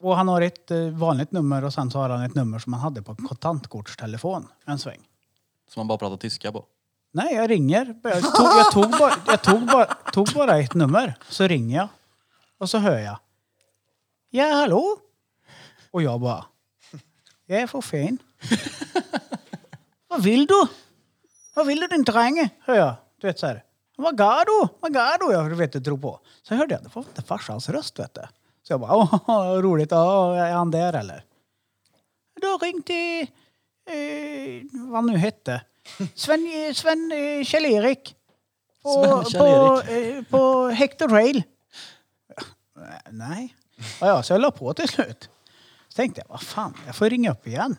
Och han har ett eh, vanligt nummer och sen så har han ett nummer som han hade på kontantkortstelefon en sväng. Som man bara pratar tyska på. Nej, jag ringer. Jag tog, jag tog, bara, jag tog, bara, tog bara ett nummer, så ringer jag. Och så hör jag. Ja, hallå? Och jag bara. Jag är för fin. Vad vill du? Vad vill du din dränge? Hör jag. Du vet så här. Vad gör du? Vad gör du? Jag du vet, jag drog på. Så hörde jag, det var inte farsans röst vet du. Så jag bara, åh, vad roligt. Åh, är han där eller? Du har ringt till, eh, vad han nu hette, Sven, eh, Sven eh, Kjell-Erik. På, Sven på, Kjell-Erik. eh, på Hector Rail. Nej. Ja, ja, så jag la på till slut. Så tänkte jag, vad fan, jag får ringa upp igen.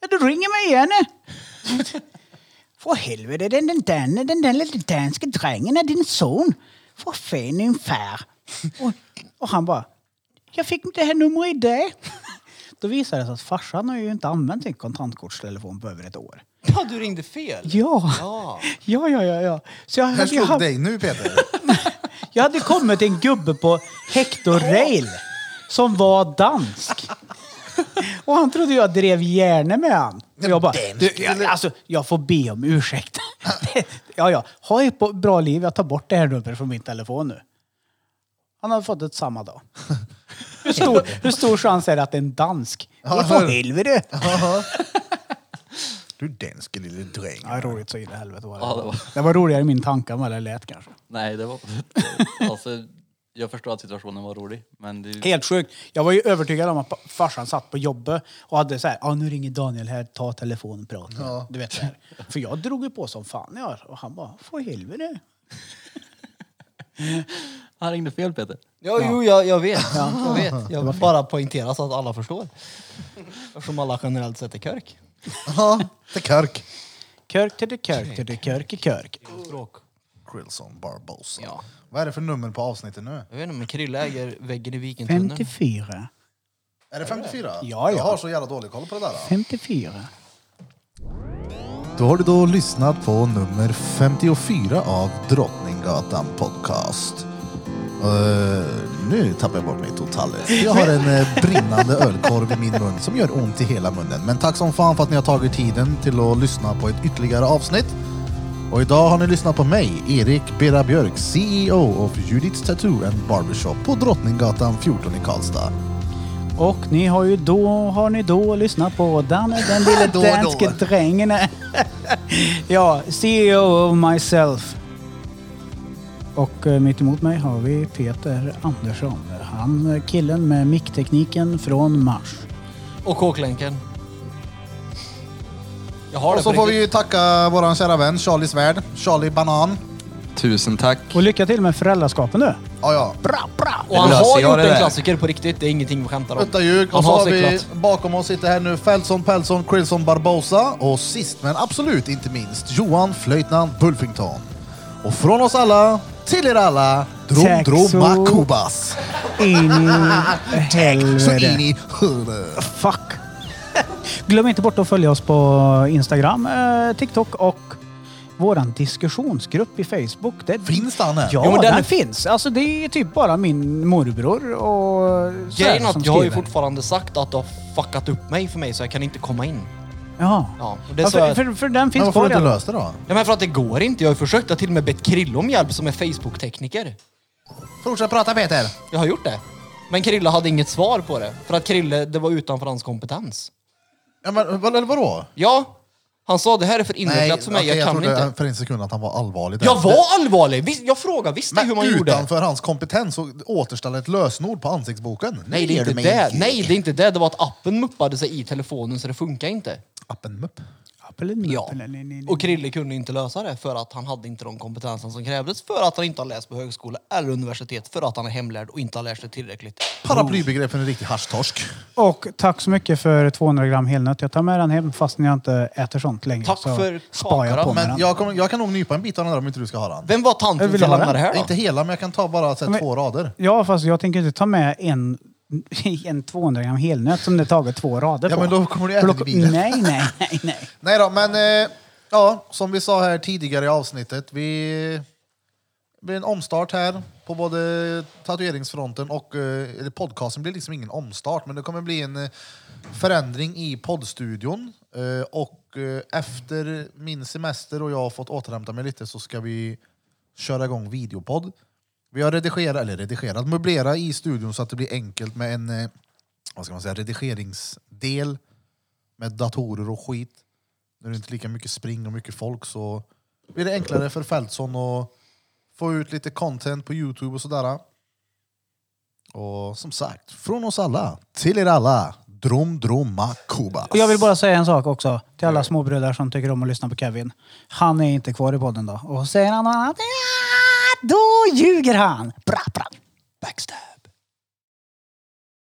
Ja, du ringer mig igen. eh. För helvete, den, den, den, den där lilla danske drängen är din son. För fan ungefär. Och, och han bara, jag fick inte det här numret idag. Då visade det sig att farsan har ju inte använt sin kontantkortstelefon på över ett år. Ja, du ringde fel. Ja, Ja. ja, ja, ja. ja. Så jag, Här hade, jag, slog hade, dig nu Peter. jag hade kommit till en gubbe på Hector Rail som var dansk. Och han trodde jag drev gärna med han. Och jag bara, du, jag, alltså, jag får be om ursäkt. ja, ja. Ha ett bo- bra liv. Jag tar bort det här numret från min telefon nu. Han hade fått ett samma dag. Hur stor, hur stor chans är det att det är en dansk? Vad för helvete! Du danske lille dräng. Ja, roligt så in i helvete var det. Ja, det var- det var roligare i min tanke än vad det lät kanske. Nej, det var... alltså, jag förstår att situationen var rolig, men det... Helt sjukt. Jag var ju övertygad om att pa- farsan satt på jobbet och hade så här, ah, nu ringer Daniel här, ta telefonen, prata. Du vet så här. För jag drog ju på som fan jag och han bara, för helvete. Han ringde fel Peter. Ja, jo, jag, jag vet. Jag vet. Jag vill bara poängtera så att alla förstår. Eftersom alla generellt sett är körk. Ja, det är Kirk. Körk till det körk till det körk i körk. Krillson Barbosa. Ja. Vad är det för nummer på avsnittet nu? Jag vet inte, men Krille äger väggen i Vikentunneln. 54. Är det 54? Ja, ja. Jag har så jävla dålig koll på det där. 54. Då har du då lyssnat på nummer 54 av Drottninggatan Podcast. Eh, nu tappar jag bort mig totalt. Jag har en eh, brinnande ölkorv i min mun som gör ont i hela munnen. Men tack som fan för att ni har tagit tiden till att lyssna på ett ytterligare avsnitt. Och idag har ni lyssnat på mig, Erik Bera Björk, CEO of Judith's Tattoo and Barbershop på Drottninggatan 14 i Karlstad. Och ni har ju då, har ni då lyssnat på Danne, den lille Då, då. danske drängen. ja, CEO of myself. Och eh, mitt emot mig har vi Peter Andersson. Han är killen med micktekniken från Mars. Och kåklänken. Jag har Och det så på får vi riktigt. ju tacka våran kära vän Charlie Svärd, Charlie Banan. Tusen tack. Och lycka till med föräldraskapen nu. Ja, ja. Bra, bra! Och han Det löser har jag gjort det en där. klassiker på riktigt. Det är ingenting vi skämtar om. Utta ljug. Han Och så har har vi cyklat. bakom oss sitter här nu Felson, Pelson, Krillson, Barbosa och sist men absolut inte minst Johan Flöjtnant Bulfington. Och från oss alla till er alla, Drom Tack så- Drom Makubas. In i Så in helvete. i huvudet. Fuck! Glöm inte bort att följa oss på Instagram, eh, TikTok och våran diskussionsgrupp i Facebook. Det Finns den här? Ja, Jo, men den, den- finns. Alltså det är typ bara min morbror och så här Grejen är som att jag har ju skriver. fortfarande sagt att du har fuckat upp mig för mig så jag kan inte komma in. Ja. Ja, och det ja sa för, jag... för, för den Men finns varför kvar har du redan. inte löst det då? Ja, men för att det går inte. Jag har ju försökt. Jag har till och med bett Krille om hjälp som är Facebook-tekniker. Fortsätt prata Peter. Jag har gjort det. Men Krille hade inget svar på det. För att Krille, det var utanför hans kompetens. Ja, men, vad- eller vadå? Ja, han sa det här är för invecklat för mig. okej, jag kan trodde inte. för en sekund att han var allvarlig. där. Jag var allvarlig! Visst, jag frågade visst Men hur man gjorde. utanför hans kompetens och återställa ett lösenord på ansiktsboken. Nej, det är inte det. Nej, det är inte det. Det var att appen muppade sig i telefonen så det funkar inte. Appen mupp. Appelin, Ja. appelin, nej, nej, nej. Och Krille kunde inte lösa det för att han hade inte de kompetensen som krävdes för att han inte har läst på högskola eller universitet för att han är hemlärd och inte har lärt sig tillräckligt. Paraplybegrepp för en riktig haschtorsk. Och tack så mycket för 200 gram helnöt. Jag tar med den hem fastän jag inte äter sånt längre. Tack så för spar jag kakan. på mig Men den. jag, kommer, jag kan nog nypa en bit av den där om inte du ska ha den. Vem var Jag tanten vill som ha lämnade det här då? Inte hela, men jag kan ta bara så här, Men- två rader. Ja, fast jag tänker inte ta med en, en 200 gram helnöt som det tagit två rader Ja, på. men då kommer du äta För då- det i bilen. Nej, nej, nej, nej. Nej då, men eh, ja, som vi sa här tidigare i avsnittet. Vi blir en omstart här på både tatueringsfronten och eh, eller podcasten blir liksom ingen omstart men det kommer bli en eh, förändring i poddstudion Eh, och eh, efter min semester och jag har fått återhämta mig lite så ska vi köra igång videopodd. Vi har redigerat, eller redigerat, möblerat i studion så att det blir enkelt med en eh, vad ska man säga, redigeringsdel med datorer och skit. När det inte är lika mycket spring och mycket folk så blir det enklare för Fältson att få ut lite content på Youtube och sådär. Och som sagt, från oss alla till er alla, Drom Droma Kubas. Och jag vill bara säga en sak också till alla småbröder som tycker om att lyssna på Kevin. Han är inte kvar i podden då. Och säger han något annat, ja, då ljuger han. Bra, bra. Backstab.